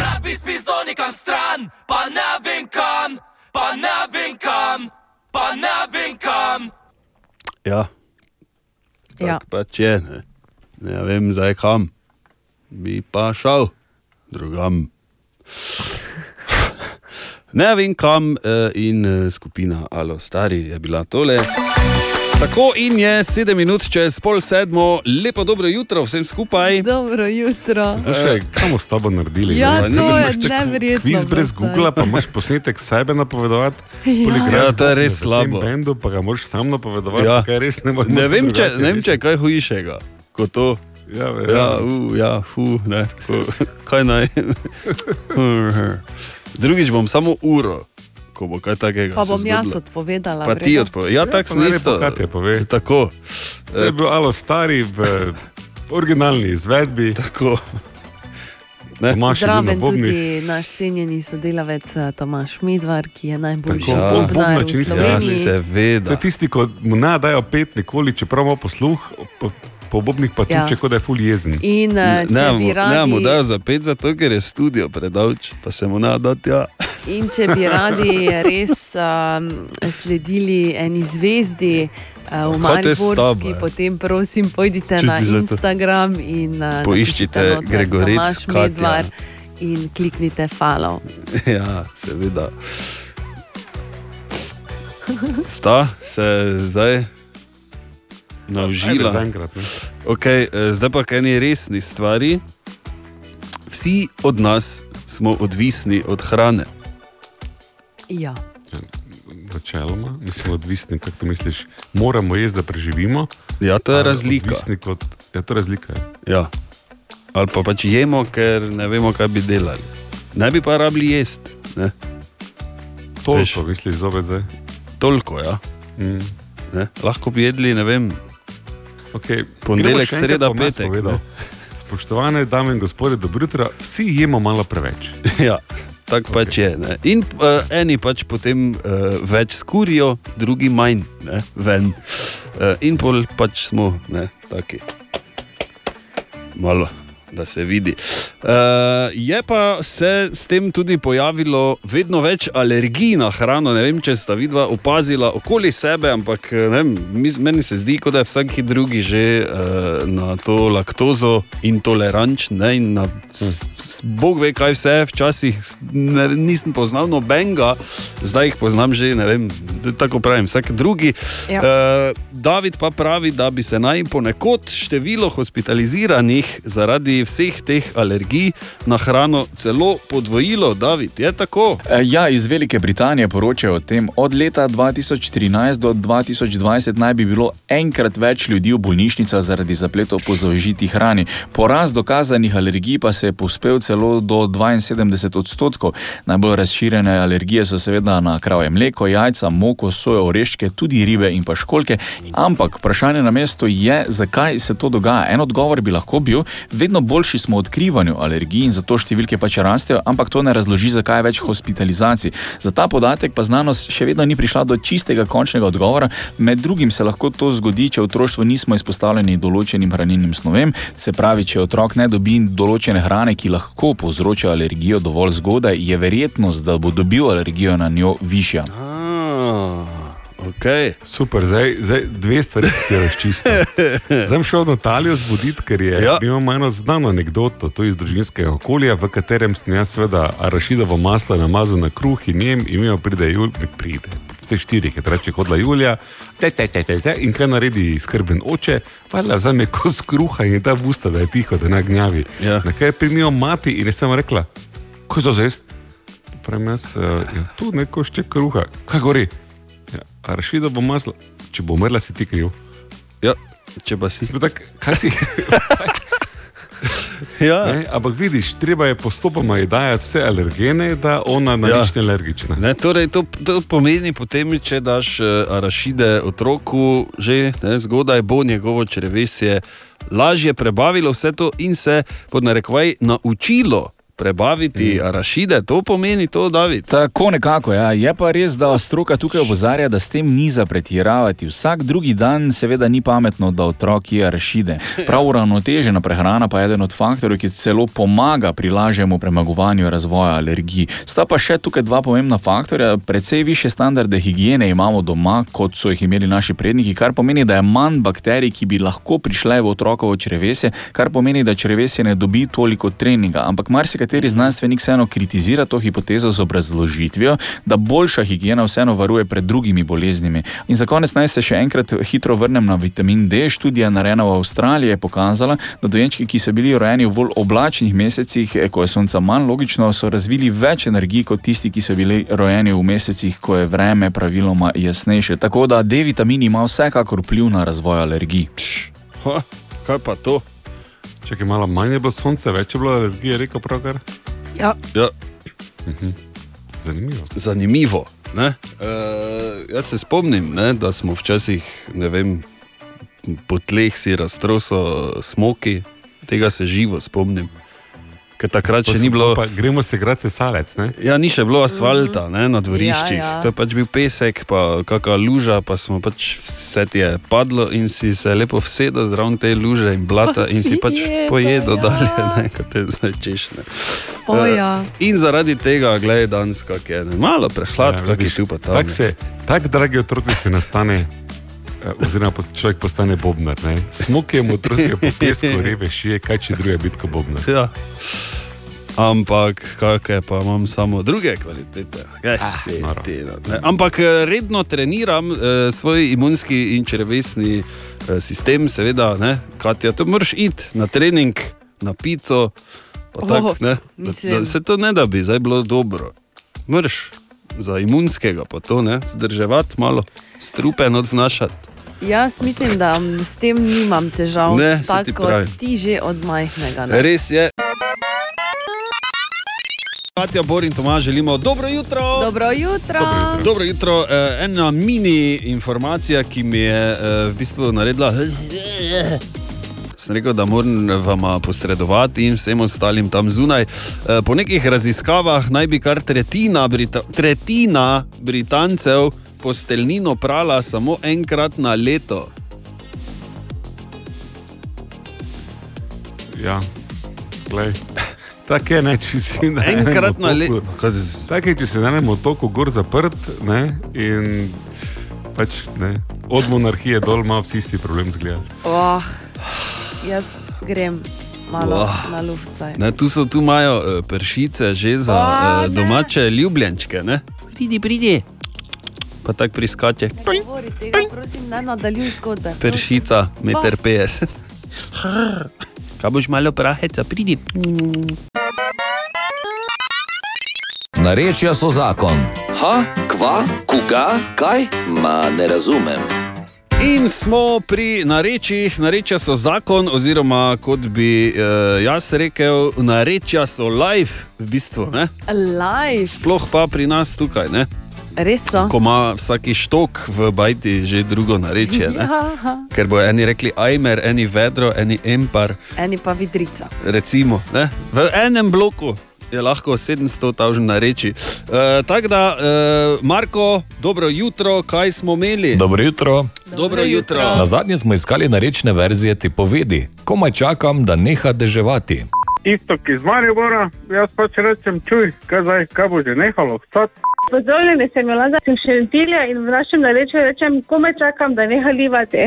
S8: Rad bi spizdo nekam stran, pa ne vem kam, pa ne vem kam, pa ne vem kam.
S3: Ja,
S6: Ja.
S3: pa če pač ne. ne ja vem, zdaj kam, bi pa šel drugam. Ne vem kam eh, in eh, skupina Alo Stari je bila tole. Tako in je sedem minut čez pol sedmo, lepo dobro jutro vsem skupaj.
S6: Dobro jutro.
S5: Zdaj, kaj bomo s tabo naredili?
S6: Ja,
S5: ne?
S6: to
S5: Ne,
S6: je
S5: imaš tako
S6: neverjetno,
S5: Kviz brez
S6: Boštjan.
S5: Google, pa imaš posnetek sebe napovedovati.
S6: Ja.
S3: Ja, to je res slabo.
S5: Bendu, pa ga moraš sam napovedovati,
S3: Ja.
S5: ja. kaj res ne moreš.
S3: Ne vem, če, ne vem, če je kaj hujšega kot to.
S5: Ja,
S3: ja, u, ja hu, ne, hu, [LAUGHS] kaj naj. Drugič bom samo uro, ko bo kaj takega.
S6: Pa
S3: se
S6: bom jaz
S3: zgodilo.
S6: odpovedala.
S3: Pa
S6: v
S3: ti
S6: redu?
S3: odpovej. Ja, tako sem isto. Tako. Eh,
S5: To je bil Alo Stari v originalni izvedbi.
S3: Tako.
S5: Tomaš je bil na
S6: Zraven
S5: bobnih.
S6: tudi naš cenjeni sodelavec eh, Tomaš Medvar, ki je najboljši
S5: Tako, bom, bom,
S6: bobnar
S5: če
S6: v
S5: niste vedeli.
S6: Sloveniji.
S3: Ja, seveda.
S5: To je tisti, ko mu ne dajo pet, nikoli, čeprav ima posluh, po, po bobnih pa
S6: Ja.
S5: tuče, ja. kot da je ful jezen.
S6: In eh, če,
S3: Ne,
S6: bi
S3: mu- ne mu
S6: radi,
S3: dajo za pet, zato ker je studio predavč, pa se mu ne da tja. [LAUGHS]
S6: in če bi radi res um, sledili eni zvezdi uh, v
S3: Kaj te s tabo,
S6: Mariborski,
S3: je?
S6: potem prosim pojdite
S3: Čuti
S6: na
S3: za to.
S6: Instagram in uh,
S3: Poiščite
S6: napišite noter
S3: Gregorec,
S6: Tomaš
S3: Katja.
S6: Medvar in kliknite follow.
S3: Ja, seveda. Sta se zdaj
S5: Ajde,
S3: naužila.
S5: zaenkrat, ne.
S3: Okay, zdaj pa k eni resni stvari. Vsi od nas smo odvisni od hrane.
S6: Ja.
S5: Načeloma, mislim, odvisni, kako to misliš, moramo jesti, da preživimo.
S3: Ja, to je
S5: Ali
S3: razlika.
S5: Odvisni kot, ja, to je razlika.
S3: Ja. Ali pa pač jemo, ker ne vemo, kaj bi delali. Ne bi pa rabili jesti. ne.
S5: Toliko,
S3: Veš,
S5: Veš. misliš, zopet zdaj.
S3: Toliko, [LAUGHS] ja.
S5: Mm.
S3: Ne? Lahko bi jedli, ne vem.
S5: Okay. Gremo
S3: Ponedeljek,
S5: še enkrat,
S3: sreda,
S5: bom jaz
S3: petek,
S5: povedal.
S3: ne.
S5: Spoštovane dame in gospodje, dobro jutro, vsi jemo malo preveč.
S3: Ja, tako okay. pač je. Ne? In uh, eni pač potem uh, več skurijo, drugi manj, ne? ven. Uh, in pol pač smo, ne, taki. Malo, da se vidi. Uh, je pa se s tem tudi pojavilo vedno več alergij na hrano. Ne vem, če sta vidva opazila okoli sebe, ampak eh, ne vem, mis- meni se zdi, kot da je vsak drugi že uh, na to laktozo intolerančen. ne, in na s- s- Bog ve, kaj vse, včasih s- ne, nisem poznal nobenega, zdaj jih poznam že, ne vem, tako pravim, vsak drugi.
S16: Ja.
S3: Eh, David pa pravi, da bi se naj ponekod število hospitaliziranih zaradi vseh teh alergij na hrano celo podvojilo. David, je tako?
S11: Eh, Ja, iz Velike Britanije poročajo o tem, od leta 2013 do 2020 naj bi bilo enkrat več ljudi v bolnišnicah zaradi zapletov po zaužiti hrani. Porast dokazanih alergij pa se je pospel celo do 72 odstotkov. Najbolj razširjene alergije so seveda na kravje mleko, jajca, moko, sojo, oreške, tudi ribe in pa školke. Ampak vprašanje na mestu je, zakaj se to dogaja. En odgovor bi lahko bil, vedno boljši smo v odkrivanju alergij in zato številke pač rastejo, ampak to ne razloži, zakaj je več hospitalizacij. Za ta podatek pa znanost še vedno ni prišla do čistega končnega odgovora. Med drugim se lahko to zgodi, če v otroštvu nismo izpostavljeni določenim hranilnim snovem, se pravi, če otrok ne dobi določene hrane, ki lahko povzroča alergijo dovolj zgodaj, je verjetnost, da bo dobil alergijo na njo višja.
S3: Okay.
S5: Super, zdaj, zdaj dve stvari ki si jo [LAUGHS] razčistil. Zdaj sem šel Natalijo zbuditi, ker je ja. imamo eno znano anegdoto to iz družinskega okolja, v katerem sem jaz seveda arašidovo maslo namazal na kruh in njem in mi pride, Jul, ne pride. Vse štiri, ki reče, hodla Julija, te, te, te, te, te, in kaj naredi skrben oče, valjda vzame kos kruha in je ta v usta, da je tiho, da ne gnjavi. Ja. Na kaj je primijo mati in je samo rekla, ko je to zvest? Pravim jaz, eh, ja, tu neko še kruha, kaj gori. Ja, a Rašida bo maslo, če bo umrla, si ti kriv.
S3: Ja, če pa si.
S5: Smo tak, kaj si?
S3: [LAUGHS] ja.
S5: ne, ampak vidiš, treba je postopoma ji dajati vse alergene, da ona na
S3: Ja.
S5: ja. nič ne alergična.
S3: Ne, torej to, to pomeni, potem, če daš eh, arašide otroku, že ne, zgodaj bo njegovo črevesje lažje prebavilo vse to in se pod narekovaj naučilo prebaviti arašide. To pomeni to, David.
S11: Tako nekako, ja. je pa res, da stroka tukaj opozarja, da s tem ni za pretiravati. Vsak drugi dan, seveda, ni pametno, da otrok je rešide. Prav uravnotežena prehrana pa je eden od faktorjev, ki celo pomaga pri lažjemu premagovanju razvoja alergij. Sta pa še tukaj dva pomembna faktorja. Predvsej više standarde higiene imamo doma, kot so jih imeli naši predniki, kar pomeni, da je manj bakterij, ki bi lahko prišle v otrokovo črevesje, kar pomeni, da črevesje ne dobi toliko treninga. Ampak marsikateri znanstvenik vseeno kritizira to hipotezo z obrazložitvijo, da boljša higiena vseeno varuje pred drugimi boleznimi. In za konec naj se še enkrat hitro vrnem na vitamin D. Študija narejena v Avstraliji je pokazala, da dojenčki, ki so bili rojeni v bolj oblačnih mesecih, eh, ko je sonca manj, logično so razvili več energij kot tisti, ki so bili rojeni v mesecih, ko je vreme praviloma jasnejše. Tako da D-vitamin ima vsekakor vpliv na razvoj alergij.
S3: Ha, kaj pa to?
S5: Če je malo manj je bilo sonca, več je bilo alergije, rekel pravkar.
S17: Ja.
S3: Ja.
S5: Mhm. Zanimivo.
S3: Zanimivo. Ne? Uh, jaz se spomnim, ne, da smo včasih ne vem, po tleh si raztroso smoki, tega se živo spomnim. Ker takrat še
S5: Pa
S3: ni
S5: so-
S3: bilo.
S5: Pa, gremo se igrati sesalec, ne?
S3: Ja, ni še bilo asfalta ne, na dvoriščih,
S5: Ja,
S3: ja,
S5: ja.
S3: ja. to je pač bil pesek, pa kakšna luža, pa smo pač vse ti je padlo in si se lepo vsedel zraven te luže in blata
S16: Pa
S3: in si
S16: si
S3: pač
S16: jedel,
S3: pojedel
S16: ja.
S3: dalje, [LAUGHS] ne, kot te zdaj češne.
S17: O, ja.
S3: In zaradi tega, gledaj, danes kak je, ne, malo prehlad, ja, kak je tu pa tam.
S5: Tako se, tak dragi otroci se nastane. eh, Oziroma, pos- človek postane bobnar. ne. Smok je mu otroci po
S3: [LAUGHS]
S5: pesku, reve šije, kaj če druge biti kot bobnar.
S3: Ja. Ampak, kakšne pa imam samo druge kvalitete. Kaj se ti da, ne. Ampak eh, redno treniram eh, svoj imunski in črvesni eh, sistem, seveda, ne, Katja, to moraš iti na trening, na pico, pa
S16: Oh,
S3: tako, ne. Da,
S16: mislim.
S3: da se to ne da bi zdaj bilo dobro. Mrš za imunskega, pa to ne, zdrževati malo, strupen odvnašati.
S17: Jaz mislim, da m, s tem nimam težav,
S3: Ne, saj ti
S17: tako kot
S3: pravim.
S17: ti že od majhnega. ne.
S3: Res je. Katja, Bor in Tomaž želimo dobro jutro.
S17: Dobro jutro.
S3: Dobro jutro. Eh, Ena mini informacija, ki mi je eh, v bistvu naredila. Sem rekel, da moram vam posredovati in vsem ostalim tam zunaj. Eh, Po nekih raziskavah naj bi kar tretjina, Brita tretjina Britancev posteljnino prala samo enkrat na leto.
S5: Ja, glej. Tako je, ne, če si na enem
S3: Enkrat na
S5: otoku- Tako je, če si na enem otoku gor zaprt ne, in pač ne. Od monarhije dol ima vsi isti problem zgled.
S17: Oh, jaz grem malo
S3: Uah.
S17: na lufcaj.
S3: Ne, tu, so, tu imajo eh, pršice že za
S17: O, ne.
S3: eh, domače ljubljenčke. Ne? Pridi, pridi. Pa tako priskače.
S17: Ne govori tega, prosim, ne nadaljuj zgodbe.
S3: Pršica, meter 50. Kaj boš malo praheca, pridi.
S2: Narečja so zakon. Ha, kva, koga, kaj? Ma ne razumem.
S3: In smo pri narečjih, narečja so zakon, oziroma kot bi eh, jaz rekel, narečja so life, v bistvu. Ne?
S17: Live,
S3: Sploh pa pri nas tukaj, ne?
S17: res so.
S3: ko ima vsaki štok v bajti že drugo narečje. Ne?
S17: Ja,
S3: Ker bojo eni rekli ajmer, eni vedro, eni empar.
S17: eni pa vidrica.
S3: recimo, ne? v enem bloku je lahko 700 tažen na reči. E, Tako da, e, Marko, dobro jutro, kaj smo imeli?
S16: Dobro jutro.
S3: Dobro jutro.
S16: Na zadnje smo iskali narečne verzije ti povedi, komaj čakam, da neha deževati.
S18: Istok iz Maribora, jaz pač rečem, čuj, kaj, zdaj, kaj bo že nehalo, vstat.
S19: Pozdravljeni, sem Jolanda iz Šentilja in v našem narečju rečem, komaj čakam, da neha livati.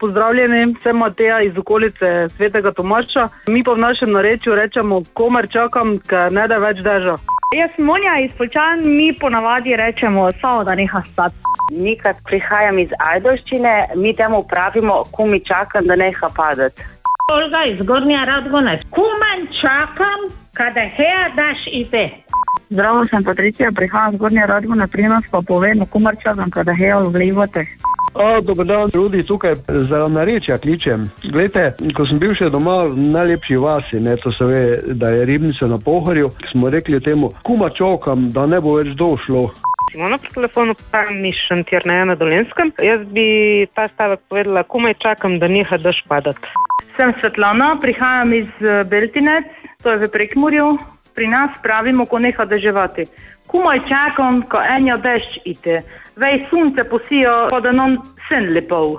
S20: Pozdravljeni, sem Mateja iz okolice Svetega Tomača. [LAUGHS] Mi pa v našem narečju rečemo, komer čakam, ker ne da več drža.
S21: Jaz sem Monja iz Polčan, mi ponavadi rečemo, samo da neha stati. Nikad prihajam iz Ajdoščine, mi temu pravimo, ko mi čakam, da neha padati.
S22: Olga iz Gornja Radgona. Kuman čakam, kada heja daš ide.
S23: Zdravo, sem Patricija, prihajam z Gornje Radgone, pri nas pa povem, kumar čakam, kada hejo vlivate.
S24: A, dober dan, Rudi, tukaj za narečja kličem. Glejte, ko sem bil še doma v najlepši vasi, ne, to se ve, da je ribnica na pohorju, smo rekli temu, kuma čokam, da ne bo več došlo.
S25: Simona pri no, telefonu, pa mi šantjer na ena dolenskem. Jaz bi ta stavek povedala, komaj čakam, da neha daš padati.
S23: Sem Svetlana, prihajam iz eh, Beltinec, to je v Prekmurju. Pri nas pravimo, ko neha deževati. Kumaj čakam, ko enjo dež ide. Vej sunce posijo, pa da nam sen lepov.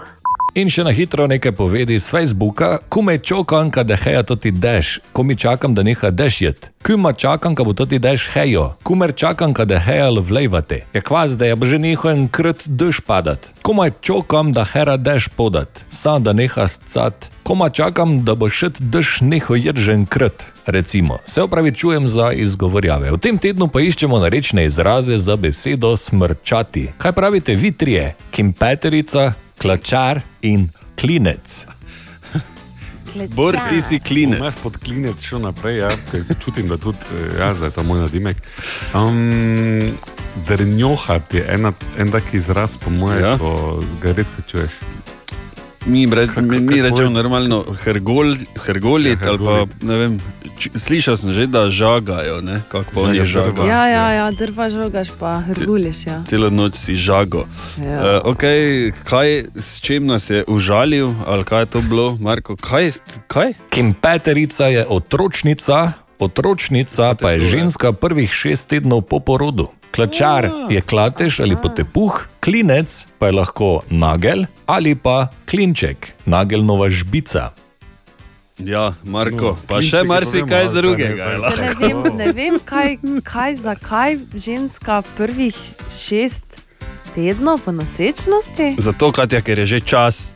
S16: In še na hitro nekaj povedi z Facebooka, komaj čakam, da heja to ti dež, komaj čakam, da neha dež jet. Kuma čakam, da bo to ti dež hejo, kumer čakam, da heja vlejvate. Je kvas, da je bo že neho enkrat dež padat. Komaj čakam, da hera dež podat, sam da neha scat. Komaj čakam, da bo še dež neho jedžen krat. Recimo, se opravičujem za izgovorjave. V tem tednu pa iščemo narečne izraze za besedo smrčati. Kaj pravite vi trije? Kimpeterica, klačar in klinec.
S5: Bor, ti si klinec. Jaz pod klinec šel naprej, ja, ker čutim, da tudi eh, jaz, da je to moj nadimek. Um, Drnjohat je ena, en tak izraz, po mojem, ja. ko ga redko čuješ.
S3: Mi, bre, mi, mi
S5: kako
S3: rečemo
S5: je?
S3: normalno hergol, hergolit, ja, ali pa ne vem. č- Slišal sem že, da žagajo, ne, kako pa oni
S5: Žaga
S3: žagajo.
S17: Ja, ja, ja, drva žogaš pa, zguliš. Ja.
S3: Celo noč si žago.
S17: Ja.
S3: Uh, okay, kaj, s čim nas je užalil, ali kaj je to bilo, Marko? Kaj, kaj?
S16: Kimpeterica je otročnica, otročnica pa
S3: ja.
S16: je ženska prvih šest tednov po porodu. Klačar je klatež ali potepuh, klinec pa je lahko nagel ali pa klinček, nagelnova žbica.
S3: Ja,
S9: No,
S3: Marko, pa
S16: klinček
S3: še
S16: je
S3: marsikaj
S16: problem, ali kaj ne,
S3: drugega. ja. je
S16: kaj
S3: lahko.
S17: Ne vem, ne vem kaj, kaj, zakaj ženska prvih šest tednov po nosečnosti.
S3: Zato, Katja, ker je že čas.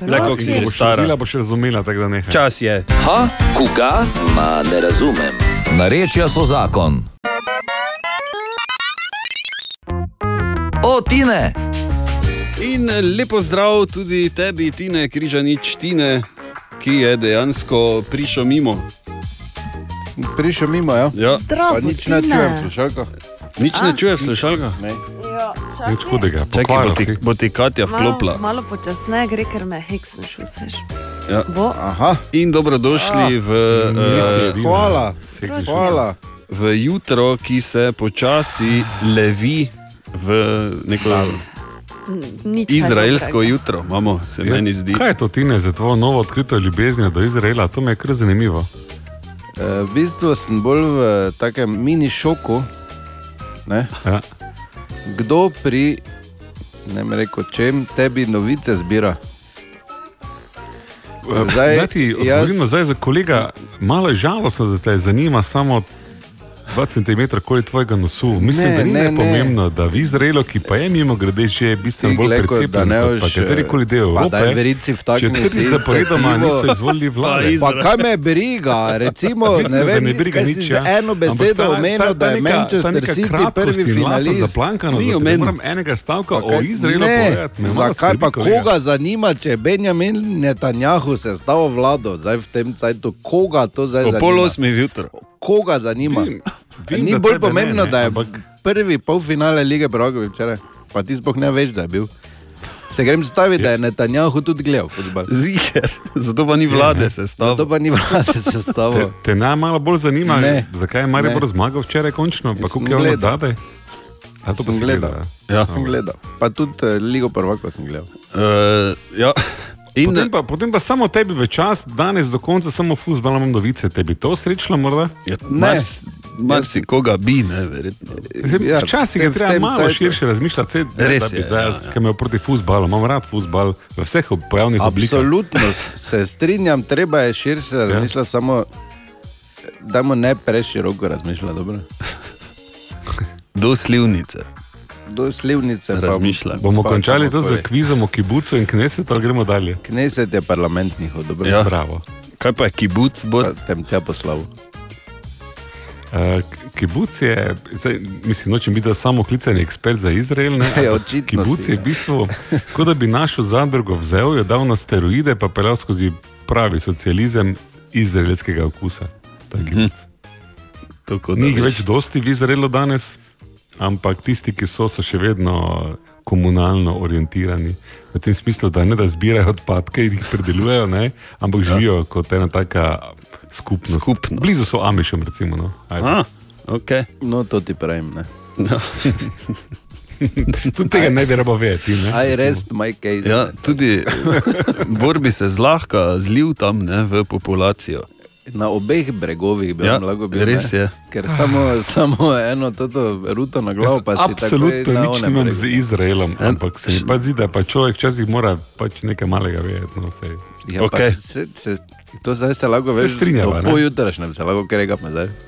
S3: Le koliko si
S5: Ko
S3: že
S5: boš
S3: stara.
S5: rodila, boš razumela, tako da ne.
S3: Čas je.
S2: Ha, koga? Ma ne razumem. Narečja so zakon. O, Tine!
S3: In lepo zdrav tudi tebi, Tine, križanič Tine, ki je dejansko prišel mimo.
S14: Prišel mimo, ja.
S3: ja.
S14: Zdravo, Pa nič ne Tine. čujem, slušalka.
S3: Nič ne
S14: A?
S3: čuješ, slušalka?
S14: Ne.
S3: Nič hudega, Čakaj, bo ti, bo ti Katja
S17: Ja, Malo,
S3: vklopila.
S17: malo počasneje gre, ker me heksneš, vseš.
S3: Ja. In
S14: Ja.
S3: dobrodošli v
S14: misli,
S3: eh,
S14: hvala,
S3: Prosim.
S14: hvala.
S3: V jutro, ki se počasi levi v neko
S17: Nič kaj
S3: izraelsko
S17: dobrega.
S8: ja.
S3: jutro, imamo, se meni zdi.
S5: Ja. Kaj je to tine za tvojo novo odkrito ljubeznijo do Izraela? To mi je kar zanimivo.
S14: Eh, V bistvu sem bolj v takem mini šoku. Ne?
S5: Ja.
S14: Kdo pri, ne vem, rekel, čem tebi novice zbira?
S5: E, Eh, Zdaj, ti odgovorim nazaj za kolega Malo je žalostno, da te zanima samo 2 cm okoli tvojega nosu. Mislim,
S14: Ne,
S5: ne, da ni
S14: ne,
S5: ne,
S14: ne.
S5: pomembno, da v Izraelu, ki pa je mimo grede že bistveno
S14: Ti,
S5: bolj
S14: glej, ko- da
S5: precepljen
S14: ne
S5: kot pa
S14: boš, eh,
S5: katerikoli del
S14: pa
S5: Evrope,
S14: daj verici vtakniti
S5: četrti zaporedoma
S14: cepivo.
S5: niso izvolili vlade.
S14: Pa kaj me briga,
S5: [LAUGHS]
S14: recimo,
S5: Vidno,
S14: ne
S5: da
S14: vem,
S5: ne briga
S14: kaj
S5: nič,
S14: si
S5: ja.
S14: z eno
S5: Ampak
S14: besedo
S5: ta- ta-
S14: omenil,
S5: ta
S14: da je
S5: neka- ta
S14: Manchester
S5: neka
S14: City
S5: kratkost
S14: prvi
S5: in lasa
S14: finalist.
S5: zaplankanost, zato ne morem enega stavka
S14: Pa
S5: o
S14: kaj-
S5: Izraelu
S14: Ne,
S5: povedati, me malo
S14: zakaj pa
S5: skrbi, kolega.
S14: koga zanima, če je Benjamin Netanjahu sestavil vlado, zdaj v tem cajtu, koga to zdaj
S3: O
S14: zanima?
S3: pol osmih jutra.
S14: Koga zanima?
S3: vem,
S14: Ni
S3: da
S14: bolj
S3: tebe ne,
S14: pomembno,
S3: ne,
S14: da je prvi polfinale lige Brogovi včeraj, pa ti sploh ne veš, da je bil. Se grem staviti, da je Netanjahu tudi gledal fudbal.
S3: Ziger,
S14: [LAUGHS]
S3: zato pa ni
S5: Ja.
S3: vlade sestavljeno.
S14: Zato No, pa ni vlade sestavljeno.
S5: Te, te naj malo bolj zanima,
S14: Ne.
S5: ne. zakaj je Maribor
S14: Ne.
S5: zmagal včeraj končno, pa
S14: Sem
S5: kako je on
S14: gledal.
S5: zadaj. A to pa
S14: sem
S5: si
S14: gledal.
S5: gledal,
S14: Ja.
S5: ja?
S14: Sem gledal. Pa tudi eh, Ligo prvaka sem gledal.
S3: Uh, ja.
S5: Potem pa, potem pa samo tebi v čas, danes do konca samo fuzbal imam novice, tebi to srečno morda?
S3: Ja, mars- Marsikoga bi, ne, verjetno.
S5: Ja, Včasih je treba malo cajtu. širše razmišljati, sed, ne,
S3: Res
S5: da bi
S3: je,
S5: zdaj
S3: ja,
S5: jaz, ki me proti fuzbalu, imam rad fuzbal v vseh ob- pojavnih oblikah. Ja.
S14: Absolutno se strinjam, treba je širše razmišljati, samo da mu ne preširoko razmišlja. Dobro?
S3: Do slivnice.
S14: Do slivnice pa-
S3: Razmišljam.
S5: Bomo
S14: Pa
S5: končali to
S14: bomo
S5: z
S14: povej.
S5: kvizom o kibucu in knesetu, ali gremo dalje?
S14: Kneset je parlament njihov, dobro?
S5: Ja. Bravo.
S3: Kaj pa je kibuc? Bo...
S14: Tem tja poslal.
S5: Uh, kibuc je, zdaj, mislim, nočem biti samo klicani ekspert za
S14: [LAUGHS]
S5: Izrael. Ne,
S14: Ja,
S5: ampak
S14: očitno
S5: kibuc
S14: si,
S5: je
S14: ja.
S5: v bistvu, kot da bi našo zadrugo vzel, jo dal na steroide, pa peljal skozi pravi socializem izraelskega okusa. Ta
S14: Mhm.
S5: kibuc.
S3: Tako,
S5: Ni jih več dosti v Izraelu danes, ampak tisti, ki so, so še vedno komunalno orientirani. V tem smislu, da ne da zbirajo odpadke in jih predelujejo, ne, ampak
S14: Ja.
S5: živijo kot ena taka skupnost. skupnost. Blizu so Amišem, recimo. No. Ajde.
S3: A, okay.
S14: No, to ti pravim. Ne?
S3: No.
S5: Tudi tega ne bi rabo vedeti.
S14: I rest my case.
S3: Ja,
S14: [LAUGHS]
S3: tudi borbi se zlahka zlil tam ne, v populacijo.
S14: Na obeh bregovih bi ja, lahko bil.
S3: res
S14: ne?
S3: je.
S14: Ker
S5: Ah.
S14: samo, samo eno toto ruto na glavo, pa si
S5: Absolutno
S14: takoj na
S5: nič
S14: onem
S5: nimam
S14: bregu.
S5: z Izraelom, ampak se mi pa zdi, da pa človek včasih mora pač nekaj malega vedeti. No, saj.
S14: Ja, okay. se, se, to zdaj se lahko
S5: Se
S14: veš.
S5: strinjava, ne?
S14: Po jutrašnjem se lahko kregam zdaj.
S5: [LAUGHS]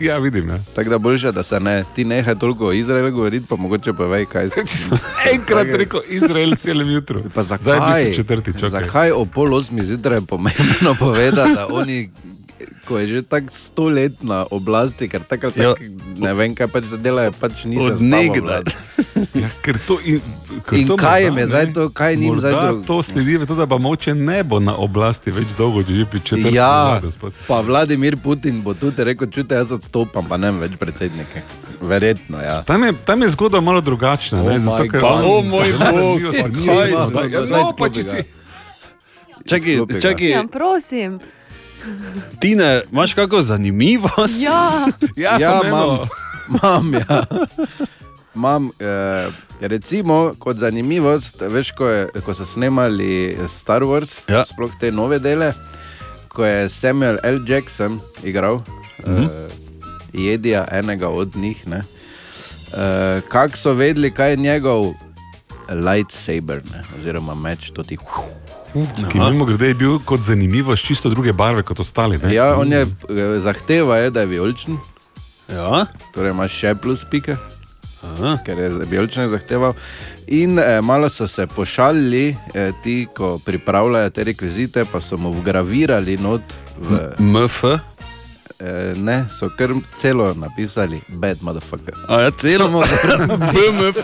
S5: Ja, vidim. Ne.
S14: Tako da boljše, da se ne, ti nehaj toliko o Izraelu govoriti, pa mogoče povej, kaj
S5: [LAUGHS]
S14: se
S5: Enkrat rekel Izrael celem jutru.
S14: Pa
S5: Zdaj je
S14: zakaj,
S5: bil četrti čakaj.
S14: zakaj o pol osmi zjutraj je pomembno [LAUGHS] povedati, da oni, ko je že tako stolet na oblasti, ker takrat
S5: Ja.
S14: tak, ne vem, kaj pač delajo, pač niso
S5: Od nekdaj. Ja, ker to in, ker
S14: In
S5: to
S14: kaj jim
S5: morda,
S14: je
S5: ne,
S14: zdaj to, kaj njim
S5: morda
S14: zdaj drug-
S5: To sledi v to, da pa moče ne bo na oblasti več dolgo, če že pri četrti
S14: Ja,
S5: vladi, sploh se-
S14: pa Vladimir Putin bo tudi rekel, čute, jaz odstopam, pa ne vem več predsednike. Verjetno, ja.
S5: Tam je, tam je zgodba malo drugačna.
S14: Oh
S5: ne, zato,
S14: my
S5: ker
S14: God.
S5: oni-
S14: O moj
S5: Zanimivo
S14: Bog,
S5: smo,
S14: kaj
S5: nismo-
S14: se
S5: Ja,
S14: dogaja? Glej,
S5: No, pa če
S14: sklopi
S5: si.
S14: ga.
S3: Čakaj,
S14: Izklopi ga.
S3: čakaj,
S17: Ja, prosim.
S3: Tine, imaš kako zanimivost? [LAUGHS]
S17: Ja.
S5: Ja,
S14: ja
S5: sem eno.
S14: imam. [LAUGHS] Imam, ja. Imam, eh, recimo, kot zanimivost, veš, ko, je, ko so snemali Star Wars, ja. sploh te nove dele, ko je Samuel L. Jackson igral, mhm. eh, jedija enega od njih. Ne, eh, Kako so vedeli, kaj je njegov lightsaber, ne, oziroma meč, to ti.
S5: Ki mimo grede je bil kot zanimivo, s čisto druge barve kot ostali. Ne?
S14: Ja, on je, eh, zahteva je, da je vijoličen.
S3: Ja.
S14: Torej imaš še plus pike, Aha. ker je vijoličen zahteval. In eh, malo so se pošalili, eh, ti, ko pripravljajo te rekvizite, pa so mu vgravirali not v.
S3: MF.
S14: Eh, ne, so kar celo napisali, bad motherfucker.
S3: A ja, celo [LAUGHS] BMF.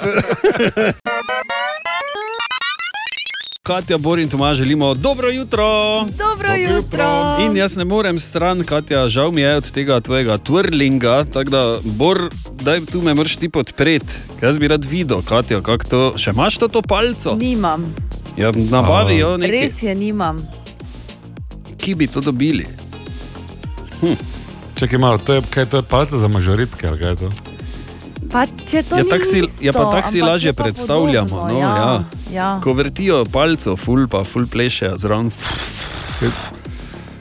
S3: Katja, Bor in Tomaž želimo dobro jutro.
S17: Dobro jutro.
S3: In
S8: ja-
S3: jaz ne morem stran, Katja, žal mi je od tega tvojega twirlinga, tako da, Bor, daj tu me mrš ti podpreti. Jaz bi rad videl, Katja, kako to, še imaš to, to palco?
S17: Nimam.
S3: Ja, nabavijo nekaj.
S17: Res je, nimam.
S3: Ki bi to dobili? Hm.
S5: Čakaj malo, to je, kaj, to je palce za mažoritke, ali kaj je to?
S17: Pa, če to
S3: Ja,
S17: ni
S3: tako si-
S17: isto,
S3: ja, pa tako si
S17: ampak
S3: lažje
S17: je pa
S3: predstavljamo,
S17: podobno,
S3: no,
S17: ja.
S3: ja.
S17: ja.
S3: Ko vrtijo palco, ful pa ful plešejo zraven.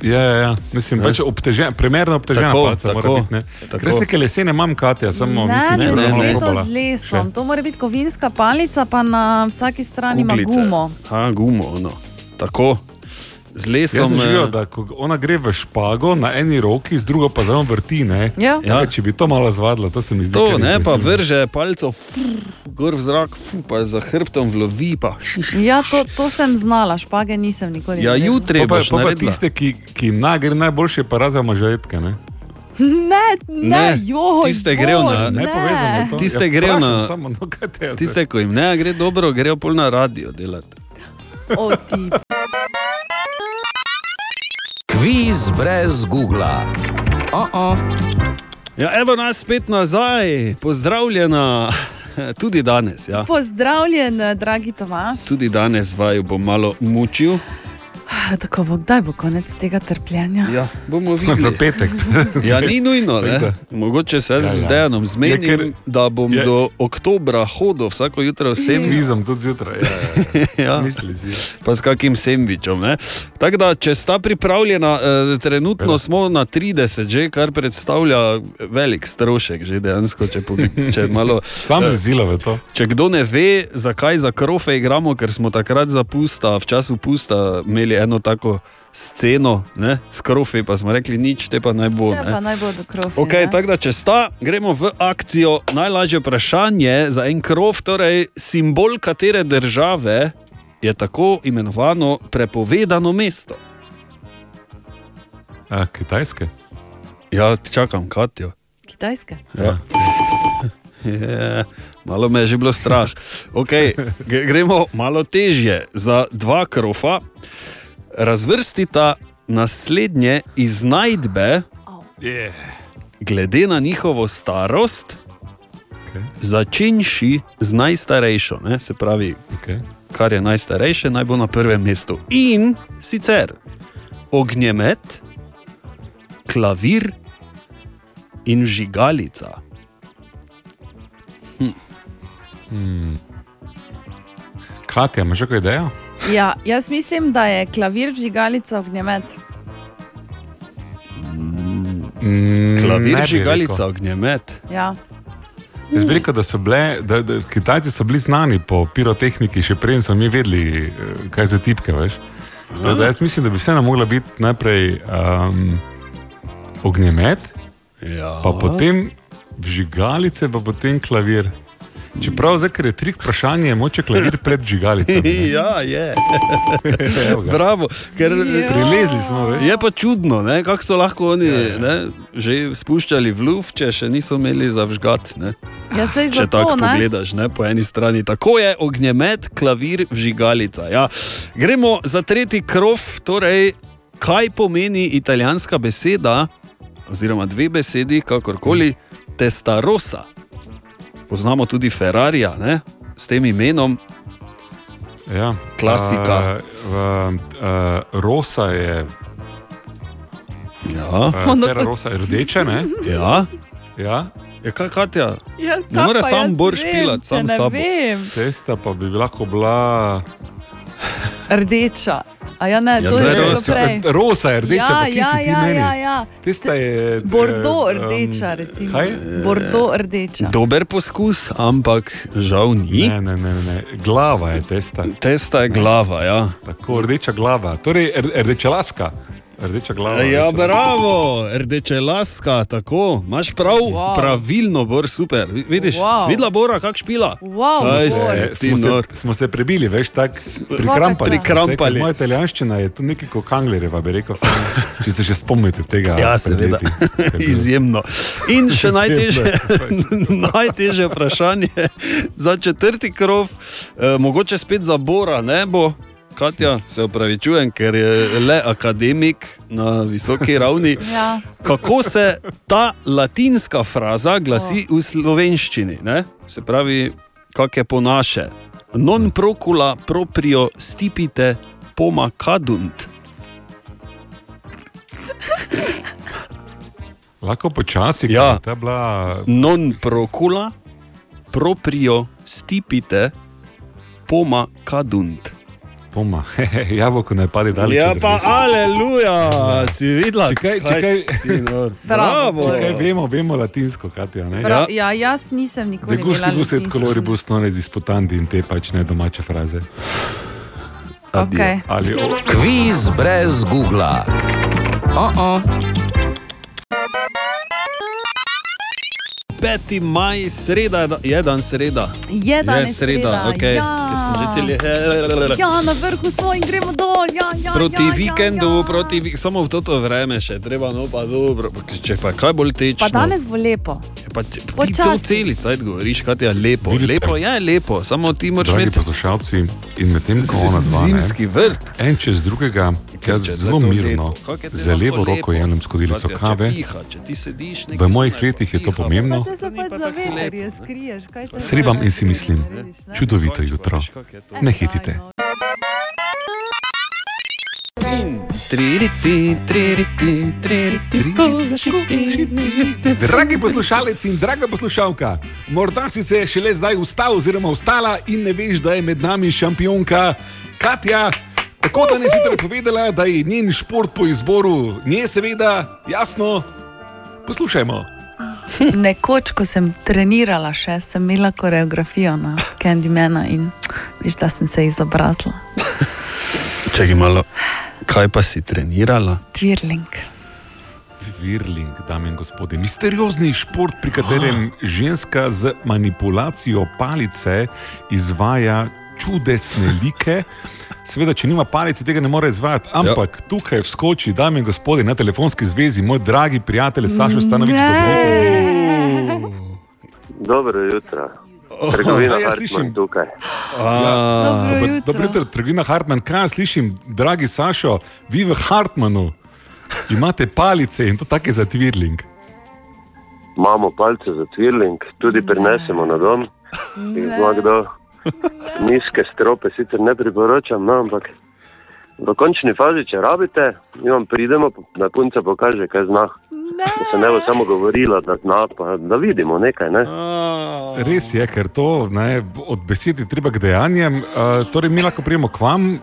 S5: Ja, ja, ja. mislim,
S3: Ne.
S5: pač obtežen, primerno obtežena
S3: Tako,
S5: palca
S3: tako,
S5: mora biti. Ne?
S3: tako.
S5: Res neke lesene imam, Katja, samo
S17: Ne,
S5: mislim,
S17: ne,
S5: da
S17: ne,
S5: je
S17: ne,
S5: malo
S17: to
S5: probala.
S17: z lesom. To mora biti kovinska palica, pa na vsaki strani ima gumo.
S3: Ha, gumo, no. Tako. Z lesom,
S5: Jaz sem
S3: eh,
S5: želel, da ko ona gre v špago na eni roki, z drugo pa zelo vrti. Ne?
S3: Ja.
S5: Tako, če bi to malo zvadila, to se mi zdi.
S3: To
S5: kar
S3: ne, pa
S5: impresivno.
S3: vrže palco, fr, gor v zrak, fr, pa za hrbtom vlovi. Pa.
S6: Ja,
S3: Ja,
S6: to, to sem znala, špage nisem nikoli.
S5: Ja,
S6: naredila.
S5: Pa pa-
S3: boš
S5: pa, pa
S3: naredila.
S5: tiste, ki, ki jim nagre najboljše, pa razama žetke. Ne?
S6: [LAUGHS] Ne, ne,
S3: Ne,
S6: joj,
S3: tiste
S6: Bor,
S3: grejo na-
S6: ne.
S5: Nepovezano je to.
S3: Tiste
S5: Ja,
S3: grejo
S5: vprašam
S3: na-
S5: Samo, no, kaj te jaz vem.
S3: Tiste, ko jim ne gre dobro, grejo pol na radio delati.
S6: O, ti.
S2: Kviz brez Google. Oh -oh.
S3: Ja, evo nas spet nazaj, pozdravljena [LAUGHS] tudi danes. Ja.
S6: Pozdravljen, dragi Tomaš.
S3: Tudi danes vaju bom malo mučil.
S6: Ah, Tako bo, kdaj bo konec tega trpljenja?
S3: Ja, bomo videli.
S5: [LAUGHS] V petek.
S3: [LAUGHS] Ja, ni nujno. Ne?
S5: Tako
S3: Mogoče se
S5: Ja,
S3: jaz
S5: ja.
S3: z Dejanom zmenim,
S5: Je, ker-
S3: da bom
S5: je-
S3: do oktobra hodil vsako jutro
S5: S
S3: sem.
S5: vizom tudi zjutraj. Ja,
S3: [LAUGHS] ja.
S5: Misli si.
S3: Pa s kakim sendvičem. ne. Tako da, če sta pripravljena, eh, trenutno ja. smo na 30, že, kar predstavlja velik strošek, že dejansko, če, pomi- če malo. Ja.
S5: Sam si zila v to.
S3: Če kdo ne ve, zakaj za krofe igramo, ker smo takrat za pusta, v času pusta imeli eno tako sceno, ne, s krofe pa smo rekli nič, te pa naj bo.
S6: Ja,
S3: ne.
S6: pa naj bo do krofi.
S3: Okay,
S6: ne?
S3: tako da, če sta, gremo v akcijo. Najlažje vprašanje za en krov, torej simbol katere države je tako imenovano prepovedano mesto.
S5: A, kitajske.
S3: Ja, čakam, Katijo.
S6: Kitajska.
S3: Ja. Je, [LAUGHS] malo me je že bilo strah. Okay, gre- gremo malo težje. Za dva krofa razvrstita naslednje iznajdbe,
S5: Yeah.
S3: glede na njihovo starost, začenši z najstarejšo, ne? se pravi,
S5: okay.
S3: kar je najstarejše, naj bo na prvem mestu. In sicer ognjemet, klavir in žigalica.
S5: Hmm. Katja, imaš kakšno idejo?
S6: Ja, jaz mislim, da je klavir žigalica ognjemet.
S3: Klavir,
S5: ne bi
S3: žigalica,
S5: rekel.
S3: ognjemet.
S6: Ja.
S5: Jaz bi rekel, da so bile, da, da, Kitajci so bili znani po pirotehniki, še preden smo mi vedeli, eh, kaj so tipke. veš. Tako Da, jaz mislim, da bi vseeno mogla biti najprej um, ognjemet,
S3: ja.
S5: pa potem žigalice, pa potem klavir. Čeprav zdaj, ker je trik vprašanje, je moče klavir pred žigalicami.
S3: [LAUGHS] ja, je.
S5: [LAUGHS] Evo ga.
S3: Bravo, ker
S5: Ja. Prilezli smo, ve.
S3: Je pa čudno, ne, kako so lahko oni
S5: Ja,
S3: ne, že spuščali v luft, če še niso imeli zavžgat. Ne.
S6: Ja, saj
S3: Če
S6: zato,
S3: tako
S6: ne?
S3: pogledaš, ne, po eni strani. Tako je ognjemet, klavir, žigalica. Ja. Gremo za tretji krov, torej kaj pomeni italijanska beseda, oziroma dve besedi, kakorkoli, testarosa. Poznamo tudi Ferrarija ne, s tem imenom.
S5: Ja.
S3: Klasika.
S5: Uh, uh, rosa je.
S3: Ja.
S5: Uh, rosa je rdeče, ne?
S3: Ja.
S5: ja.
S3: Je kaj, Katja?
S6: Ja,
S5: Ne more
S6: pa
S5: sam
S6: jaz
S5: Bor
S6: vem,
S8: [LAUGHS]
S5: špilat,
S6: če
S5: sam
S6: ne
S5: sabo.
S6: Vem.
S5: Cesta pa bi lahko bila.
S6: Rdeča. A ja, ne, to je bilo prej.
S5: Rosa je rdeča,
S6: ja,
S5: pa kje
S6: ja,
S5: si ti
S6: ja,
S5: meni?
S6: ja, ja.
S5: Tista je.
S6: Bordo
S5: eh,
S6: rdeča, recimo.
S5: kaj?
S6: Eh, Bordo rdeča.
S3: Dober poskus, ampak žal ni.
S5: Ne, ne, ne, ne. Glava je testa.
S3: Testa je glava, ja.
S5: Tako, rdeča glava, torej r- rdeča laska. Rdeča glava.
S3: Ja,
S5: rdeča
S3: bravo, rdeče laska, tako. Imaš prav,
S5: Wow.
S3: wow. pravilno, bor, super. Vi- Vidiš,
S5: Wow.
S3: wow. videla bora, kak špila.
S6: Wow,
S3: Saj
S5: Smo se,
S3: si ti
S5: smo, se,
S3: nor.
S5: smo se prebili, veš, tako
S3: Svaka čast.
S5: prikrampa,
S3: Prikrampa.
S5: Moja italijanščina je tu nekaj kot Kanglereva, bi rekel. vseeno. Če se še spomnite tega.
S3: Ja,
S5: pred
S3: seveda.
S5: leti, ko je bilo.
S3: [LAUGHS] Izjemno. In še
S5: Izjemno,
S3: najtežje, [LAUGHS] najtežje vprašanje za četrti krov, e, mogoče spet za Bora, ne bo. Katja, se opravičujem, ker je le akademik na visoki ravni.
S6: Ja.
S3: Kako se ta latinska fraza glasi v slovenščini? Ne? Se pravi, kak je po naše. Non procula proprio stipite pomacadunt.
S5: Lahko počasi,
S3: Ja.
S5: ta bila.
S3: Non procula, proprio stipite, poma kadunt.
S5: Poma, [LAUGHS] jabolko ne pade dalje.
S3: Ja, pa aleluja, si videla,
S5: Čekaj,
S3: kaj
S5: čekaj.
S3: si ti nor.
S6: Bravo.
S5: Čakaj, vemo, vemo latinsko, Katja. Ne?
S6: Prav, ja, jaz nisem nikoli
S5: De gusti
S6: videl.
S5: no, guset coloribus non es disputandi in te pač ne domače fraze.
S6: Adijo. Okej.
S5: Ali o-
S2: Kviz brez Google. Oh -oh.
S3: 5. maj, sreda je da- je dan sreda.
S6: Je danes sreda,
S3: ok.
S6: ja.
S3: Ker sem že celi.
S6: Ja, na vrhu smo in gremo dol. Ja, ja,
S3: Proti
S6: ja,
S3: vikendu, proti vik samo v toto vreme še treba, no pa dobro, pa če pa kaj bolj teče.
S6: Ja. Pa danes bo lepo.
S3: Ja, Pa če- ti to
S6: Počasi.
S3: celi cajt govoriš, kaj je lepo. Lepo ja, je, lepo, samo ti moraš
S5: Dragi
S3: imeti.
S5: poslušalci, in medtem ko ona dva. ne,
S3: Zimski vrt.
S5: En čez drugega, jaz
S3: Če je
S5: zelo
S3: to
S5: mirno,
S3: lepo, kako je te
S5: z
S3: lahko
S5: levo
S3: lepo?
S5: roko jemljem skodelico
S3: Katja,
S5: kave.
S3: Če piha, če ti sediš, nekaj
S5: V mojih
S3: zunaj, pa
S5: letih je to
S3: piha, pa-
S5: pomembno.
S6: Se se pač zavedarje, skriješ. kaj te
S5: Srebam in si mislim,
S6: vidiš, ne?
S5: čudovito jutro. Ne hitite. Dragi poslušalec in draga poslušalka, morda si se šele zdaj vstal oziroma vstala in ne veš, da je med nami šampionka Katja. Tako da ne si torej povedala, da je njen šport po izboru, nje seveda, jasno, poslušajmo.
S6: Nekoč, ko sem trenirala še, sem imela koreografijo na Candymana in veš, da sem se izobrazila.
S3: Če bi malo, kaj pa si trenirala?
S6: Twirling.
S5: Virling, dame in gospodje, misteriozni šport, pri katerem ženska z manipulacijo palice izvaja čudesne like. Seveda, če nima palice, tega ne more izvajati, ampak jo. tukaj vskoči, dame in gospodje, na telefonski zvezi, moj dragi prijatelj Sašo Stanovič.
S1: Dobro jutro. Trgovina
S5: ja,
S1: Hartmann
S5: slišim.
S1: tukaj.
S6: Dobro
S5: Dobro,
S6: jutro.
S5: dobro Ja. jutro, trgovina Hartmann. Kaj jaz slišim, dragi Sašo, vi v Hartmanu imate palice in to take za Virling.
S1: Imamo palce za twirling, tudi prinesemo na dom. Jih zna kdo. Nizke strope sicer ne priporočam, no, ampak v končni fazi, če rabite, mi vam pridemo, na punca pokaže, kaj zna. Da se ne bo samo govorilo, da zna, pa da vidimo nekaj. Ne?
S5: Res je, ker to ne, od besed je treba k dejanjem. Uh, torej, mi lahko prijemo k vam, uh,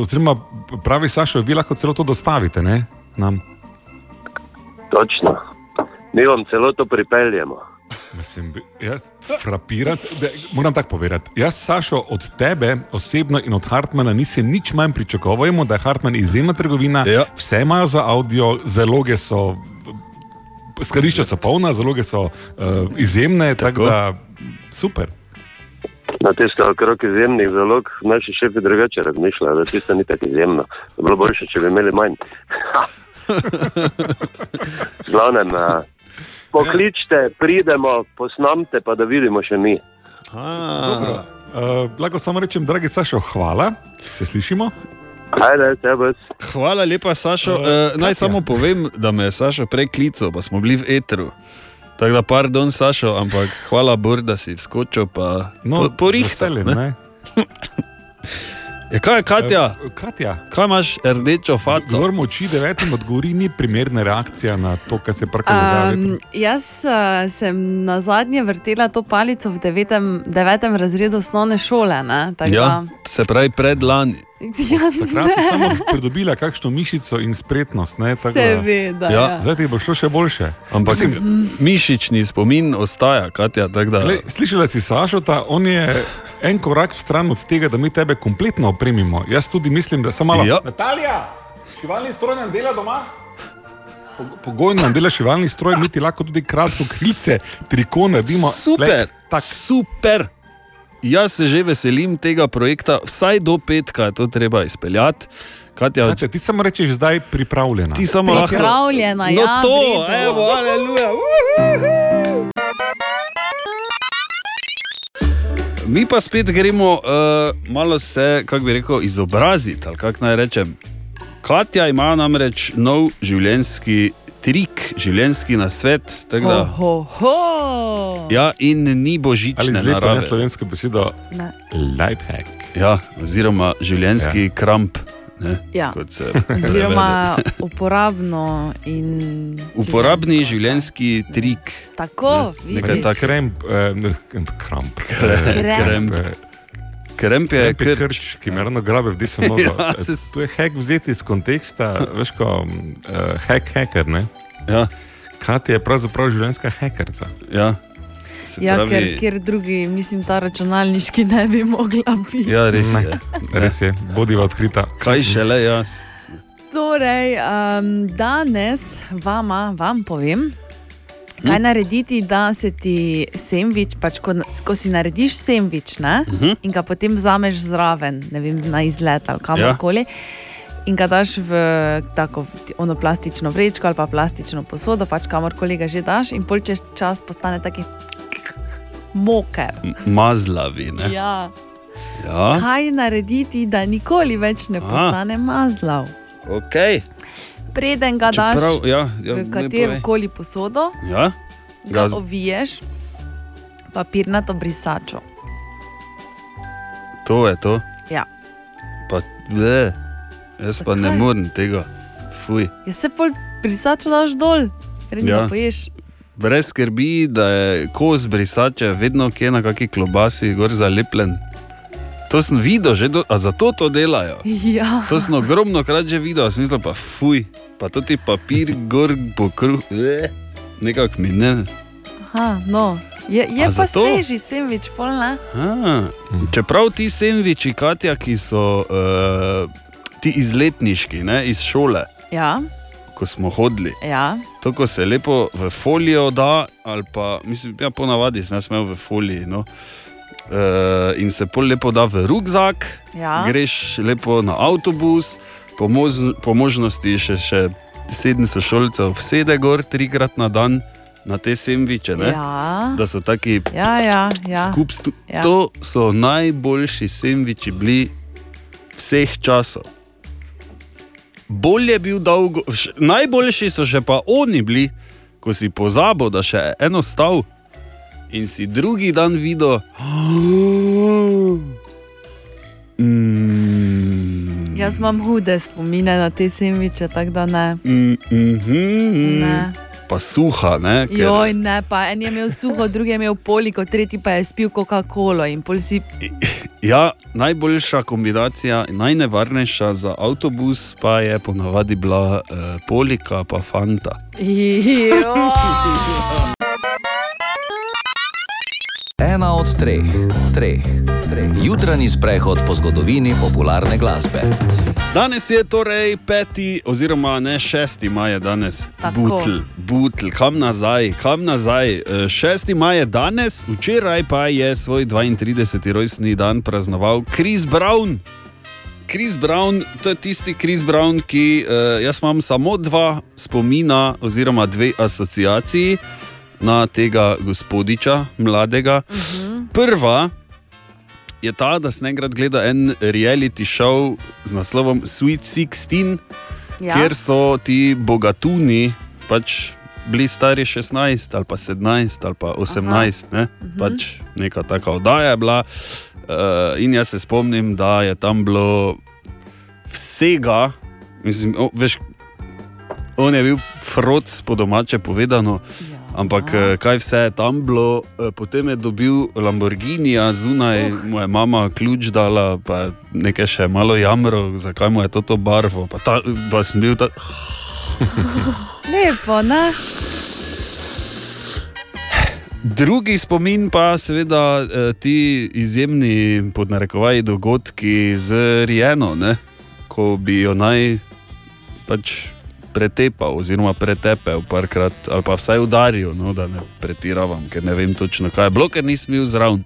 S5: oziroma pravi Sašo, vi lahko celo to dostavite ne, nam.
S1: Točno. Mi vam celo to pripeljemo.
S5: Mislim, jaz frapiram, da, moram tako povedati. Jaz, Sašo, od tebe osebno in od Hartmana nisem nič manj pričakoval, Vemo, da je Hartman izjemna trgovina, ja. vse imajo za avdio, zaloge so, skladišča so polna, zaloge so uh, izjemne, tako da super.
S1: Na tisto okrog izjemnih zalog naši šefi drugače razmišljajo, da tisto ni tako izjemno. Bi Bilo boljše, če bi imeli manj. V Glavnem, eh, pokličite, pridemo, posnamte, pa da vidimo še mi.
S5: Dobro. Uh, lahko samo rečem, dragi Sašo, hvala, se slišimo.
S1: Ajde, tebe.
S3: Hvala lepa, Sašo. Uh, naj samo povem, da me je Sašo prej klical, pa smo bili v etru. Tako da, pardon, Sašo, ampak hvala, Bor, da si vskočil. Pa,
S5: No,
S3: po, porihtal,
S5: z veseljem, ne?
S3: [LAUGHS] Ja, kaj je Katja?
S5: Eh, Katja.
S3: Kaj imaš rdečo faco?
S5: Zgor moči devetim odgovori ni primerna reakcija na to, kar se pravkar dogaja. Um,
S17: Um, jaz uh, sem na zadnje vrtela to palico v devetem, devetem razredu osnovne šole. Ne, tako
S3: Ja,
S17: da-
S3: se pravi, predlani.
S17: Ja,
S5: Takrat si
S17: ne.
S5: samo pridobila kakšno mišico in spretnost. Ne, tako da-
S17: Seveda, Ja. ja.
S5: Zdaj ti bo šlo še boljše.
S3: Ampak
S5: Mislim-
S3: mišični spomin ostaja, Katja. tako Da...
S5: Glej, slišala si Sašota, on je en korak stran od tega, da mi tebe kompletno opremimo. Jaz tudi mislim, da samo malo.
S3: Ja.
S5: Natalija, šivalni stroj nam dela doma. Pogojno nam dela šivalni stroj, mi ti lahko tudi kratko krilce, triko naredimo.
S3: Super, tak. super. Jaz se že veselim tega projekta, vsaj do petka je to treba izpeljati. Katja,
S5: Katja, ti samo rečeš, zdaj pripravljena.
S3: Ti samo lahko.
S17: Pripravljena,
S3: no
S17: ja,
S3: to,
S17: v redu.
S3: evo, aleluja. uh. Mi pa spet gremo uh, malo se, kako bi rekel, izobraziti. ali Kako naj rečem. Katja ima namreč nov življenjski trik, življenjski nasvet. tako
S6: Ho,
S3: Da,
S6: ho, ho.
S3: ja, in ni božične
S5: Ali zdaj pa
S3: narave.
S5: ne slovensko besedo
S6: Ne.
S5: lifehack.
S3: Ja, oziroma življenjski ja. kramp. Ne,
S17: Ja.
S3: kot se
S17: Oziroma
S3: prevede.
S17: uporabno in
S3: uporabni življenjski trik.
S17: Tako,
S3: Ja, Nekaj
S17: vidiš.
S3: takega.
S5: Kremp, eh, ne, kramp.
S3: Kremp. Kremp je
S5: krč. krč, ki me ravno grabe v desno nogo.
S3: [LAUGHS] Ja,
S5: ja, se... To je hek vzeti iz konteksta, veš, ko uh, hek hacker, ne?
S3: Ja.
S5: Katja je pravzaprav življenjska hekerca.
S3: Ja. Se
S6: Ja, ker,
S3: pravi-
S6: ker drugi, mislim, ta računalniški ne bi mogla biti.
S3: Ja, res
S5: Ne,
S3: je.
S5: Res je, bodiva odkrita.
S3: Kaj šele jaz?
S6: Torej, um, danes vama, vam povem, kaj hm? narediti, da se ti sendvič, pač ko, na- ko si narediš sendvič ne,
S17: Mhm.
S6: in ga potem vzameš zraven, ne vem, na izlet ali
S3: Ja.
S6: kamorkoli. In ga daš v tako v ti- ono plastično vrečko ali pa plastično posodo, pač kamorkoli ga že daš, in pol čez čas postane taki moker.
S3: M- Mazlavi. Ne?
S6: Ja.
S3: Ja.
S6: Kaj narediti, da nikoli več ne
S3: Aha.
S6: postane mazlav?
S3: Okay.
S6: Preden ga daš
S3: Čeprav, ja, ja,
S6: v
S3: ne
S6: katero
S3: povej.
S6: koli posodo,
S3: Ja?
S6: ga
S3: Gaz...
S6: oviješ papirnato brisačo.
S3: To je to.
S6: Ja.
S3: Pa, ble, jaz pa ne
S6: Zakaj?
S3: morem tega. Fuj.
S6: Je se pol brisačo daš dol, redno
S3: Ja.
S6: ja. poješ.
S3: Brez skrbi, da je kos brisače vedno kje na kakšni klobasi gor zalepljen. To sem videl, že do, a zato to delajo.
S6: Ja.
S3: To sem ogromno krat že videl, sem mislil pa fuj, pa to ti papir gor po kruhu, nekako mi ne.
S6: Aha, no. Je, je
S3: A
S6: pa
S3: zato?
S6: sveži sendvič, pol ne.
S3: Ah, čeprav ti sendviči, Katja, ki so uh, ti izletniški, ne, iz šole,
S6: Ja,
S3: ko smo hodili.
S6: ja.
S3: To, ko se lepo v folijo da, ali pa mislim, ja, ponavadi sem jaz imel v foliji. No. E, in se pol lepo da v rukzak,
S6: Ja.
S3: greš lepo na avtobus, po, moz, po možnosti še, še sedem sošolcev vsede gor trikrat na dan na te semviče, ne?
S6: Ja.
S3: da so taki
S6: Ja, ja, ja.
S3: Skup stu...
S6: Ja.
S3: ja. To so najboljši sendviči bili vseh časov. Bolje je bil dolgo, š- najboljši so še pa oni bili, ko si pozabil, da še eno stav in si drugi dan videl. Mm,
S6: Jaz imam hude spomine na te sendviče, tako da ne.
S3: mm, mm, mm,
S6: Ne.
S3: Pa suha, ne? ker-
S6: Joj, ne, pa en je imel suho, drugi je imel poliko, tretji pa je spil Coca-Colo in pol si
S3: Ja, najboljša kombinacija, najnevarnejša za avtobus pa je ponavadi bila eh, polika, pa fanta.
S8: [LAUGHS]
S2: Ena od treh, treh, treh. Jutranji sprehod po zgodovini popularne glasbe.
S3: Danes je torej peti, oziroma ne šesti maj, je danes
S2: Tako.
S3: butl, butl, kam nazaj, kam nazaj. Eh, Šesti maj je danes, včeraj pa je svoj 32. rojstni dan praznoval Chris Brown. Chris Brown, to je tisti Chris Brown, ki eh, jaz imam samo dva spomina, oziroma dve asociaciji na tega gospodiča, mladega. Uh -huh. Prva je ta, da sem enkrat gledal en reality show z naslovom Sweet 16,
S6: Ja.
S3: ja. kjer so ti bogatuni pač bili stari 16 ali pa 17 ali pa 18, ne? pač neka taka oddaja je bila. Uh, in jaz se spomnim, da je tam bilo vsega, mislim, o, veš, on je bil frod, po domače povedano. Ja. Ampak eh, kaj vse je tam bilo, Eh, potem je dobil Lamborghinija zunaj, uh. mu je mama ključ dala, pa nekaj še malo jamro, zakaj mu je to barvo. Pa, ta, pa sem bil tako.
S6: lepo, ne?
S3: Drugi spomin pa seveda eh, ti izjemni podnarekovaji dogodki z Rijeno, ne? ko bi jo naj pač pretepal, oziroma pretepel parkrat, ali pa vsaj udaril, no, da ne pretiravam, ker ne vem točno kaj je bilo, ker nisem bil zraven.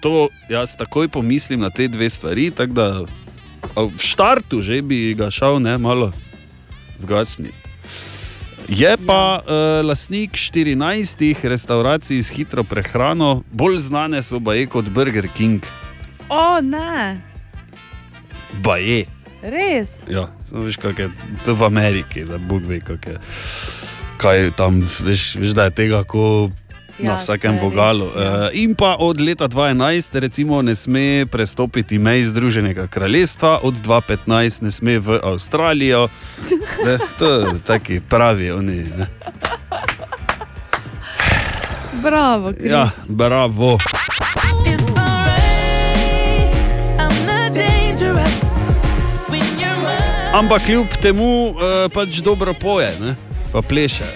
S3: To jaz takoj pomislim na te dve stvari, tako da a v štartu že bi ga šel ne, malo vgasniti. Je pa ja. uh, lastnik 14 restauracij s hitro prehrano, bolj znane so baje kot Burger King.
S6: O, ne,
S3: Baje.
S6: res.
S3: Ja, samo veš, kako je to v Ameriki, da Bog ve, kako je. Kaj je tam, veš, veš da je tega, ko.
S6: Ja,
S3: Ja, na vsakem
S6: to je res,
S3: vogalu.
S6: ja.
S3: Ja. In pa od leta 2011, recimo, ne sme prestopiti mej Združenega kraljestva, od 2015 ne sme v
S6: [LAUGHS]
S3: Avstralijo. Ne, to taki pravi oni. Ne.
S6: Bravo, Kris.
S3: Ja, bravo. Ampak kljub temu eh, pač dobro poje, ne? pa pleše.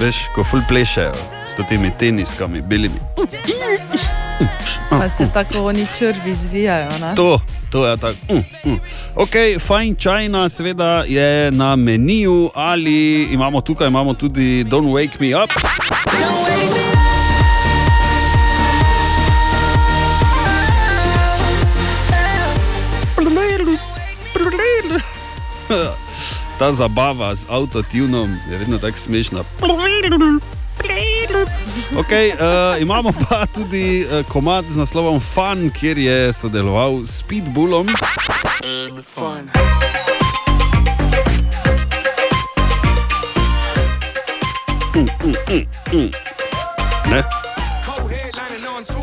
S3: Veš, ko ful plešejo s temi teniskami, belimi.
S6: Pa se tako oni črvi zvijajo. ne?
S3: To, to je tako. Mm, mm. Ok, fine China, seveda je na meniju, ali imamo tukaj imamo tudi Don't Wake Me Up. [LAUGHS] Ta zabava z avtotunom je vedno tako smešna. Okay, uh, imamo pa tudi uh, komat z naslovom Fun, kjer je sodeloval s Pitbullom. Mm, mm, mm, mm. Ne?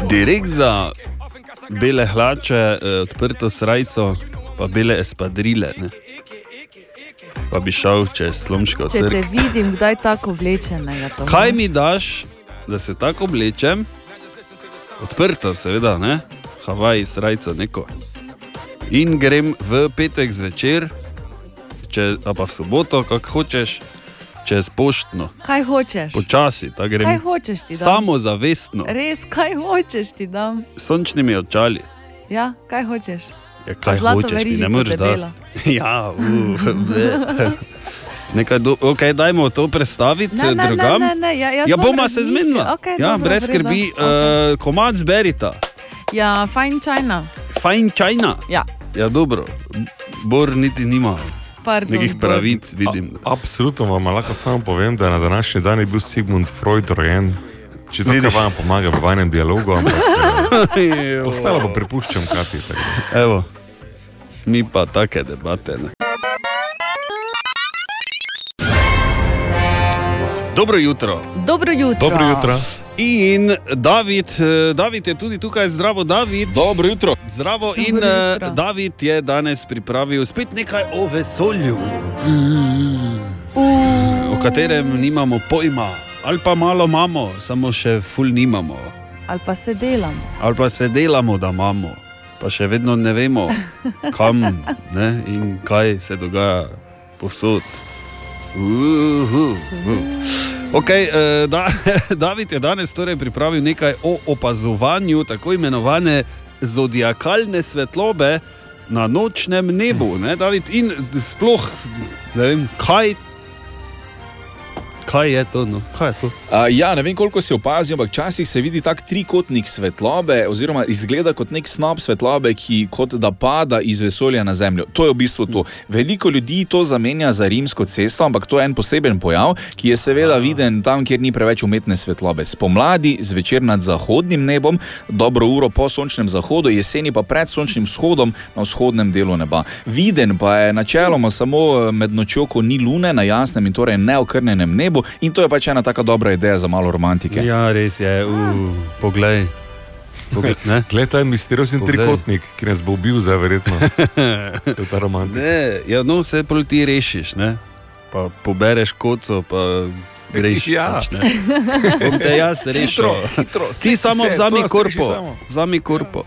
S3: Direkt za bele hlače, eh, odprto srajco, pa bele espadrile. Ne? Pa bi šel čez slomško
S6: Če te
S3: trg.
S6: vidim, kdaj tako vlečenega. to
S3: Kaj
S6: moram.
S3: mi daš, da se tako oblečem? Odprto, seveda, ne? Havaj, srajco, neko. In grem v petek zvečer, če, a pa v soboto, kako hočeš, čez poštno.
S6: Kaj hočeš?
S3: Počasi, tako grem.
S6: Kaj hočeš ti dam?
S3: Samozavestno,
S6: Res, kaj hočeš ti dam?
S3: s sončnimi očali.
S6: Ja, kaj hočeš?
S3: Ja, kaj
S6: Zlato
S3: hočeš, mi ne
S6: verižico
S3: moreš dati.
S6: debelo.
S3: [LAUGHS] ja, uf,
S6: [LAUGHS]
S3: Nekaj, do, okay, dajmo to prestaviti
S6: Ne, ne,
S3: drugam.
S6: ne, ne, ja, jaz
S3: ja
S6: bom
S3: bomo se
S6: razmislila.
S3: zmenila.
S6: Okej,
S3: ja,
S6: dobro,
S3: brez
S6: v redu.
S3: skrbi,
S6: Okej.
S3: okay. uh, komad zberita,
S6: Ja, fajn čajna.
S3: fajn čajna.
S6: Ja.
S3: ja, dobro, Bor niti nima.
S6: Pardon, Nekih Bor. pravic
S3: vidim.
S5: A, absolutno vam lahko samo povem, da je na današnji dan je bil Sigmund Freud rojen. Če to nekaj vam pomaga v vanjem dialogu, ampak
S8: [LAUGHS]
S5: eh, ostalo pa prepuščam, kaj ti je.
S3: Evo, mi pa take debate. Ne. Dobro jutro.
S6: Dobro jutro.
S3: In David, eh, David je tudi tukaj, zdravo, David. Dobro jutro. Zdravo, in eh,
S6: jutro.
S3: David je danes pripravil spet nekaj o vesolju, o katerem nimamo pojma, ali pa malo imamo, samo še ful nimamo,
S6: Ali pa se delam.
S3: ali pa se delamo, da imamo, pa še vedno ne vemo, kam ne? in kaj se dogaja povsod. Uhu, uhu. Okay, eh, da, [LAUGHS] David je danes torej pripravil nekaj o opazovanju tako imenovane zodiakalne svetlobe na nočnem nebu. Ne, David? In sploh ne vem, kaj, kaj je to. No? Kaj je to?
S11: A, ja, ne vem, koliko si opazil, ampak včasih se vidi tak trikotnik svetlobe, oziroma izgleda kot nek snop svetlobe, ki kot da pada iz vesolja na Zemljo. To je v bistvu to. Veliko ljudi to zamenja za rimsko cesto, ampak to je en poseben pojav, ki je seveda viden tam, kjer ni preveč umetne svetlobe. Spomladi, zvečer nad zahodnim nebom, dobro uro po sončnem zahodu, jeseni pa pred sončnim shodom na vzhodnem delu neba. Viden pa je načeloma samo eh, med nočjo, ko ni lune na jasnem in torej neokrnenem nebu, in to je pač ena tako dobra ideja za malo romantike.
S3: Ja, res je, uh, poglej.
S5: Glej, ta misteriozen
S3: Poglej.
S5: trikotnik, ki nas bo ubil, zdaj
S3: [LAUGHS]
S5: verjetno. To je ta romantika.
S3: Ne, ja, no, vse proti rešiš, ne? pa pobereš koco, pa greš.
S5: Ja.
S3: pač, ne. Bom te jaz rešil.
S5: Hitro, hitro,
S3: Ti
S5: sledi
S3: samo
S5: se,
S3: vzami
S5: to nas reši
S3: korpo.
S5: samo. Ja.
S3: Vzami korpo.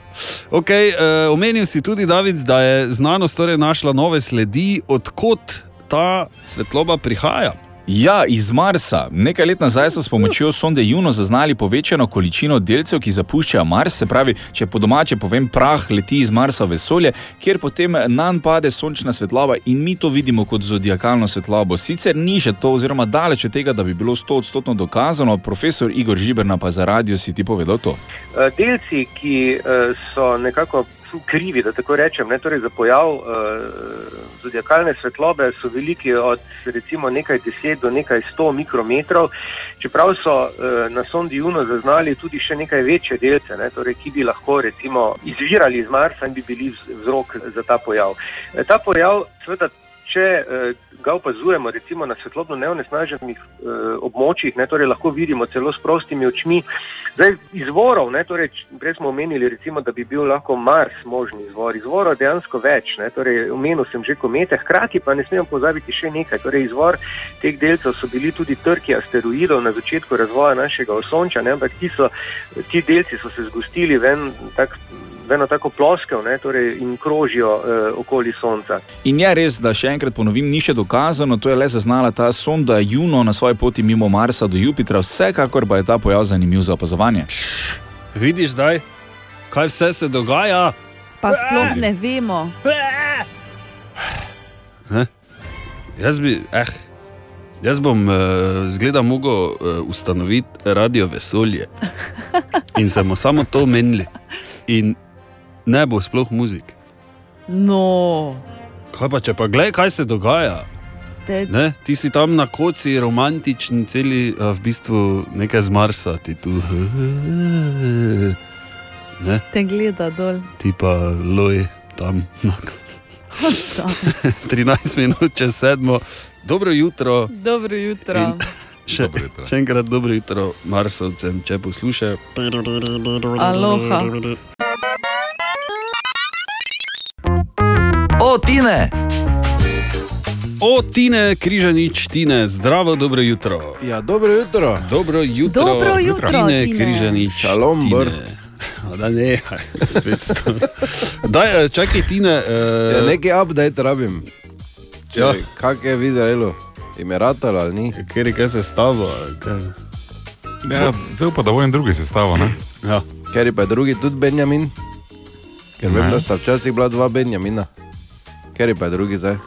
S3: Okay, uh, omenil si tudi, David, da je znanost torej našla nove sledi, odkot ta svetloba prihaja.
S11: Ja, iz Marsa. Nekaj let nazaj so s pomočjo sonde Juno zaznali povečano količino delcev, ki zapuščajo Mars, se pravi, če po domače povem, prah leti iz Marsa v vesolje, kjer potem nam pade sončna svetloba in mi to vidimo kot zodiakalno svetlobo. Sicer ni še to, oziroma daleč od tega, da bi bilo 100-odstotno dokazano, profesor Igor Žiberna pa za radio si ti povedal to.
S4: Eh, delci, ki eh, so nekako krivi, da tako rečem, ne, torej za pojav eh, zodiakalne svetlobe, so veliki od recimo nekaj deset do nekaj sto mikrometrov, čeprav so eh, na sondi Juno zaznali tudi še nekaj večje delce, ne, torej, ki bi lahko recimo izvirali iz Marsa in bi bili vz- vzrok za ta pojav. Eh, Ta pojav, seveda, če eh, ga opazujemo recimo na svetlobno neonesnaženih eh, območjih, ne, torej lahko vidimo celo s prostimi očmi, Zdaj, izvorov, ne, torej, č- prej smo omenili, recimo, da bi bil lahko Mars možni izvor. Izvorov dejansko več, ne, torej, omenil sem že komete, hkrati pa ne smemo pozabiti še nekaj. Torej, izvor teh delcev so bili tudi trki asteroidov na začetku razvoja našega osončja, ne, ampak ti, so, ti delci so se zgostili v en tak v eno tako ploskev ne, torej, in krožijo eh, okoli Sonca.
S11: In je res, da še enkrat ponovim, ni še dokazano, to je le zaznala ta sonda Juno na svoji poti mimo Marsa do Jupitra, vsekakor pa je ta pojav zanimiv za opazovanje.
S3: Vidiš zdaj, kaj vse se dogaja?
S6: [LAUGHS] Pa sploh ne vemo.
S3: Ne? Jaz bi, eh, jaz bom eh, zgleda mogel eh, ustanoviti radio vesolje. In se bomo samo to menili. In ne bo sploh muzik.
S6: No,
S3: Kaj pa če pa gledaj, kaj se dogaja?
S6: te,
S3: Ne? Ti si tam na koci, romantičen, celi, a v bistvu nekaj z Marsa, ti tu. Ne?
S6: te gleda dol.
S3: Ti pa loj tam na
S6: Da.
S3: [LAUGHS] 13 minut čez sedmo. Dobro jutro.
S6: Dobro jutro.
S3: In- Še, še enkrat dobro jutro, Marsovcem, če poslušajo.
S6: Aloha.
S2: O, Tine!
S3: O, Tine, križanič, Tine, zdravo, dobro jutro.
S14: Ja, dobro jutro.
S3: Dobro jutro,
S14: Dobro jutro,
S3: Tine,
S14: Tine.
S3: križanič. Šalom, br. [LAUGHS] Da ne, spet sto. Daj, eh, čakaj, Tine. Uh...
S14: Ja, neki update rabim. Če,
S3: Ja.
S14: ja. Kak je videlo, ime ratalo ali ni?
S3: Ker je kaj se stavo.
S5: Ja, zdaj pa da vojem drugi sestavo. ne?
S3: Ja.
S14: Ker je pa drugi tudi Benjamin. Ker vem,
S5: Ne.
S14: da sta včasih bila dva Benjamina. Ker je pa drugi zdaj.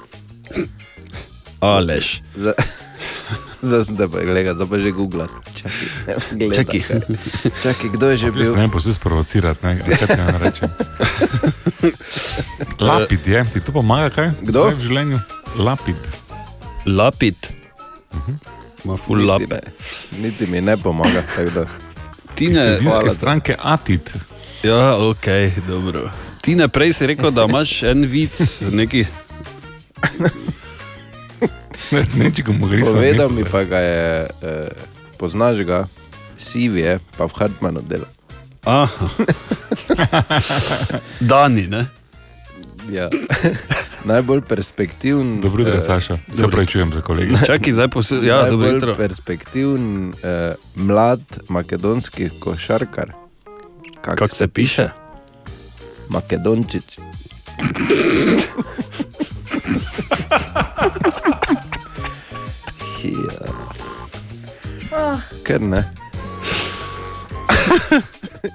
S3: Aleš.
S14: Za- Zdaj sem te pa gledal, zdaj pa že googlat. Čakaj, gleda,
S5: Čakaj.
S14: kaj- Čakaj, kdo je že
S5: Jaz
S14: bil?
S5: ne vem, posebej sprovocirati, ne kaj ti naj
S14: [LAUGHS]
S5: rečem. [LAUGHS] Lapid je, ti to pomaga kaj?
S14: Kdo?
S5: Kaj v življenju? Lapid. Mhm.
S3: Lapid. Ma ful lape.
S14: Niti mi ne pomaga. tako da.
S5: Iz
S3: Tine,
S5: sredinske stranke Atit. [LAUGHS]
S3: Ja, ok, dobro. Ti ne prej si rekel, da imaš en vic, neki.
S5: Ne, ne, če ga mu gre.
S14: Povedal mi pa ga je, eh, poznaš ga, siv je, pa v Hartmanu dela. [LAUGHS]
S3: Aha. Dani, ne?
S14: Ja. [LAUGHS] Najbolj perspektiven.
S5: Dobro jutro,
S14: eh,
S5: Saša. Se pravi, čujem za kolegi.
S3: Čakaj, zdaj poslušaj. Ja, dobro
S14: Najbolj
S3: jutro.
S14: perspektiven, eh, mlad makedonski košarkar. Kako
S3: Kak se piše?
S14: Makedončič. ja,
S6: Oh,
S14: ker ne.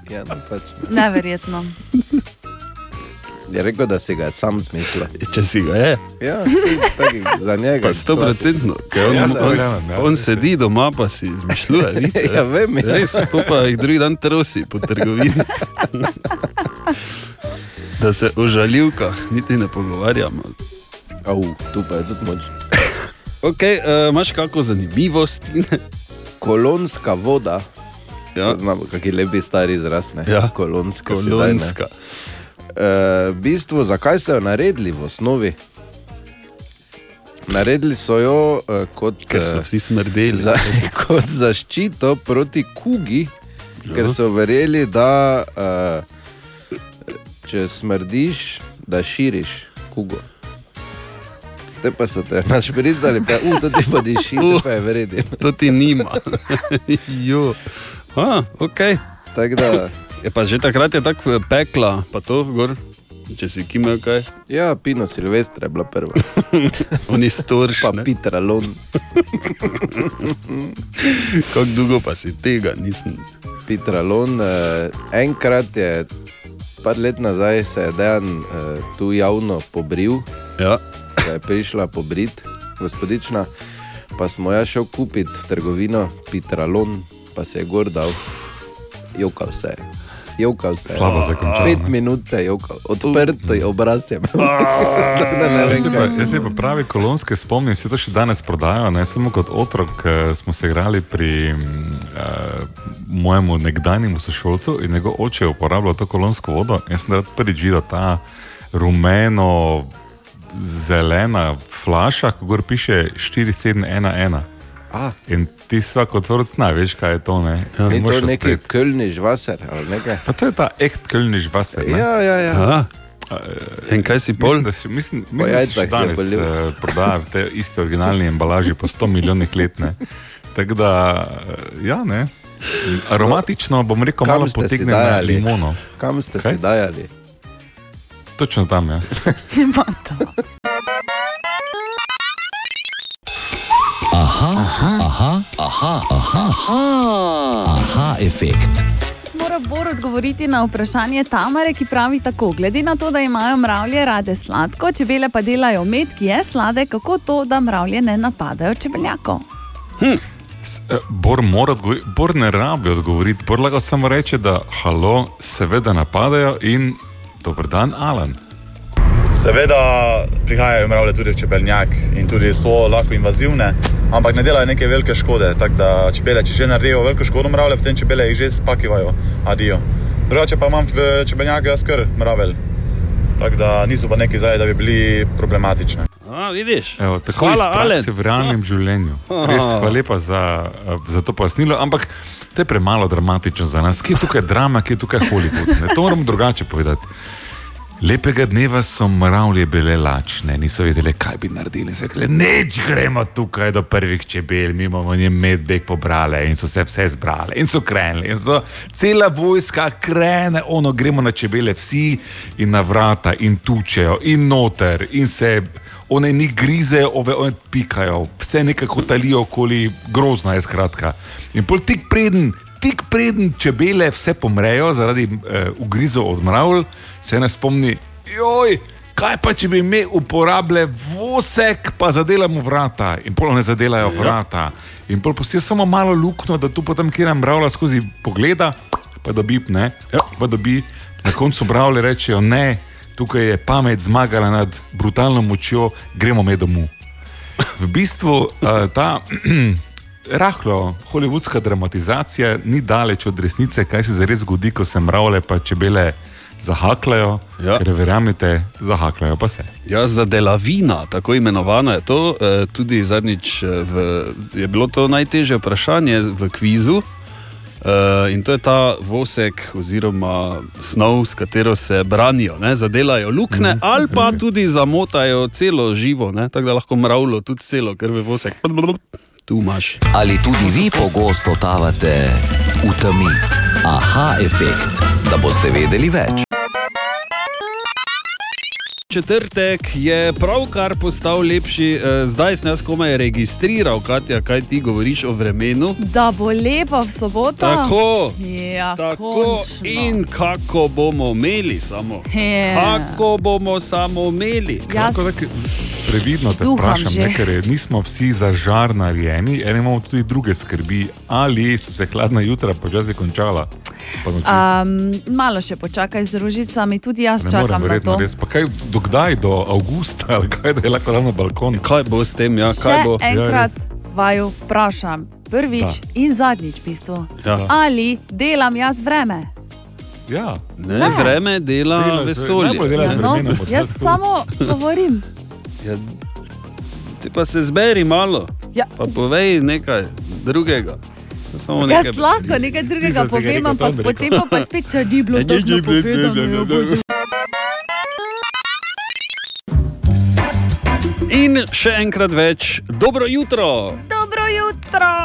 S14: ja, no pač.
S6: [LAUGHS] neverjetno.
S14: Je rekel, da si ga je sam zmislil.
S3: Če si ga je.
S14: Ja, taki, za njega.
S3: Pa sto procentno, ker on,
S14: Ja,
S3: on,
S14: ne
S3: on,
S14: verjamem, ja.
S3: on sedi doma, pa si
S14: [LAUGHS]
S3: izmišljuje. vice,
S14: Ja, vem, ja.
S3: Res, pol pa jih drugi dan trosi po trgovini. da se o žaljivkah niti ne pogovarjamo.
S14: Au, tu pa je tudi moč.
S3: ok, eh, imaš kako zanimivost?
S14: Kolonska voda.
S3: Ja.
S14: Znamo, kakšni lepi stari izrazne.
S3: Ja.
S14: Kolonska.
S3: Kolonska.
S14: Uh, bistvo, zakaj so jo naredili v osnovi? Naredili so jo uh, kot,
S3: Ker so
S14: eh,
S3: vsi smrdeli.
S14: za, [LAUGHS] kot zaščito proti kugi, ja. ker so verjeli, da uh, če smrdiš, da širiš kugo. Te pa so te našpricali, pa uh, to ti pa diši, uh, pa je verjeti.
S3: [LAUGHS] To ti nima. jo. A, okay.
S14: Tak da,
S3: Je pa že takrat je tako eh, pekla, pa to gor, če si kimel kaj.
S14: ja, Pina Silvestra je bila prva.
S3: [LAUGHS] Oni storš.
S14: Pa Peter Alon.
S3: [LAUGHS] Kako dolgo pa si tega nisem.
S14: Peter Alon, eh, enkrat je, par let nazaj, se je dejan eh, tu javno pobril,
S3: ja.
S14: da je prišla pobrit, gospodična, pa smo jo šel kupiti v trgovino Peter Alon, pa se je gor dal, jokal se je. Jokal se je.
S5: Slabo se je končalo,
S14: Pet minut se je jokal, odprt obraz je
S3: [LAUGHS]
S14: imel. Tako da ne vem,
S5: Ah, Jaz se
S14: kaj.
S5: pa- Jaz se pa pravi kolonske spomnim, se to še danes prodajajo. Ne? Samo kot otrok eh, smo se igrali pri uh, mojemu nekdanjemu sošolcu in njegov oče je uporabljal to kolonsko vodo. Jaz sem rad prvič videl ta rumeno, zelena flaša, ko gor piše 4711.
S14: Ah.
S5: In ti vsak otrok zna, veš kaj je to. Ja, Ne?
S14: Ni
S5: In moraš
S14: to neki
S5: odpreti.
S14: kölniš vaser ali nekaj.
S5: Pa to je ta echt kölniš vaser. ne?
S14: Ja, ja, ja.
S3: Aha. In kaj si
S5: pol? Mislim, da si, mislim,
S14: Po
S5: mislim, da si še
S14: jajcah se je
S5: danes
S14: bolel.
S5: eh, prodaja v tej isti originalni embalaži po 100 milijonih let. Ne? Tako da, eh, ja, ne. Aromatično bom rekel,
S14: Kam
S5: malo
S14: ste si
S5: potegne na
S14: dajali?
S5: limono.
S14: Kam ste
S5: Kaj?
S14: si dajali?
S5: Točno tam ja. je.
S2: Aha, aha, aha, aha, aha, aha, aha efekt.
S6: Jaz moram bolj odgovoriti na vprašanje Tamare, ki pravi tako: Glede na to, da imajo mravlje rade sladko, čebele pa delajo med, ki je sladek, kako to, da mravlje ne napadajo čebeljakov?
S3: Hm.
S5: S- eh, Bor, mora odgovori- Bor ne rabi odgovoriti, Bor lahko samo reče, da halo, seveda napadajo in dober dan, Alan.
S7: Seveda prihajajo mravlje tudi v čebeljak in tudi so lahko invazivne, ampak ne delajo neke velike škode. Tako da čebele, če že naredijo veliko škodo mravlje, potem čebele jih že spakivajo, adijo. Drugače pa imam v čebeljaku jaz kar mravelj. Tako da niso pa neki zdaj, da bi bili problematični.
S3: A, vidiš?
S5: Evo, tako je
S3: Hvala,
S5: prakse
S3: Alen.
S5: v realnem življenju. Res
S3: Ah.
S5: hvala lepa za, eh, za to pojasnilo, ampak to je premalo dramatično za nas. Kje je tukaj drama, kje je tukaj Hollywood? Ne, to moram drugače povedati. Lepega dneva so mravlje bile lačne, niso vedele, kaj bi naredili. So Rekle, neč gremo tukaj do prvih čebel, mi bomo njem medbeg pobrali in so se vse zbrale in so krenili. In so cela vojska krene, ono gremo na čebele, vsi in na vrata in tučejo in noter in se. One ni grize, ove one pikajo, vse nekako talijo okoli, grozna je skratka. In pol tik preden tik preden čebele vse pomrejo zaradi eh, ugrizov od mravl, se nas spomni, joj, kaj pa če bi mi uporabljali vosek, pa zadelamo vrata in polo ne zadelajo
S26: Ja.
S5: vrata. In pol pustijo samo malo luknjo, da tu potem kjer mravlja skozi pogleda, pa dobi, ne, pa dobi na koncu mravlje rečejo ne. Tukaj je pamet zmagala nad brutalno močjo, gremo med domu. V bistvu eh, ta [CLEARS THROAT] rahlo holivudska dramatizacija ni daleč od resnice, kaj se zares zgodi, ko se mravlje pa čebele zahaklajo. Ja. Ker verjamete, zahaklajo pa se.
S3: Ja, zadelavina, tako imenovana je to. eh, Tudi zadnjič eh, v, je bilo to najtežje vprašanje v kvizu. Eh, In to je ta vosek oziroma snov, s katero se branijo. Ne? Zadelajo luknje ali pa tudi zamotajo celo živo, ne? tako da lahko mravljo tudi celo, ker je vosek. Tu imaš.
S2: Ali tudi vi pogosto totavate v temi? Aha efekt, da boste vedeli več.
S3: Četrtek je pravkar postal lepši, eh, zdaj sem jaz komaj registriral, Katja, kaj ti govoriš o vremenu.
S6: Da bo lepo v soboto.
S3: Tako.
S6: Ja,
S3: Tako in kako bomo imeli samo.
S6: Je.
S3: Kako bomo samo imeli.
S6: Jaz- Kako da,
S5: Previdno te
S6: Duham
S5: vprašam,
S6: že.
S5: ne, ker je- nismo vsi za žar narejeni, eni imamo tudi druge skrbi, ali so se hladna jutra počasi končala. pa noči.
S6: Um, malo še počakaj z družicami, tudi jaz
S5: Ne morem,
S6: čakam na
S5: verjetno
S6: to.
S5: res. Pa kaj, dokdaj, do avgusta, [LAUGHS] ali kaj, da je lahko dan na balkon? Ja,
S3: Kaj bo s tem, ja,
S6: Še enkrat vaju vprašam, prvič
S5: Da.
S6: in zadnjič, v bistvu.
S3: Ja.
S6: Ali delam jaz vreme?
S5: Ja.
S3: Ne,
S6: Ne.
S3: Vreme dela,
S5: Dela
S3: dela
S5: z-
S3: vesolje.
S5: najbolj dela z
S3: Ne.
S6: No, jaz samo govorim.
S3: Ja, ti pa se zberi malo,
S6: Ja.
S3: pa povej nekaj drugega. To Samo
S6: Jaz
S3: nekaj-
S6: lahko Ja, nekaj drugega
S3: Ti si zdaj
S6: povem,
S3: rekel,
S6: ampak
S3: to bi rekel.
S6: potem pa, pa spet, če
S3: [LAUGHS]
S6: ni bilo
S3: Ne, ni,
S6: tako
S3: ni, ni, ni, ni,
S6: povedano,
S3: ni,
S6: je
S3: ni. In še enkrat več, dobro jutro!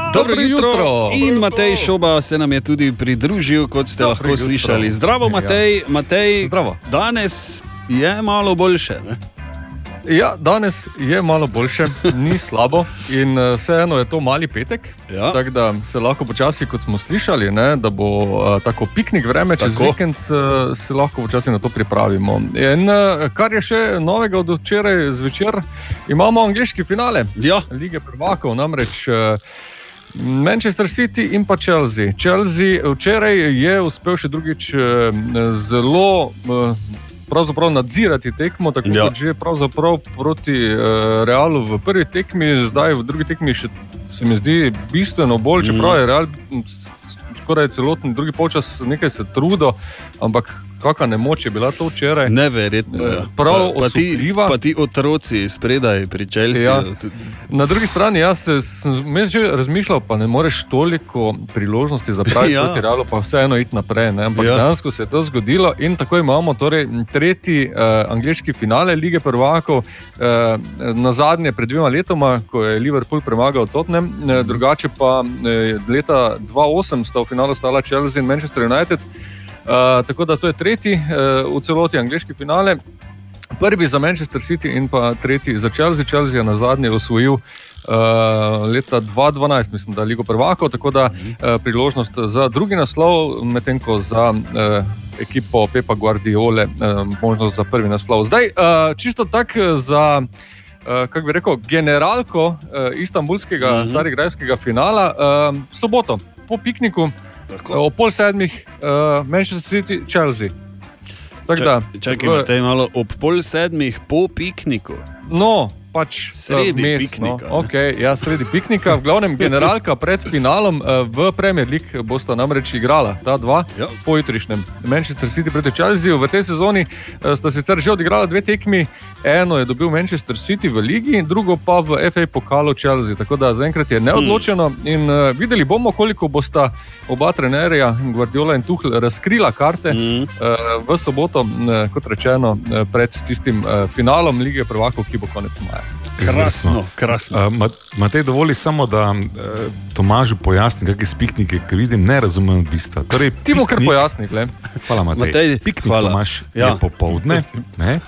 S6: Dobro jutro!
S3: In Matej Šoba se nam je tudi pridružil, kot ste Dobro lahko jutro. slišali.
S9: Ja.
S3: Zdravo, Matej. Matej Zdravo. Danes je malo boljše. Ne?
S9: Ja, danes je malo boljše, [LAUGHS] ni slabo in eh, vseeno je to mali petek.
S3: Ja.
S9: Tako da se lahko počasi, kot smo slišali, ne, da bo eh, tako piknik vreme čez
S10: Tako.
S9: vikend, eh, se lahko počasi na to pripravimo. In eh, kar je še novega od včeraj zvečer, imamo angliški finale
S3: ja.
S9: lige prvakov, namreč. eh, Manchester City in pa Chelsea. Chelsea včeraj je uspel še drugič eh, zelo eh, pravzaprav nadzirati tekmo, tako
S3: Ja.
S9: ja. kot že pravzaprav proti eh, Realu v prvi tekmi, zdaj v drugi tekmi še se mi zdi bistveno bolj,
S3: Mhm.
S9: čeprav je Real m, s- skoraj celoten drugi polčas nekaj se trudo, ampak kakšna nemoč je bila to včeraj.
S3: Neverjetno.
S9: Eh,
S3: ja.
S9: Prav
S3: pa, pa, ti,
S9: osupljiva.
S3: pa ti otroci spredaj pri Čelsi.
S9: Ja. Na drugi strani jaz se- sem jaz že razmišljal, pa ne moreš toliko priložnosti
S3: [LAUGHS]
S9: zapraviti,
S3: Ja.
S9: ja. proti realu, pa vseeno iti naprej. Ne? Ampak
S3: Ja.
S9: ja. dejansko se je to zgodilo in tako imamo torej tretji eh, angliški finale lige prvakov, eh, na zadnje pred dvema letoma, ko je Liverpool premagal Tottenham, eh, drugače pa eh, leta 2008 sta v finalu stala Eh, Chelsea in Manchester United. Uh, tako da to je tretji uh, v celoti angliški finale. Prvi za Manchester City in pa tretji za Chelsea. Chelsea je na zadnje osvojil uh, leta 2012, mislim, da je Ligo Prvako, tako da
S3: Mhm.
S9: uh, priložnost za drugi naslov, medtem ko za uh, ekipo Pepa Guardiole uh, možnost za prvi naslov. Zdaj, uh, čisto tako za. Uh, kako bi rekel, generalko uh, istambulskega,
S3: Mhm.
S9: mm -hmm. carigrajskega finala, uh, soboto po pikniku, Tako. uh, ob pol sedmih, uh, Manchester City, Chelsea. Tako da,
S3: Čak- Čakaj, imate malo ob pol sedmih po pikniku.
S9: No, pač
S3: Sredi
S9: eh, vmes,
S3: piknika,
S9: No. Okay, ja, sredi piknika, v glavnem generalka pred finalom eh, v Premier League bosta namreč igrala ta dva ja. pojutrišnjem. Manchester City proti Chelsea v tej sezoni eh, sta sicer že odigrala dve tekmi, eno je dobil Manchester City v ligi, drugo pa v FA pokalu Chelsea. Tako da zaenkrat je neodločeno in eh, videli bomo, koliko bosta oba trenerja, Guardiola in Tuhl, razkrila karte mm. eh, v soboto, eh, kot rečeno, eh, pred tistim eh, finalom lige prvakov, ki bo konec maja.
S5: Izvrstno.
S3: krasno.
S5: Uh, Ma- Matej, dovoli samo, da uh, Tomažu pojasnim, kakšne spiknike, ker vidim, ne razumem bistva. Torej,
S9: Ti mu kar
S5: piknik-
S9: pojasni, gled.
S5: Hvala, Matej.
S9: Matej,
S5: Piknik
S9: hvala.
S5: imaš
S9: Ja.
S5: ja.
S9: [LAUGHS]
S5: popoldne. Ne?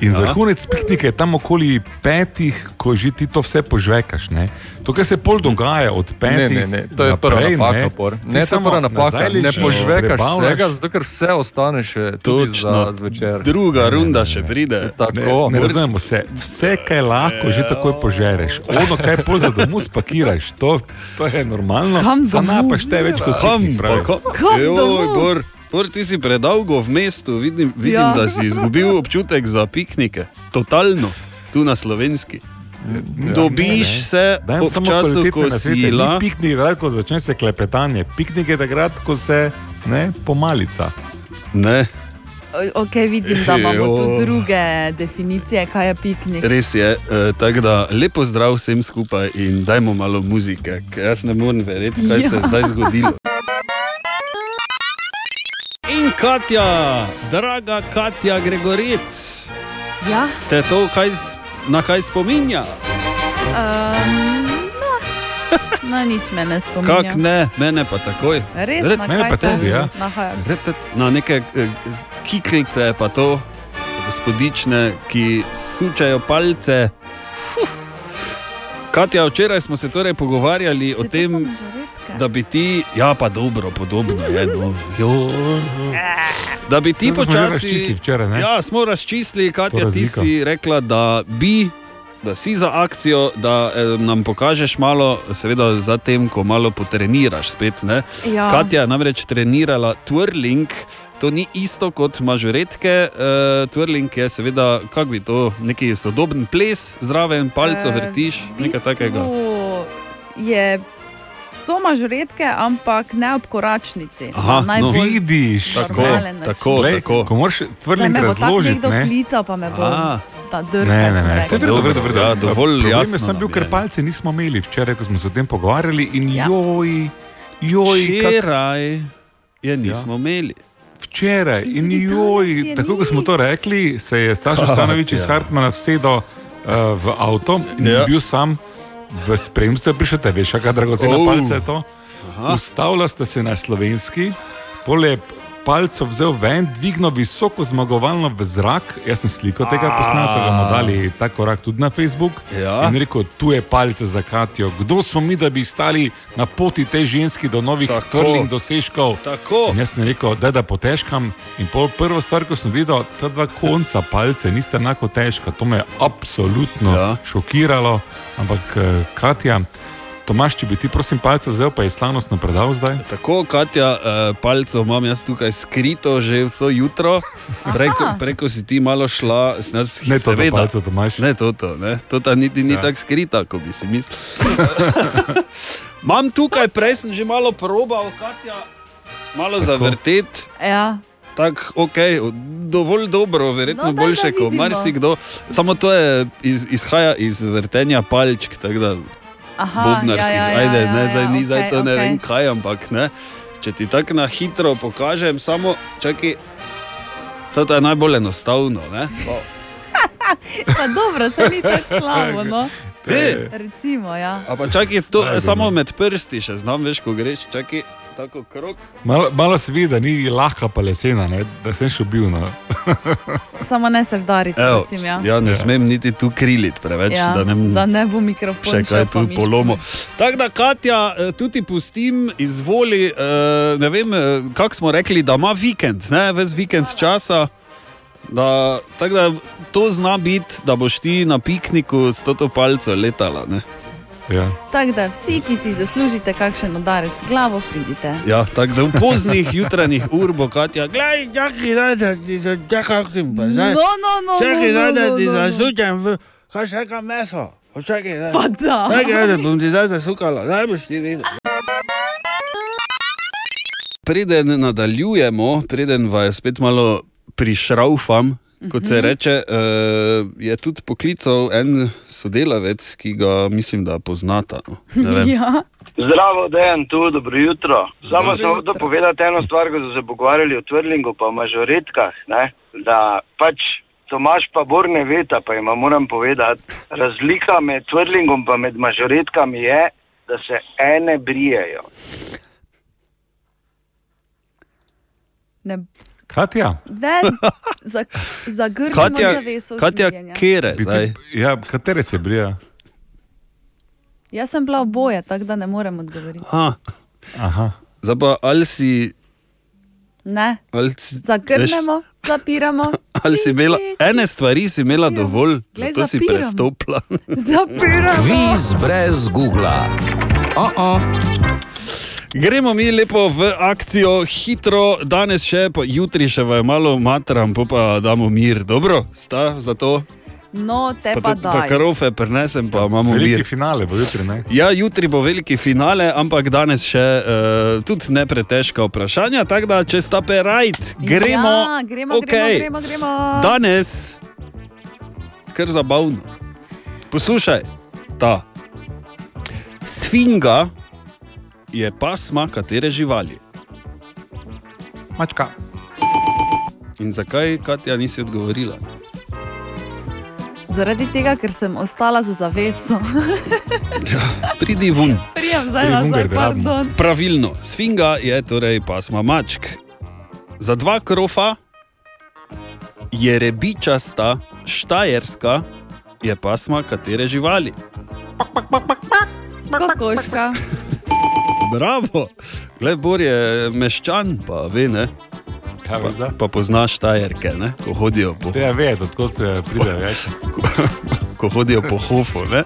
S5: In
S9: Ja.
S5: ja. vrhunec piknika je tam okoli petih, ko že ti to vse požvekaš. Ne? To, kar se pol dogaja od
S9: Ne,
S5: petih.
S9: ne, ne, to je prva
S5: naprej,
S9: napaka.
S5: ne,
S9: Por.
S5: ti
S9: Ne, to je
S5: samo
S9: prva napaka.
S5: nazaj
S9: Ne
S5: ležiš,
S9: požvekaš
S5: prebavljaš.
S9: vsega, zato ker vse ostane še tudi za
S5: Točno.
S9: zvečer.
S5: Druga Ne, ne, runda ne, še ne.
S3: pride.
S9: Tako.
S5: Ne, ne razumemo se. Vse, kar je lahko, že takoj požereš. Ono, kaj pozad domu spakiraš, to, to je normalno.
S3: Kam
S5: Zanapaš te več kot
S3: Kam,
S5: ti.
S3: pa kam? Joj, Bor, Bor, ti si predolgo v mestu, vidim, vidim
S5: Ja.
S3: ja. da si izgubil občutek za piknike. Totalno, tu na slovenski.
S5: Ja,
S3: Dobiš
S5: ne, ne.
S3: se
S5: Dajem
S3: ob
S5: samo
S3: času,
S5: kvalitetne
S3: ko
S5: nasvete.
S3: si
S5: Ni
S3: la.
S5: Piknik, takrat, ko začne se klepetanje. Piknik je takrat, ko se ne, pomalica.
S3: Ne.
S6: Ok, vidim, da imamo
S3: [LAUGHS] Jo.
S6: tu druge definicije, kaj je piknik.
S3: Res je, eh, tako da lepo zdrav vsem skupaj in dajmo malo muzike, ker jaz ne morem verjeti, kaj ja. se je
S6: Ja.
S3: zdaj zgodilo. [LAUGHS] In Katja, draga Katja Gregoric,
S6: Ja,
S3: te to kaj, s- na kaj spominja?
S6: um, no. no, nič me ne spominja.
S3: Kak ne, mene pa takoj.
S6: Res,
S3: Red-
S6: na kaj te nahaja?
S3: Retet Na neke eh, z- kiklice pa to, gospodične, ki sučajo palce. Fuh. Katja, včeraj smo se torej pogovarjali o tem, da bi ti, ja pa dobro, podobno je,
S6: [LAUGHS]
S3: no, jo, da bi ti
S5: To smo že
S3: počasi.
S5: razčistili včeraj, ne?
S3: ja, smo razčistili, Katja, ti
S5: razliko.
S3: si rekla, da bi. Da si za akcijo, da eh, nam pokažeš malo, seveda, zatem, ko malo potreniraš spet. Ne?
S6: Ja.
S3: Katja je namreč trenirala twirling, to ni isto kot mažoretke. Uh, twirling je, seveda, kako bi to, neki sodoben ples, zraven palco
S6: Eh,
S3: vrtiš,
S6: v
S3: nekaj
S6: bistvu
S3: takega.
S6: Je so mažoretke, ampak ne ob koračnici.
S5: Aha,
S3: no.
S6: Na najbolj
S5: vidiš,
S6: Tako, normalen tako, način. tako.
S5: Ko moraš
S6: Zdaj
S5: tvrdim
S6: me bo tako
S5: razložiti,
S6: nekdo
S5: ne?
S6: klical, pa me bo
S5: A.
S6: ta drg.
S5: Ne, ne, ne, vse je bilo
S3: Dobro,
S5: v redu, v redu.
S3: ja, dovolj
S5: Problem
S3: jasno
S5: je sem
S3: nam
S5: bil, ker
S3: je.
S5: palce nismo imeli včeraj, ko smo se o tem pogovarjali in joj, joj, kak-
S3: Včeraj je nismo ja. imeli.
S5: Včeraj in joj, tako kot smo to rekli, se je Saša
S3: Katja.
S5: Stanovič iz Hartmana sedel uh, v avto in
S3: Ja.
S5: ja. bil sam v spremstvu, prišel te veš, kakšna dragocena
S3: Oh.
S5: oh. palca je to.
S3: Aha.
S5: Aha. Ustavila sta se na slovenski, pole palco vzel ven, dvignil visoko zmagovalno v zrak. Jaz sem sliko tega posnetka, bomo dali ta korak tudi na Facebook.
S3: Ja.
S5: In rekel, tu je palce za Katijo. Kdo smo mi, da bi stali na poti te ženski do novih tvrdih dosežkov?
S3: Tako.
S5: In jaz sem rekel, da da potežkam. In pol prvo stvar, ko sem videl, ta dva konca palce nista enako težka. To me je absolutno ja. šokiralo. Ampak eh, Katja, Tomaš, če bi ti prosim palce vzel, pa je slavnostno predal zdaj.
S3: Tako, Katja, eh, palcev imam jaz tukaj skrito že vso jutro. Preko, preko si ti malo šla, sem jaz
S5: Ne, to
S3: seveda.
S5: palce Tomaš.
S3: Ne, to, to, ne. to ta niti ni ja. tako skrita, kot bi si mislil. [LAUGHS] Imam tukaj, prej sem že malo probal, Katja, malo zavrteti.
S6: Ja.
S3: Tako, okay, dovolj dobro, verjetno
S6: No,
S3: no,
S6: daj, da
S3: boljše kot
S6: vidimo.
S3: marsikdo. Samo to je, iz, izhaja iz vrtenja palčk, tako da
S6: Aha,
S3: bobnarskih.
S6: ja, ja, ja,
S3: Ajde,
S6: ja,
S3: ne,
S6: ja,
S3: zdaj ni
S6: ja,
S3: zdaj
S6: okej,
S3: to ne
S6: okej.
S3: vem kaj, ampak ne. Če ti tako na hitro pokažem, samo čakaj. To je najbolj enostavno. Ne?
S6: [LAUGHS] Pa dobro, se ni tako slabo.
S3: [LAUGHS]
S6: No.
S3: Ej.
S6: Recimo, ja.
S3: A pa čakaj, to, samo med prsti še znam, veš, ko greš, čakaj. tako krok.
S5: Malo, malo se vidi, da ni lahka pa lesena, ne? da sem še bil. No.
S6: Samo ne se vdariti,
S3: Evo,
S6: prosim. Ja.
S3: ja, ne smem niti tu kriliti preveč,
S6: ja,
S3: da ne
S6: da ne bo mikrofon
S3: še kaj
S6: šel po
S3: tu
S6: miško.
S3: polomo. Tako da, Katja, eh, tudi pustim, izvoli. eh, Ne vem, eh, kako smo rekli, da ima vikend, ne ves vikend časa. Da, tako da to zna biti, da boš ti na pikniku s to palco letala. Ne?
S5: Ja.
S6: Tako da vsi, ki si zaslužite kakšen udarec v glavo, pridite.
S3: Ja, tako da v poznih jutranjih ur bo Katja, gledaj, čakaj, daj, da ti se čakam, pa zdaj.
S6: No, no, no,
S3: Čakaj,
S6: no,
S3: daj,
S6: no,
S3: da ti
S6: no, no.
S3: zasučem, v- kaj še kam meso. Počakaj, daj.
S6: Pa da.
S3: Čakaj, da bom ti zdaj zasukala, daj boš ti videl. Preden nadaljujemo, preden vas spet malo prišraufam, kot se
S26: Mhm.
S3: reče, eh, je tudi poklical en sodelavec, ki ga mislim, da poznata. no. Ne
S6: [LAUGHS]
S3: [LAUGHS] vem.
S6: Ja.
S26: Zdravo, dejan tu, dobro jutro.
S3: Dobro
S26: Samo sem hotel povedati eno stvar, ko so se pogovarjali o Tvrlingu, pa o mažoretkah, ne? da pač Tomaš pa Bor ne veta, pa jim moram povedati, razlika med Tvrlingom in med mažoretkami je, da se ene brijejo.
S6: Ne,
S5: Katja,
S3: [LAUGHS]
S6: ne za, za grdo zaveso. usmerjanja.
S3: kere
S5: zdaj? Ja, katere se brija?
S6: Jaz sem bila oboje, tako da ne morem odgovoriti.
S5: Aha.
S3: Zdaj pa ali si.
S6: Ne,
S3: Ali si veš, [LAUGHS]
S6: zakrnemo, zapiramo,
S3: ali si imela, ene stvari si imela dovolj,
S6: Ja. Glej,
S3: zato si
S6: zapiram.
S3: prestopila. [LAUGHS]
S6: zapiramo.
S2: Kviz brez Google. Oh -oh.
S3: Gremo mi lepo v akcijo, hitro, danes še, pa jutri še vaju malo matram, pol pa damo mir, dobro, sta za to.
S6: No, te pa,
S3: Pa, tudi, pa
S6: daj.
S3: karofe prenesem, pa imamo
S5: Veliki
S3: mir.
S5: finale bo jutri, ne?
S3: Ja, jutri bo veliki finale, ampak danes še uh, tudi ne pretežka vprašanja. Tako da, če sta perajt, gremo.
S6: Ja, gremo,
S3: Okej.
S6: gremo, gremo, gremo.
S3: Danes, kar zabavno. Poslušaj, ta sfinga je pasma katere živali.
S5: Mačka.
S3: In zakaj, Katja, nisi odgovorila?
S6: Zaradi tega, ker sem ostala za zaveso. [LAUGHS]
S3: Pridi vun.
S6: Prijem zdaj nazaj, pardon.
S3: Pravilno, sfinga je torej pasma mačk. Za dva krofa je rebičasta, štajerska je pasma katere živali.
S6: Kokoška.
S3: Bravo, Glej, Bor je meščan, pa ve ne. Pa, pa poznaš štajerke, ne? ko hodijo po
S5: Treba vedeti, odkot se pride več.
S3: [LAUGHS] ko hodijo po hofu, ne?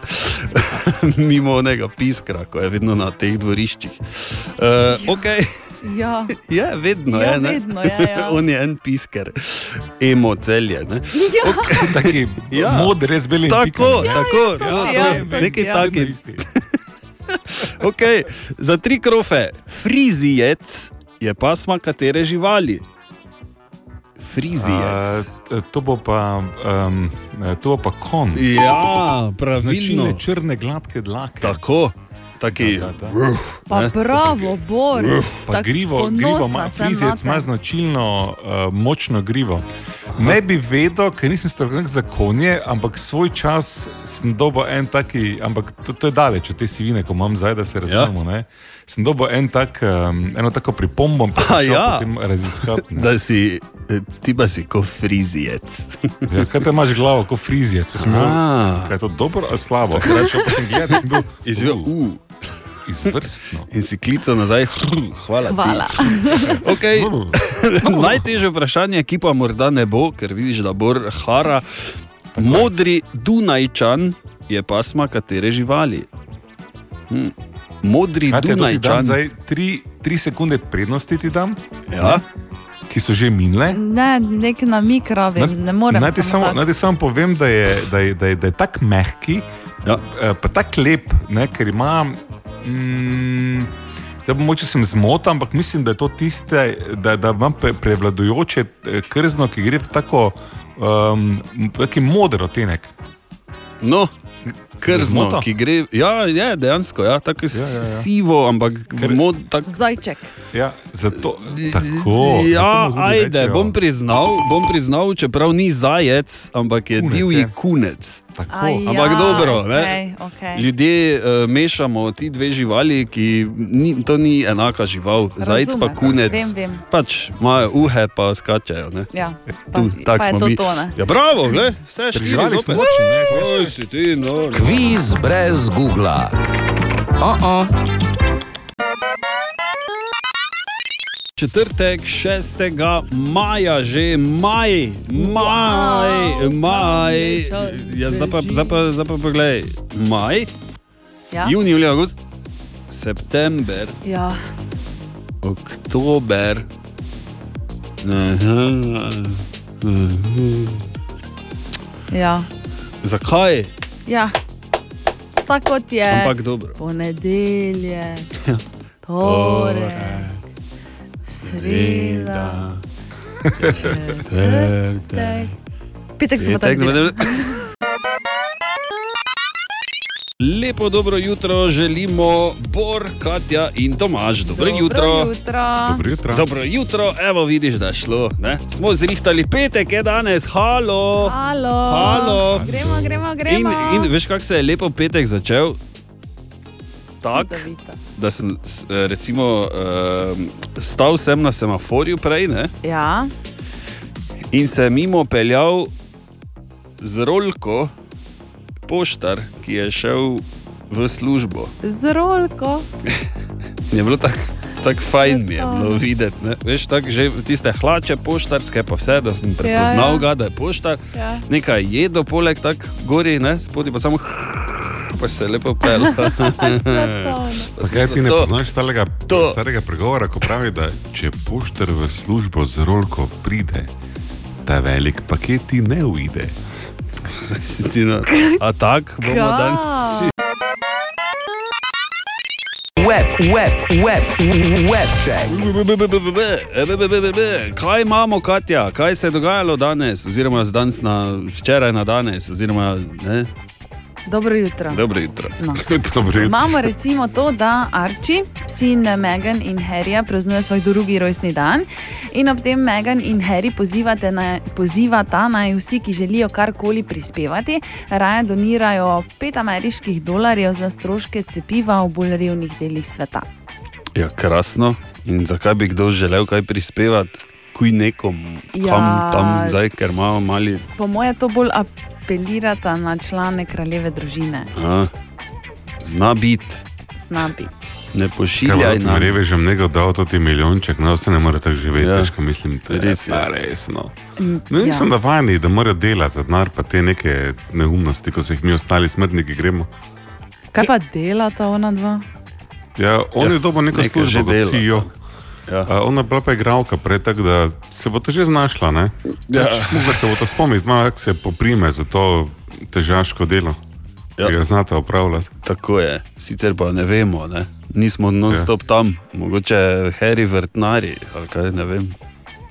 S3: [LAUGHS] mimo onega piskra, ko je vedno na teh dvoriščih. Uh, [LAUGHS] okay.
S6: Ja.
S3: Je, vedno
S6: Ja,
S3: je. ne?
S6: vedno je, ja.
S3: [LAUGHS] On je en pisker, emo celje. ne?
S6: Ja.
S5: [LAUGHS] Taki
S3: Ja.
S5: modri, res beli.
S3: Tako,
S5: Ja,
S3: tako,
S5: ja, to
S3: to,
S5: je,
S3: to,
S5: vem,
S3: nekaj
S5: ja.
S3: takih. [LAUGHS] okay. Za tri krofe, frizijec je pasma katere živali. Frizijec.
S5: A, to bo pa, um, to bo pa kon.
S3: Ja, pravilno.
S5: Značilne črne gladke dlake.
S3: Tako, taki.
S5: Da, da,
S6: Pa bravo, Bor.
S5: Pa
S6: Tako
S5: grivo, grivo
S6: ponosna
S5: ima,
S6: sem
S5: frizijec
S6: nate.
S5: ima značilno uh, močno grivo. Ne bi vedel, ker nisem strokovnjak za konje, ampak svoj čas sem dobil en taki, ampak to, to je daleč od te sivine, ko imam zdaj, da se razumemo. Ja. Sem dobil en tak, um, eno tako pripombo, pa
S3: A,
S5: sem šel
S3: ja.
S5: potem raziskati. ne.
S3: Da si, eh, ti pa si kot frizijec.
S5: [LAUGHS] Ja, kaj te imaš glavo, kot frizijec? Ko sem bil,
S3: Ah.
S5: kaj je to dobro ali slabo? Kaj še potem gledam in bil
S3: Izvel, uh.
S5: Izvrstno.
S3: In si klical nazaj, "Hrr, hvala. ti."
S6: Ja,
S3: [LAUGHS]
S6: Hvala.
S5: [LAUGHS]
S3: Okay. [LAUGHS] Najtežje vprašanje, ki pa morda ne bo, ker vidiš, da bo hara. Modri Dunajčan je pasma katere živali. Hm. Modri
S5: Znate, to ti dam
S3: Dunajčan.
S5: zdaj tri, tri sekunde prednosti, ti dam,
S3: ja.
S5: ki so že minile.
S6: Ne, nek namik rabim, ne morem.
S5: Naj ti
S6: samo
S5: samo,
S6: tako.
S5: naj ti samo povem, da je, da je, da je, da je tako mehki, eh,
S3: ja.
S5: pa tako lep, ne, ker ima. Mm, Zdaj, bom mogoče sem zmotil, ampak mislim, da je to tiste, da, da imam pre, prevladujoče eh, krzno, ki ehm, gre v tako um, modro odtenek.
S3: No, krzno,
S5: Zmota?
S3: ki gre. Ja, je, dejansko, ja, tako ja, ja, ja. sivo, ampak v mod. Tak...
S17: Zajček.
S5: Ja, zato, tako, zato
S3: ja,
S5: mu tudi
S3: ajde,
S5: rečejo.
S3: bom priznal, bom priznal, čeprav ni zajec, ampak je kunec, divji je. kunec.
S6: Aj, ja,
S3: ampak dobro, ne?
S6: okej, okej.
S3: Ljudje uh, mešamo ti dve živali, ki ni, to ni enaka žival. Zajec
S6: Razumem,
S3: pa kunec.
S6: vem, vem.
S3: Pač imajo uhe, pa skačejo. ne.
S6: Ja,
S3: Tu,
S6: pa
S3: tak
S6: je
S3: smo
S6: to
S3: mi.
S6: to, ne?
S3: Ja, bravo, gled, vse štiri
S2: Živali
S3: zopet.
S2: smo močni,
S3: Oj, si ti, no.
S2: Kviz brez Google.
S3: Uh-uh. Četrtek, 6. maja, že maj, maj, maj. Ja, zdaj pa, zdaj pa, zdaj pa poglej, maj,
S6: Ja.
S3: junij, julij, august, september,
S6: Ja.
S3: oktober. Aha, aha.
S6: Ja.
S3: Zakaj?
S6: ja. Tako kot je.
S3: Ampak dobro.
S6: Ponedelje, torek, sreda, četrtek. Petek smo tam.
S3: Petek,
S6: bili.
S3: dobro. Lepo dobro jutro želimo Bor, Katja in Tomaž. Dobro,
S6: Dobro
S3: jutro.
S6: jutro. Dobro jutro.
S3: Dobro jutro, evo vidiš, da je šlo. Ne? Smo zrihtali petek, je danes, halo.
S6: Halo.
S3: Halo.
S6: Gremo, gremo,
S3: In,
S6: gremo.
S3: in veš, kako se je lepo petek začel? Tako,
S6: Čudovito.
S3: da sem s- eh, recimo, eh, stal sem na semaforju prej ne?
S6: Ja,
S3: in se mimo peljal z rolko, poštar, ki je šel v službo.
S6: z rolko.
S3: Je bilo tako tak fajn, mi je bilo videti. ne. Veš, tako že tiste hlače poštarske, pa vse, da sem prepoznal
S6: ja.
S3: ga, da je poštar.
S6: [LAUGHS]
S3: [LAUGHS]
S6: Ja.
S3: Nekaj jedo, poleg tako gori, ne, spodaj pa samo. Pa se je lepo pel.
S6: [LAUGHS]
S5: Zakaj ti ne poznaš starega,
S3: To.
S5: starega pregovora, ko pravi, da če pošter v službo z rolko pride, ta velik paket ti ne uide?
S3: [LAUGHS] no. A tak
S2: bomo Kaj? danes Web, web, web, web check.
S3: E, Kaj imamo, Katja? Kaj se je dogajalo danes, oziroma z danes na včeraj na danes? Oziroma, ne?
S6: Dobro jutro.
S3: Dobro jutro. [LAUGHS]
S6: No.
S5: Dobro
S6: Imamo recimo to, da Arči, sin Megan in Harryja, praznuje svoj drugi rojstni dan in ob tem Megan in Harry pozivate naj- pozivata naj vsi, ki želijo karkoli prispevati, raje donirajo 5 ameriških dolarjev za stroške cepiva v bolj revnih delih sveta.
S3: Ja, krasno. In zakaj bi kdo želel kaj prispevati, kuj nekom,
S6: Ja.
S3: ja. kam tam zdaj, ker imamo mali.
S6: Po mojem to bolj apelirata na člane kraljeve družine,
S3: A, zna biti,
S6: znabi.
S3: ne
S5: Kaj
S3: pošiljaj
S5: pa ti
S3: nam.
S5: revežem, nekdo dal to ti milijonček, no vse ne more tako živeti,
S3: Ja.
S5: ja. težko mislim, to je res resno. No,
S6: ja.
S5: nisem ja. navadni, da morajo delati za denar, pa te neke neumnosti, ko se jih mi ostali smrtniki gremo.
S6: Kaj pa delata ona dva?
S5: Ja, on
S3: Ja,
S5: ja, je dobil neko
S3: nekaj že
S5: službo, kot
S3: dela,
S5: si jo.
S3: Ja.
S5: Ona je bila pa igralka prej, tako da se bo to že znašla. Ne?
S3: Ja.
S5: Pač, Mogoče se bo to spomniti, malo kako se poprime za to težaško delo, ja. ki ga znata opravljati.
S3: Tako je, sicer pa ne vemo, ne? nismo non-stop ja. tam, mogoče heri vrtnari ali kaj ne vem.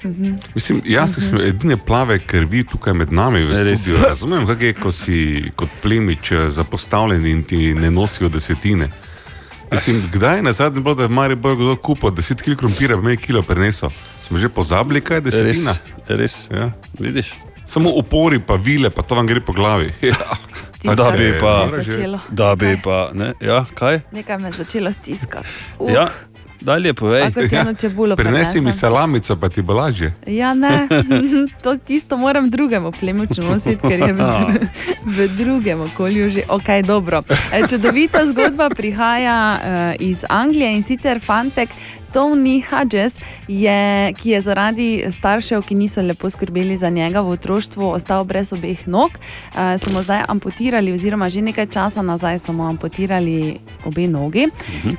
S6: Mhm.
S5: Mislim, jaz ki sem edine plave krvi tukaj med nami v
S3: Res.
S5: studiu. Razumem, kako je, ko si kot plemič eh, zapostavljen in ti ne nosijo desetine. Mislim, kdaj je na zadnji bilo, da je Marijo Bojko kdo kupil 10 kg krompirja, pa mi je kilo prenesel. Smo že pozabili, kaj je desetina.
S3: Res,
S5: ja.
S3: vidiš.
S5: Samo upori, pa vile, pa to vam gre po glavi. [LAUGHS] Ja.
S6: Tisto
S3: Da
S6: se
S3: bi
S6: je
S3: pa,
S6: mora že- začelo.
S3: da bi pa, ne, ja, kaj?
S6: Nekaj me je začelo stiskati. Uh,
S3: Ja, dalje povej.
S6: Tako kot eno čebulo
S5: Ja. Prinesi mi
S6: prinesem.
S5: salamico, pa ti bo lažje. [LAUGHS]
S6: Ja, ne, [LAUGHS] to tisto moram drugemu plemiču nositi, ker je v, dru- [LAUGHS] v drugem okolju že ok, dobro. E, Čudovita zgodba prihaja eh, iz Anglije in sicer fantek Tony Hodges, je, ki je zaradi staršev, ki niso lepo skrbeli za njega v otroštvu, ostal brez obeh nog. Eh, So mu zdaj amputirali, oziroma že nekaj časa nazaj so mu amputirali obe nogi.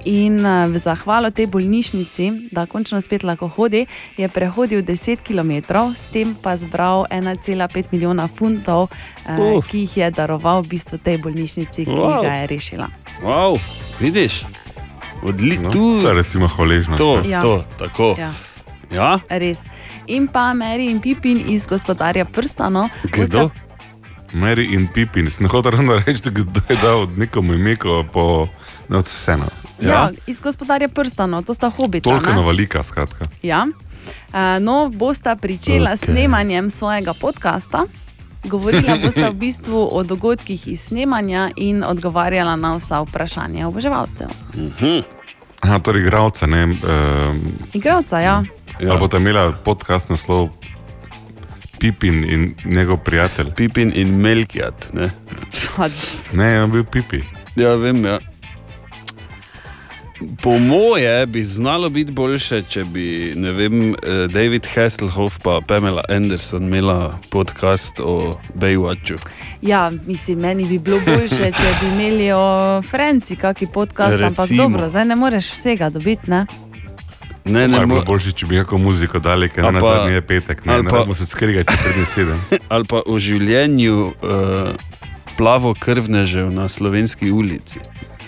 S6: In eh, v zahvalo tej bolnišnici, da končno spet lahko hodi, je prehodil 10 km, s tem pa zbral 1,5 milijona funtov, eh,
S3: Uf.
S6: ki jih je daroval v bistvu tej bolnišnici, ki
S3: Wow.
S6: ga je rešila.
S3: Wow, vidiš? Odli, no, tu,
S5: to je recimo hvaležnost.
S3: To,
S6: Ja.
S3: to, tako.
S6: Ja.
S3: Ja?
S6: Res. In pa Mary in Pipin iz gospodarja Prstano.
S3: Kdo?
S5: Mary in Pipin, sem hotel ravno reči, kdo je dal nekomu ime, ko po no, vseeno.
S6: Ja. Ja, iz gospodarja prstanov, to sta hobita.
S5: Tolka
S6: ne?
S5: navalika, skratka.
S6: Ja. Eh, No, bosta pričela s
S5: Ok.
S6: snemanjem svojega podcasta. Govorila
S3: [LAUGHS]
S6: bosta v bistvu o dogodkih iz snemanja in odgovarjala na vsa vprašanja oboževalcev.
S5: Mhm. Aha, torej igralca, ne. Um,
S6: Igravca, ja.
S5: ja. Ali boste imeli podcast naslov Pipin in njegov prijatelj?
S3: Pipin in Melkjat, ne.
S5: Ne, on bil pipi.
S3: Ja, vem, ja. Po moje bi znalo biti boljše, če bi, ne vem, eh, David Hasselhoff pa Pamela Anderson imela podcast o Baywatchu. [LAUGHS]
S6: Ja, mislim, meni bi bilo boljše, če bi imeli o Franci kaki podcast, ampak
S5: Recimo.
S6: dobro, zdaj ne moreš vsega dobiti, ne?
S3: Ne,
S5: ne, ne. Boljše, če bi kako muziko dali, ker
S3: Ali
S5: na
S3: pa-
S5: zadnji je petek, ne,
S3: ali
S5: ne
S3: pa-
S5: moramo se skrigati, če pridem sedem.
S3: Ali pa o življenju uh, plavokrvnežev na slovenski ulici.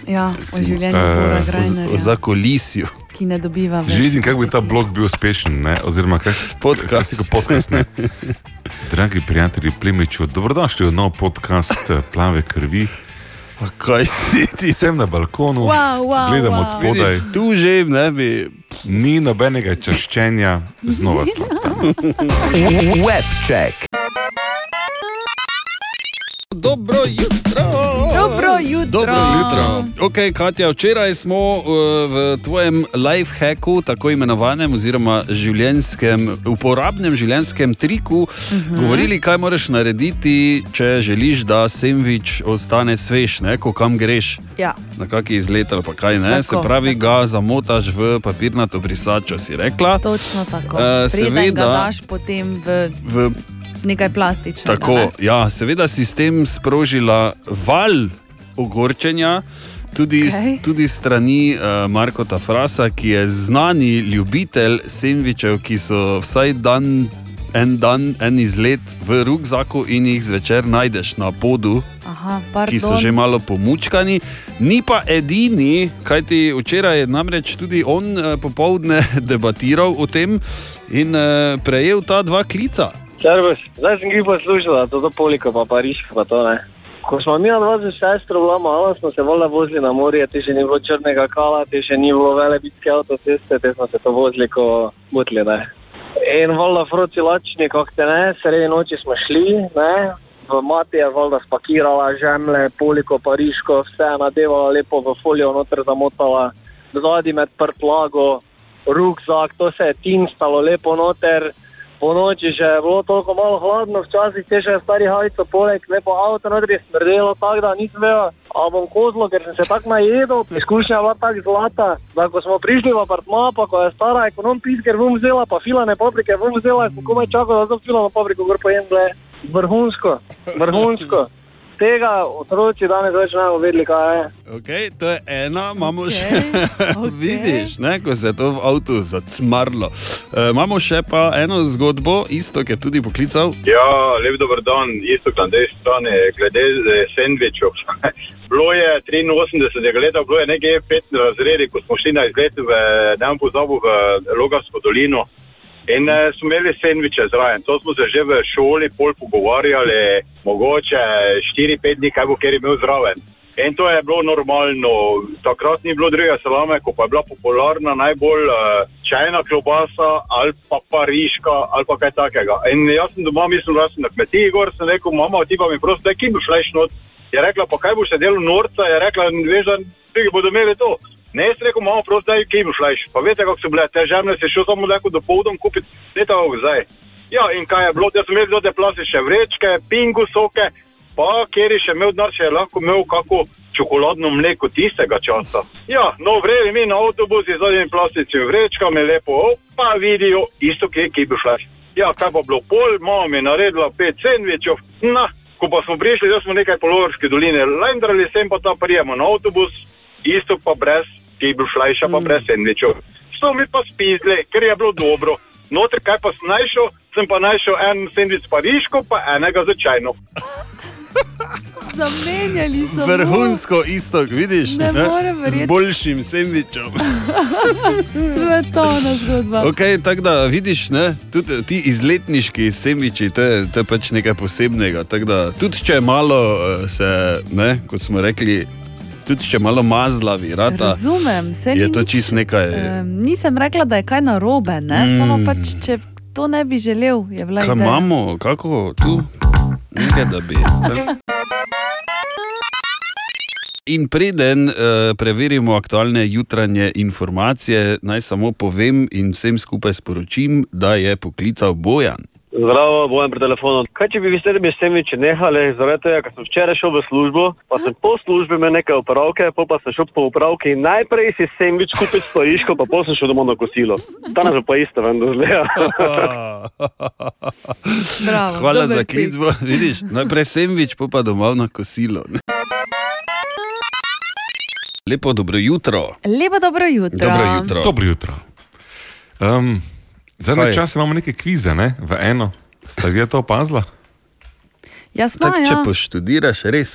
S6: Ja, o
S3: Recimo.
S6: življenju
S5: Eh,
S6: Bora
S5: o-
S6: Grajnerja,
S5: o
S3: Za kulisijo.
S6: ki ne dobiva več.
S5: Živim, kako bi ta blog bil uspešen, ne? oziroma kaj podcast. si ga podcast. Ne? Dragi prijatelji, plemiču, dobrodošli v nov podcast eh, Plave krvi.
S3: A kaj si ti?
S5: Sem na balkonu,
S6: Wow, wow,
S5: gledam
S6: wow.
S5: od spodaj.
S3: Tu že ne bi.
S5: Ni nobenega čaščenja, znova slab.
S8: Webček.
S3: [LAUGHS] Dobro jutro.
S6: Dobro jutro.
S3: Dobro jutro. Okay, Katja, včeraj smo uh, v tvojem life hacku, tako imenovanem, oziroma življenjskem, uporabnem življenjskem triku, uh -huh.
S6: Mhm.
S3: govorili, kaj moraš narediti, če želiš, da sendvič ostane svež, ne, ko kam greš.
S6: Ja.
S3: Na kaki izlet ali pa kaj ne,
S6: Tako,
S3: tako, se pravi, tako. ga zamotaš v papirnato brisačo, si rekla.
S6: Točno tako.
S3: Eh,
S6: Uh, Preden ga
S3: seveda-
S6: daš potem v
S3: V
S6: nekaj plastičnega.
S3: Tako,
S6: ne?
S3: ja, seveda si s tem sprožila val ogorčenja. Tudi, okay.
S6: Okej.
S3: tudi strani uh, Marka Frasa, ki je znani ljubitelj sendvičev, ki so vsaj dan, en dan, en izlet v rugzaku in jih zvečer najdeš na podu,
S6: Aha, pardon.
S3: ki so že malo pomučkani, ni pa edini, kajti včeraj je namreč tudi on eh, popovdne [LAUGHS] debatiral o tem in eh, prejel ta dva klica.
S10: Servus, zdaj sem jih poslušala, to poliko, pa pariš, pa to ne. Ko smo mi na 26 bila malo, smo se valjda vozili na morje, ti še ni bilo črnega kala, ti še ni bilo vele bitke avtoceste, te smo se to vozili, ko butli, ne. In valjda froci lačni, kako te ne, sredi noči smo šli, ne. V mati je valjda spakirala žemlje, poliko, pariško, vse je nadevala lepo v folijo noter zamotala, zadnji med prtlago, rukzak, to se je tinstalo lepo noter. Po noči še je bilo toliko malo hladno, včasih te še stari hajico poleg, lepo avto noter je smrdelo, tako da nisem vedel, a bom kozlo, ker sem se tako najedel, izkušnja je bila tako zlata, da ko smo prišli v apartma, pa ko je stara ekonom pisker bom vzela, pa filane paprike bom vzela, sem komaj čakal, da sem filano papriko gor pojem, ble, vrhunsko, vrhunsko. Tega otroci danes več ne bodo vedeli, kaj je.
S3: Okay, to je ena, imamo okay, še okay. vidiš, ne, ko se je to v avtu zacmarlo. E, imamo še pa eno zgodbo, isto, ki je tudi poklical.
S27: Ja, lep dober dan, isto na tej strani, glede eh, sendvičev. [LAUGHS] bilo je 83 let, bilo je nekje 15 razredi, ko smo šli na izlet v Dan pozabu v Logarsko dolino. In eh, smo imeli sendviče zraven, to smo se že v šoli pol pogovarjali, mogoče 4-5 dni, kaj bo kjer imel zraven. In to je bilo normalno, takrat ni bilo druge salame, ko pa je bila popularna najbolj eh, čajna klobasa ali pa pariška ali pa kaj takega. In jaz sem doma mislil, da sem na kmetiji gor, sem rekel, mama, ti pa mi prosto, da kim bi šleš not. Je rekla, pa kaj boš se delal norca, je rekla, veš, da drugi bodo imeli to. Ne, jaz sem rekel, malo prosto, da kim bi šleš. Pa veste, kako so bile te žemlje, si šel samo neko dopoldom kupiti, ne tako zdaj. Ja, in kaj je bilo, da sem imel te plastične vrečke, pingu soke, pa kjer je še imel denar, še je lahko imel kako čokoladno mleko tistega časa. Ja, no, vreli mi na avtobusi z zadnjimi plastičnimi vrečkami, lepo, op, pa vidijo isto, kje je bil šlaš. Ja, kaj pa bilo pol, mama mi je naredila pet sendvičev, na, ko pa smo prišli, zdaj smo nekaj polovarske doline, lendrali sem pa ta prijemo na avtobus, isto pa brez, ki je bil šlajša, pa brez sendvičev. So mi pa spizli, ker je bilo dobro. Noter, kaj pa sem našel, sem pa našel en sendvič s pariško, pa enega za čajno.
S6: Zamenjali so mu.
S3: Vrhunsko istok, vidiš?
S6: Ne morem verjeti.
S3: Z boljšim sendvičem.
S6: [LAUGHS] Svetovna zgodba.
S3: Okay, tako da vidiš, ne, tudi ti izletniški sendviči, to je, to je pač nekaj posebnega. Tako Da, tudi če je malo, eh, se, ne, kot smo rekli, tudi če je malo mazlavi, rata,
S6: Razumem, se
S3: je to čist nekaj. e,
S6: Um, nisem rekla, da je kaj narobe, ne? Mm. samo
S3: Mm.
S6: pač, če to ne bi želel, je bila
S3: Kaj
S6: ideja.
S3: imamo, kako tu, nekaj da bi. tako. In preden uh, preverimo aktualne jutranje informacije, naj samo povem in vsem skupaj sporočim, da je poklical Bojan.
S13: Zdravo, bojem pri telefonu. Kaj če bi vi s temi semiči nehali, zaradi tega, ker sem včeraj šel v službo, pa sem po službi imel neke upravke, pol pa sem šel po upravki in najprej si semič kupil s pariško, pa pol sem šel domov na kosilo. Danes bo pa isto, vendar [LAUGHS]
S1: [LAUGHS]
S13: zleja.
S1: Ah.
S10: Ja.
S6: Bravo,
S3: Hvala
S6: dober
S3: za klic, bo, vidiš, najprej sendvič, pa pa domov na kosilo. ne. Lepo dobro jutro.
S6: Lepo dobro jutro.
S5: Dobro jutro. Um,
S3: Kaj?
S5: zadnji čas imamo neke kvize, ne? v eno. Ste vi to opazili?
S6: Jaz
S3: Tako,
S6: sem.
S3: če
S6: Ja.
S3: poštudiraš, res.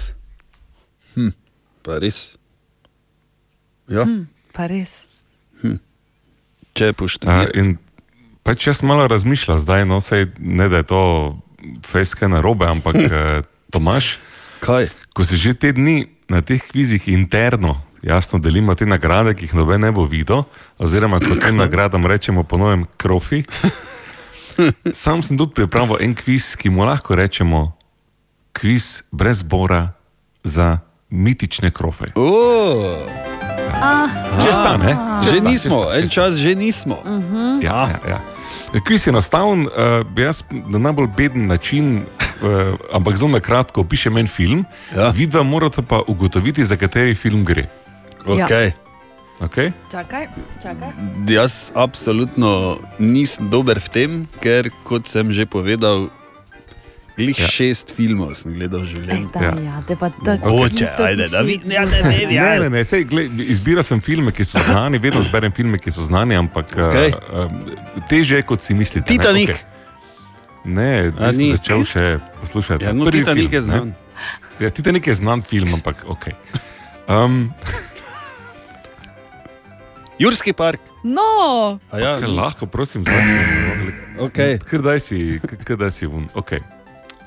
S3: Hm, pa res. Ja. Hm.
S6: Pa res.
S3: Če poštudiraš.
S5: In pač jaz malo razmišljam zdaj, no sej ne da je to fejske narobe,
S3: [LAUGHS]
S5: ampak eh, Tomaš.
S3: Kaj?
S5: Ko si že te dni na teh kvizih interno, jasno delimo te nagrade, ki jih noben ne bo videl, oziroma kot
S3: [LAUGHS]
S5: tem nagradam rečemo ponovem krofi. Sam sem tudi pripravil en kviz, ki mu lahko rečemo kviz brez bora za mitične krofe.
S3: Oh.
S5: Če sta, ne? Če
S3: Že
S5: sta,
S3: nismo, eh. en čas že nismo.
S6: Mhm.
S5: Ja, ja, ja. Kviz je enostaven, uh, jaz na najbolj beden način, uh, ampak zelo na kratko opišem en film. Ja. Vidva morata pa ugotoviti, za kateri film gre.
S6: Ja. Okej.
S5: Okay?
S6: Čakaj, čakaj.
S3: Jaz absolutno nisem dober v tem, ker kot sem že povedal, glih ja. šest filmov sem gledal v življenju.
S6: Da, ja. ja, te pa tako.
S3: Mogoče,
S6: isto
S3: ajde,
S6: ti
S3: da
S6: še
S3: vidim, ja, ne vem, ja.
S5: Ne, ne, ne, sej, gled, izbira sem filme, ki so znani, vedno zberem filme, ki so znani, ampak okay.
S3: Okej.
S5: uh, teže je, kot si mislite. Ne,
S3: Titanik.
S5: okay. ne
S3: A,
S5: nisem
S3: ni.
S5: začel še poslušati.
S3: Ja, no,
S5: Prvi film,
S3: Titanik je znan.
S5: Ne? Ja, Titanik je znan film, ampak ok. Um,
S3: Jurski park.
S6: No,
S5: A Ja, Kaj, lahko, prosim, začnemo.
S3: Okay.
S5: Ker daj si, ker daj si vun. Okay.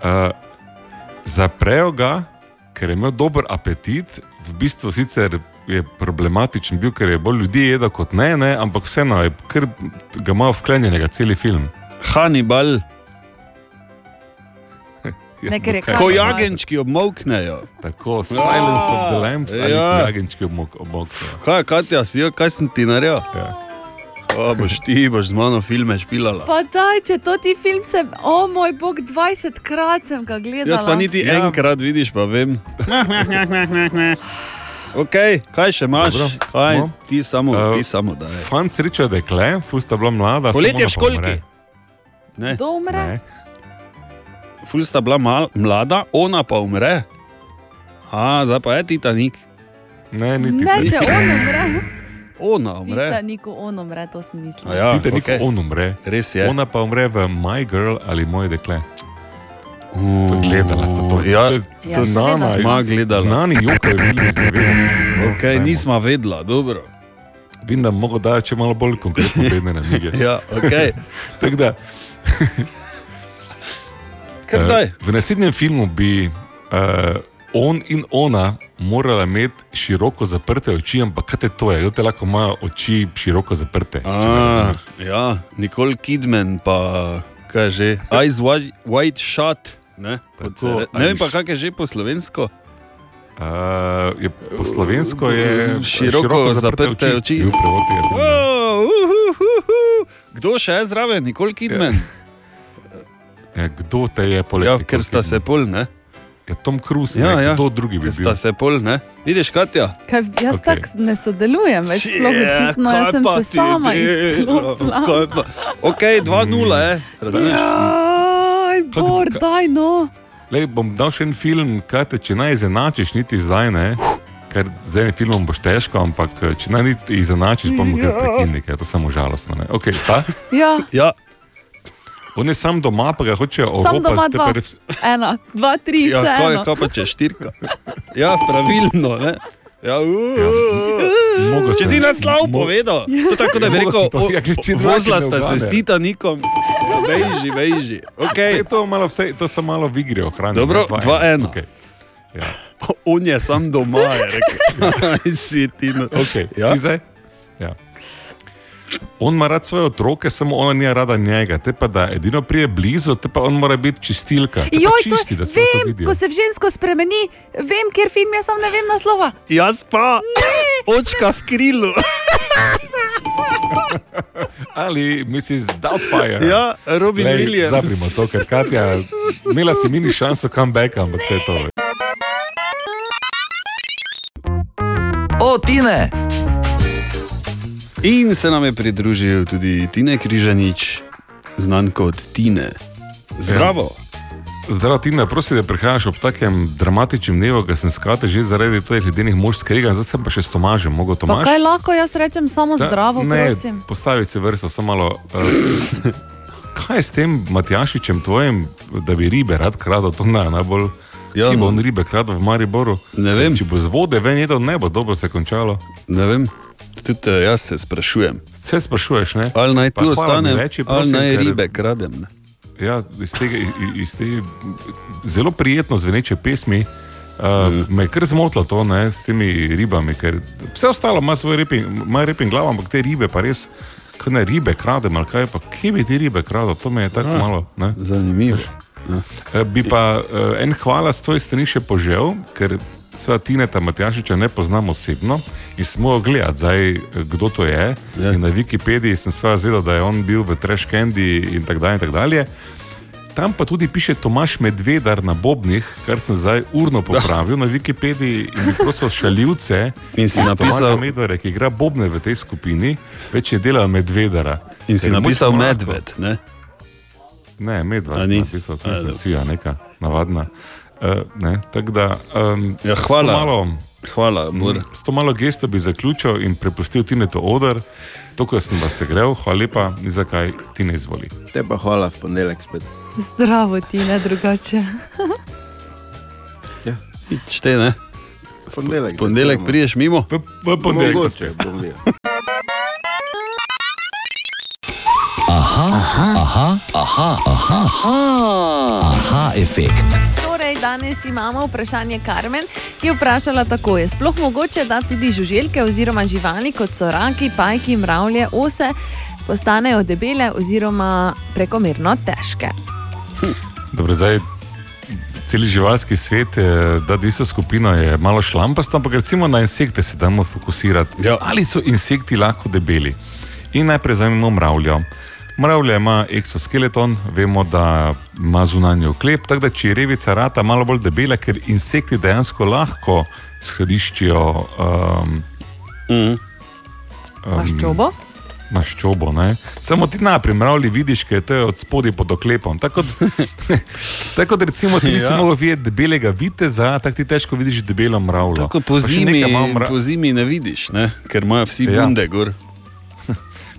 S5: Uh, zaprejo ga, ker je imel dober apetit, v bistvu sicer je problematičen bil, ker je bolj ljudi jedel kot ne, ne ampak vseeno je, ker ga ima vklenjenega cel film.
S3: Hannibal.
S5: Ja,
S6: Ne, ker je
S5: dokaj.
S6: kakor- Ko
S3: jagenjčki obmoknejo. Ja.
S5: Tako, Silence of the Lambs ali ko jagenjčki obmok- obmoknejo.
S3: Kaj, Katja, si jo, kaj sem ti naredil?
S5: Ja.
S3: O, boš ti, boš z mano filme špilala.
S6: Pa daj, če to ti film sem, o moj bog, 20 krat sem ga gledal.
S3: Jaz pa niti ja. enkrat vidiš, pa vem. Ok, kaj še imaš?
S5: Dobro,
S3: kaj?
S5: smo?
S3: Ti samo, uh, ti samo da.
S5: Fant sreča dekle, fusta bila mlada. samo
S3: Poletje v
S5: ona pa
S3: školki.
S5: umre. Eh.
S3: Ne.
S6: Kdo umre?
S5: Ne.
S3: Ful sta bila mal, mlada, ona pa umre. A, zdaj pa je Titanik.
S5: Ne, ni
S6: Ne, če on umre.
S3: Ona umre.
S6: Titaniku on umre, to sem mislil.
S3: Ja,
S5: Titanik
S3: okej.
S5: okay. on umre.
S3: Res je.
S5: Ona pa umre v My Girl ali Moje dekle. Sta Gledala ste to.
S3: Mm. Ja,
S5: to je
S3: ja,
S5: znana,
S3: sva gledala.
S5: Znani jokaj, vidim, da
S3: Okay, nisma vedla, dobro.
S5: Vidim, da mogo da, če malo bolj konkretno vedne namige.
S3: [LAUGHS] Ja, okej.
S5: [LAUGHS] Tako
S3: [LAUGHS]
S5: da.
S3: Kar
S5: eh,
S3: daj.
S5: V naslednjem filmu bi uh, on in ona morala imeti široko zaprte oči, ampak kaj te to je? Kdo Te lahko ima oči široko zaprte. če me
S3: A,
S5: razumeš?
S3: ja, Nikol Kidman, pa kaj že, Eyes Wide, wide Shut. Ne, kot se re- ne vem pa, kaj je že po slovensko.
S5: Uh, je, po slovensko je
S3: Široko zaprte oči.
S5: Bil prevod tega filma.
S3: Oh, uhuhuhu. Kdo še je zraven, Nikol Kidman?
S5: Ja, kdo te je poleg tega? Ja, ker sta se
S3: pol, ne?
S5: Je Tom Cruise,
S3: Ja,
S5: ne?
S3: ja.
S5: kdo drugi bi
S3: Ker
S5: bil?
S3: sta se pol, ne? Vidiš, Katja?
S6: Kaj, jaz okay. tako ne sodelujem, več sploh
S3: Je,
S6: očitno,
S3: kaj
S6: jaz sem
S3: pa
S6: se
S3: ti
S6: sama
S3: delo?
S6: izklopila.
S3: Kaj pa- Ok, 2-0, je, eh, razumeš?
S6: Aj, bor, daj no.
S5: Ja. Lej, bom dal še en film, kaj te, če naj izenačiš, niti zdaj ne. Ker z enim filmom boš težko, ampak eh, če naj niti izenačiš, pa mu
S6: Ja.
S5: gre prekinnik, je to samo žalostno. Ne? Ok, sta?
S6: Ja.
S3: ja.
S5: On je sam doma, pa ga hočejo
S6: Sam
S5: oropati.
S6: doma dva,
S5: te pa
S6: ena, dva, tri,
S5: Ja,
S6: vse
S5: to je
S6: eno.
S5: kot-
S3: Pa če štirka. Ja, pravilno. Ne? Ja,
S5: Mogo
S3: Če
S5: sem.
S3: si naslov
S5: Mo-
S3: povedal, to tako da bi
S5: Mogo
S3: rekel,
S5: sem to, ja, če ti dragi
S3: vozla
S5: ne
S3: sta se
S5: ugane.
S3: s Titanikom, beži, beži. Okay.
S5: To, malo vse, to so malo v igri ohranili.
S3: Dobro, 2-1.
S5: Okay. Ja.
S3: On je sam doma, je rekel. [LAUGHS] Aj, si ti. no.
S5: Okay.
S3: Ja.
S5: Ja. Si zdaj? Ja. On ima rad svoje otroke, samo ona ni rada njega. Te pa da edino prije blizu, te pa on mora biti čistilka. Te pa
S6: Joj, to,
S5: čisti, da se to
S6: vem,
S5: vidijo.
S6: ko se v žensko spremeni, vem, kjer film je, sam ne vem naslova.
S3: Jaz pa, očka v krilu.
S5: Ali misliš, da odpaja.
S3: Ja, Robin Williams.
S5: Zaprimo to, ker Katja, imela si mini šanso comebacka, ampak to je to.
S2: O, Tine!
S3: In se nam je pridružil tudi Tine Križanič, znan kot Tine. Zdravo.
S5: Ja. Zdravo, Tina, prosim, da prihajaš ob takem dramatičnem dnevu, ki sem skrate že zaradi teh ledenih mož skregan, zdaj sem pa še s Tomažem, mogo
S17: Pa
S5: Tomaž.
S17: kaj lahko jaz rečem, samo
S5: Da,
S17: zdravo,
S5: ne,
S17: prosim.
S5: Postaviti se vrsto, samo malo. Uh, kaj je s tem Matjašičem tvojim, da bi ribe rad kradel, to na najbolj. Ja, Ki bo on ribe kradel v Mariboru?
S3: no. Ne vem.
S5: Če bo z vode ven jedel, ne bo dobro se končalo.
S3: Ne vem. Tudi eh, jaz se sprašujem.
S5: Se sprašuješ, ne?
S3: Ali naj
S5: Pa
S3: tu
S5: hvala mi
S3: ostanem,
S5: reči,
S3: ali
S5: prosim,
S3: naj
S5: ker-
S3: ribe kradem. Ne?
S5: Ja, iz te, iz te zelo prijetno zveneče pesmi uh, mm. me je kar zmotilo to ne, s temi ribami. ker Vse ostalo ima svoj reping, ima reping glavo, ampak te ribe pa res, kaj ne ribe kradem ali kaj, pa kje bi ti ribe kradel, to me je tako
S3: Ah,
S5: malo. Ne.
S3: Zanimivo.
S5: Eh, Bi pa eh, en hvala s tvoje strani še požel, ker sva Tineta Matjašiča ne poznam osebno in smo jo gledali, zdaj, eh, kdo to je. Ja. Na Wikipediji sem sva zvedel, da je on bil v Trash Candy in tako dalje. In tak dalje. Tam pa tudi piše Tomaš Medvedar na Bobnih, kar sem zdaj urno popravil na Wikipediji in bi prosil šaljivce.
S3: In si
S5: iz Tomaža
S3: napisal-
S5: Medvedara, ki igra Bobne v tej skupini, več je dela Medvedara.
S3: In si
S5: Ker je
S3: napisal
S5: močno lahko-
S3: medved. Ne?
S5: Ne,
S3: A
S5: medved je
S3: nisi?
S5: napisal,
S3: A,
S5: to je
S3: dobro.
S5: sija, neka navadna. Uh, ne, tako da, um,
S3: Ja,
S5: S
S3: hvala.
S5: to malo,
S3: hvala
S5: s to malo gesto bi zaključil in prepustil ti to odr, to, ko sem vas segrel, hvala lepa, ni zakaj ti ne izvoli.
S14: Te pa hvala v ponedeljek spet.
S17: Zdravo, ti ne drugače.
S6: [LAUGHS]
S3: Čte, ne?
S14: Ponedeljek.
S3: Pondelek priješ mimo?
S5: V
S3: ponedeljek
S14: Mogoče, bom videl.
S2: Aha, aha, aha, aha, aha, aha, aha efekt.
S6: Torej, danes imamo vprašanje Karmen, ki je vprašala tako: je sploh mogoče, da tudi žuželke oziroma živali, kot so raki, pajki, mravlje, ose, postanejo debele oziroma prekomerno težke?
S5: Dobro, zdaj, celi živalski svet, eh, da isto skupino je malo šlampast, ampak recimo na insekte se damo fokusirati. Ja. Ali so insekti lahko debeli? In najprej zamenjamo mravljo. Mravlja ima eksoskeleton, vemo, da ima zunanji oklep, tako da če je revica rata malo bolj debela, ker insekti dejansko lahko skladiščijo um, mm.
S6: Maščobo?
S5: maščobo. Ne? Samo ti najprej mravlji vidiš, ker to je od spodaj pod oklepom. Tako [LAUGHS] kot, tako kot recimo ti nisi ja.
S3: Ja.
S5: mogel videti debelega viteza, tako ti težko vidiš debelo mravljo.
S3: Tako
S5: Pa
S3: po
S5: še
S3: zimi,
S5: nekaj imam mra-
S3: po zimi ne vidiš, ne? ker imajo vsi
S5: Ja.
S3: bunde gor.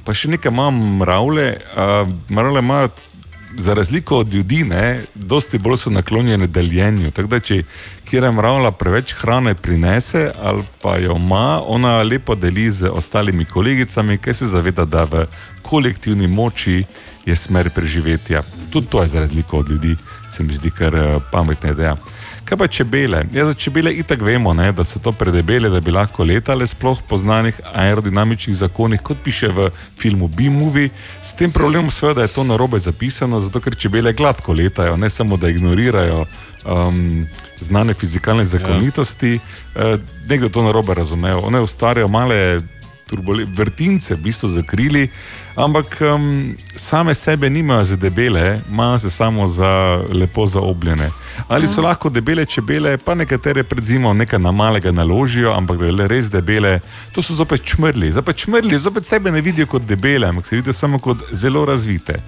S5: Pa še nekaj imam mravlje. Uh, mravlje imajo, za razliko od ljudi, ne, dosti bolj so naklonjene deljenju. Tako da, če kjer mravlja preveč hrane prinese ali pa jo ima, ona lepo deli z ostalimi kolegicami, ker se zaveda, da v kolektivni moči je smer preživetja. Tudi to je za razliko od ljudi, se mi zdi kar eh, pametna ideja. Kaj pa čebele? Ja, za čebele itak vemo, ne, da so to predebele, da bi lahko letale, sploh po znanih aerodinamičnih zakonih, kot piše v filmu B-Movie. S tem problemom seveda da je to narobe zapisano, zato ker čebele gladko letajo, ne samo da ignorirajo um, znane fizikalne zakonitosti. Ja. Nekdo to narobe razume, one ustvarjajo male turbole, vrtince v bistvu zakrili, ampak um, same sebe nimajo za debele, imajo se samo za lepo zaobljene. Ali so lahko debele čebele, pa nekatere pred zimo nekaj na malega naložijo, ampak da le res debele, to so zopet čmrli. Zopet čmrli, zopet sebe ne vidijo kot debele, ampak se vidijo samo kot zelo razvite.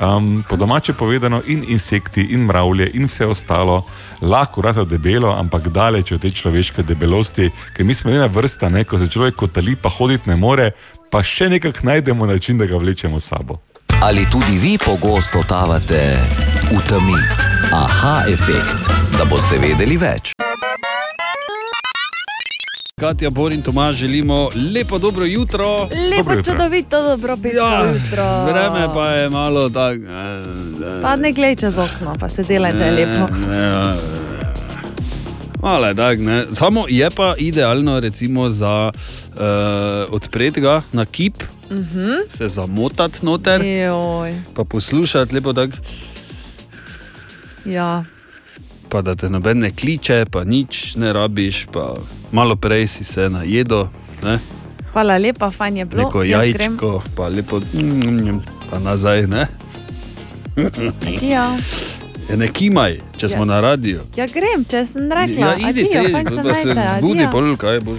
S5: Um, po domače povedano, in insekti, in mravlje, in vse ostalo, lahko rata debelo, ampak daleč od te človeške debelosti, ker mi smo ena vrsta, ne, ko se človek kotali, pa hoditi ne more, pa še nekako najdemo način, da ga vlečemo s sabo.
S2: Ali tudi vi pogosto totavate v temi? Aha, efekt, da boste vedeli več.
S3: Katja, Bor in Tomaž želimo lepo dobro jutro.
S6: Lepo, čudovito, dobro bilo ja, jutro.
S3: Vreme pa je malo tako.
S6: Pa ne glej čez okno, pa se delajte lepo.
S3: Malo je tak, ne. Samo je pa idealno recimo za uh, odpreti ga na kip,
S6: Mhm.
S3: se zamotati noter,
S6: Joj,
S3: pa poslušati lepo tak,
S6: ja.
S3: pa da te noben ne kliče, pa nič ne rabiš, pa malo prej si se najedo, ne.
S6: Hvala lepa, fajn je bilo.
S3: neko
S6: No, Jaz grem.
S3: jajčko, pa lepo, pa nazaj, ne.
S6: Ja.
S3: [LAUGHS] Ja, ne kimaj, če smo
S6: Ja.
S3: na radiju.
S6: ja, grem, če sem rekla.
S3: Ja, idi
S6: Adijo,
S3: te,
S6: fajn
S3: da
S6: se
S3: se
S6: najde,
S3: zbudi,
S6: adijo.
S3: pol kaj boš.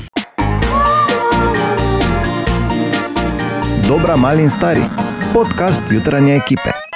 S8: Dobra, mali in stari. Podcast jutranje ekipe.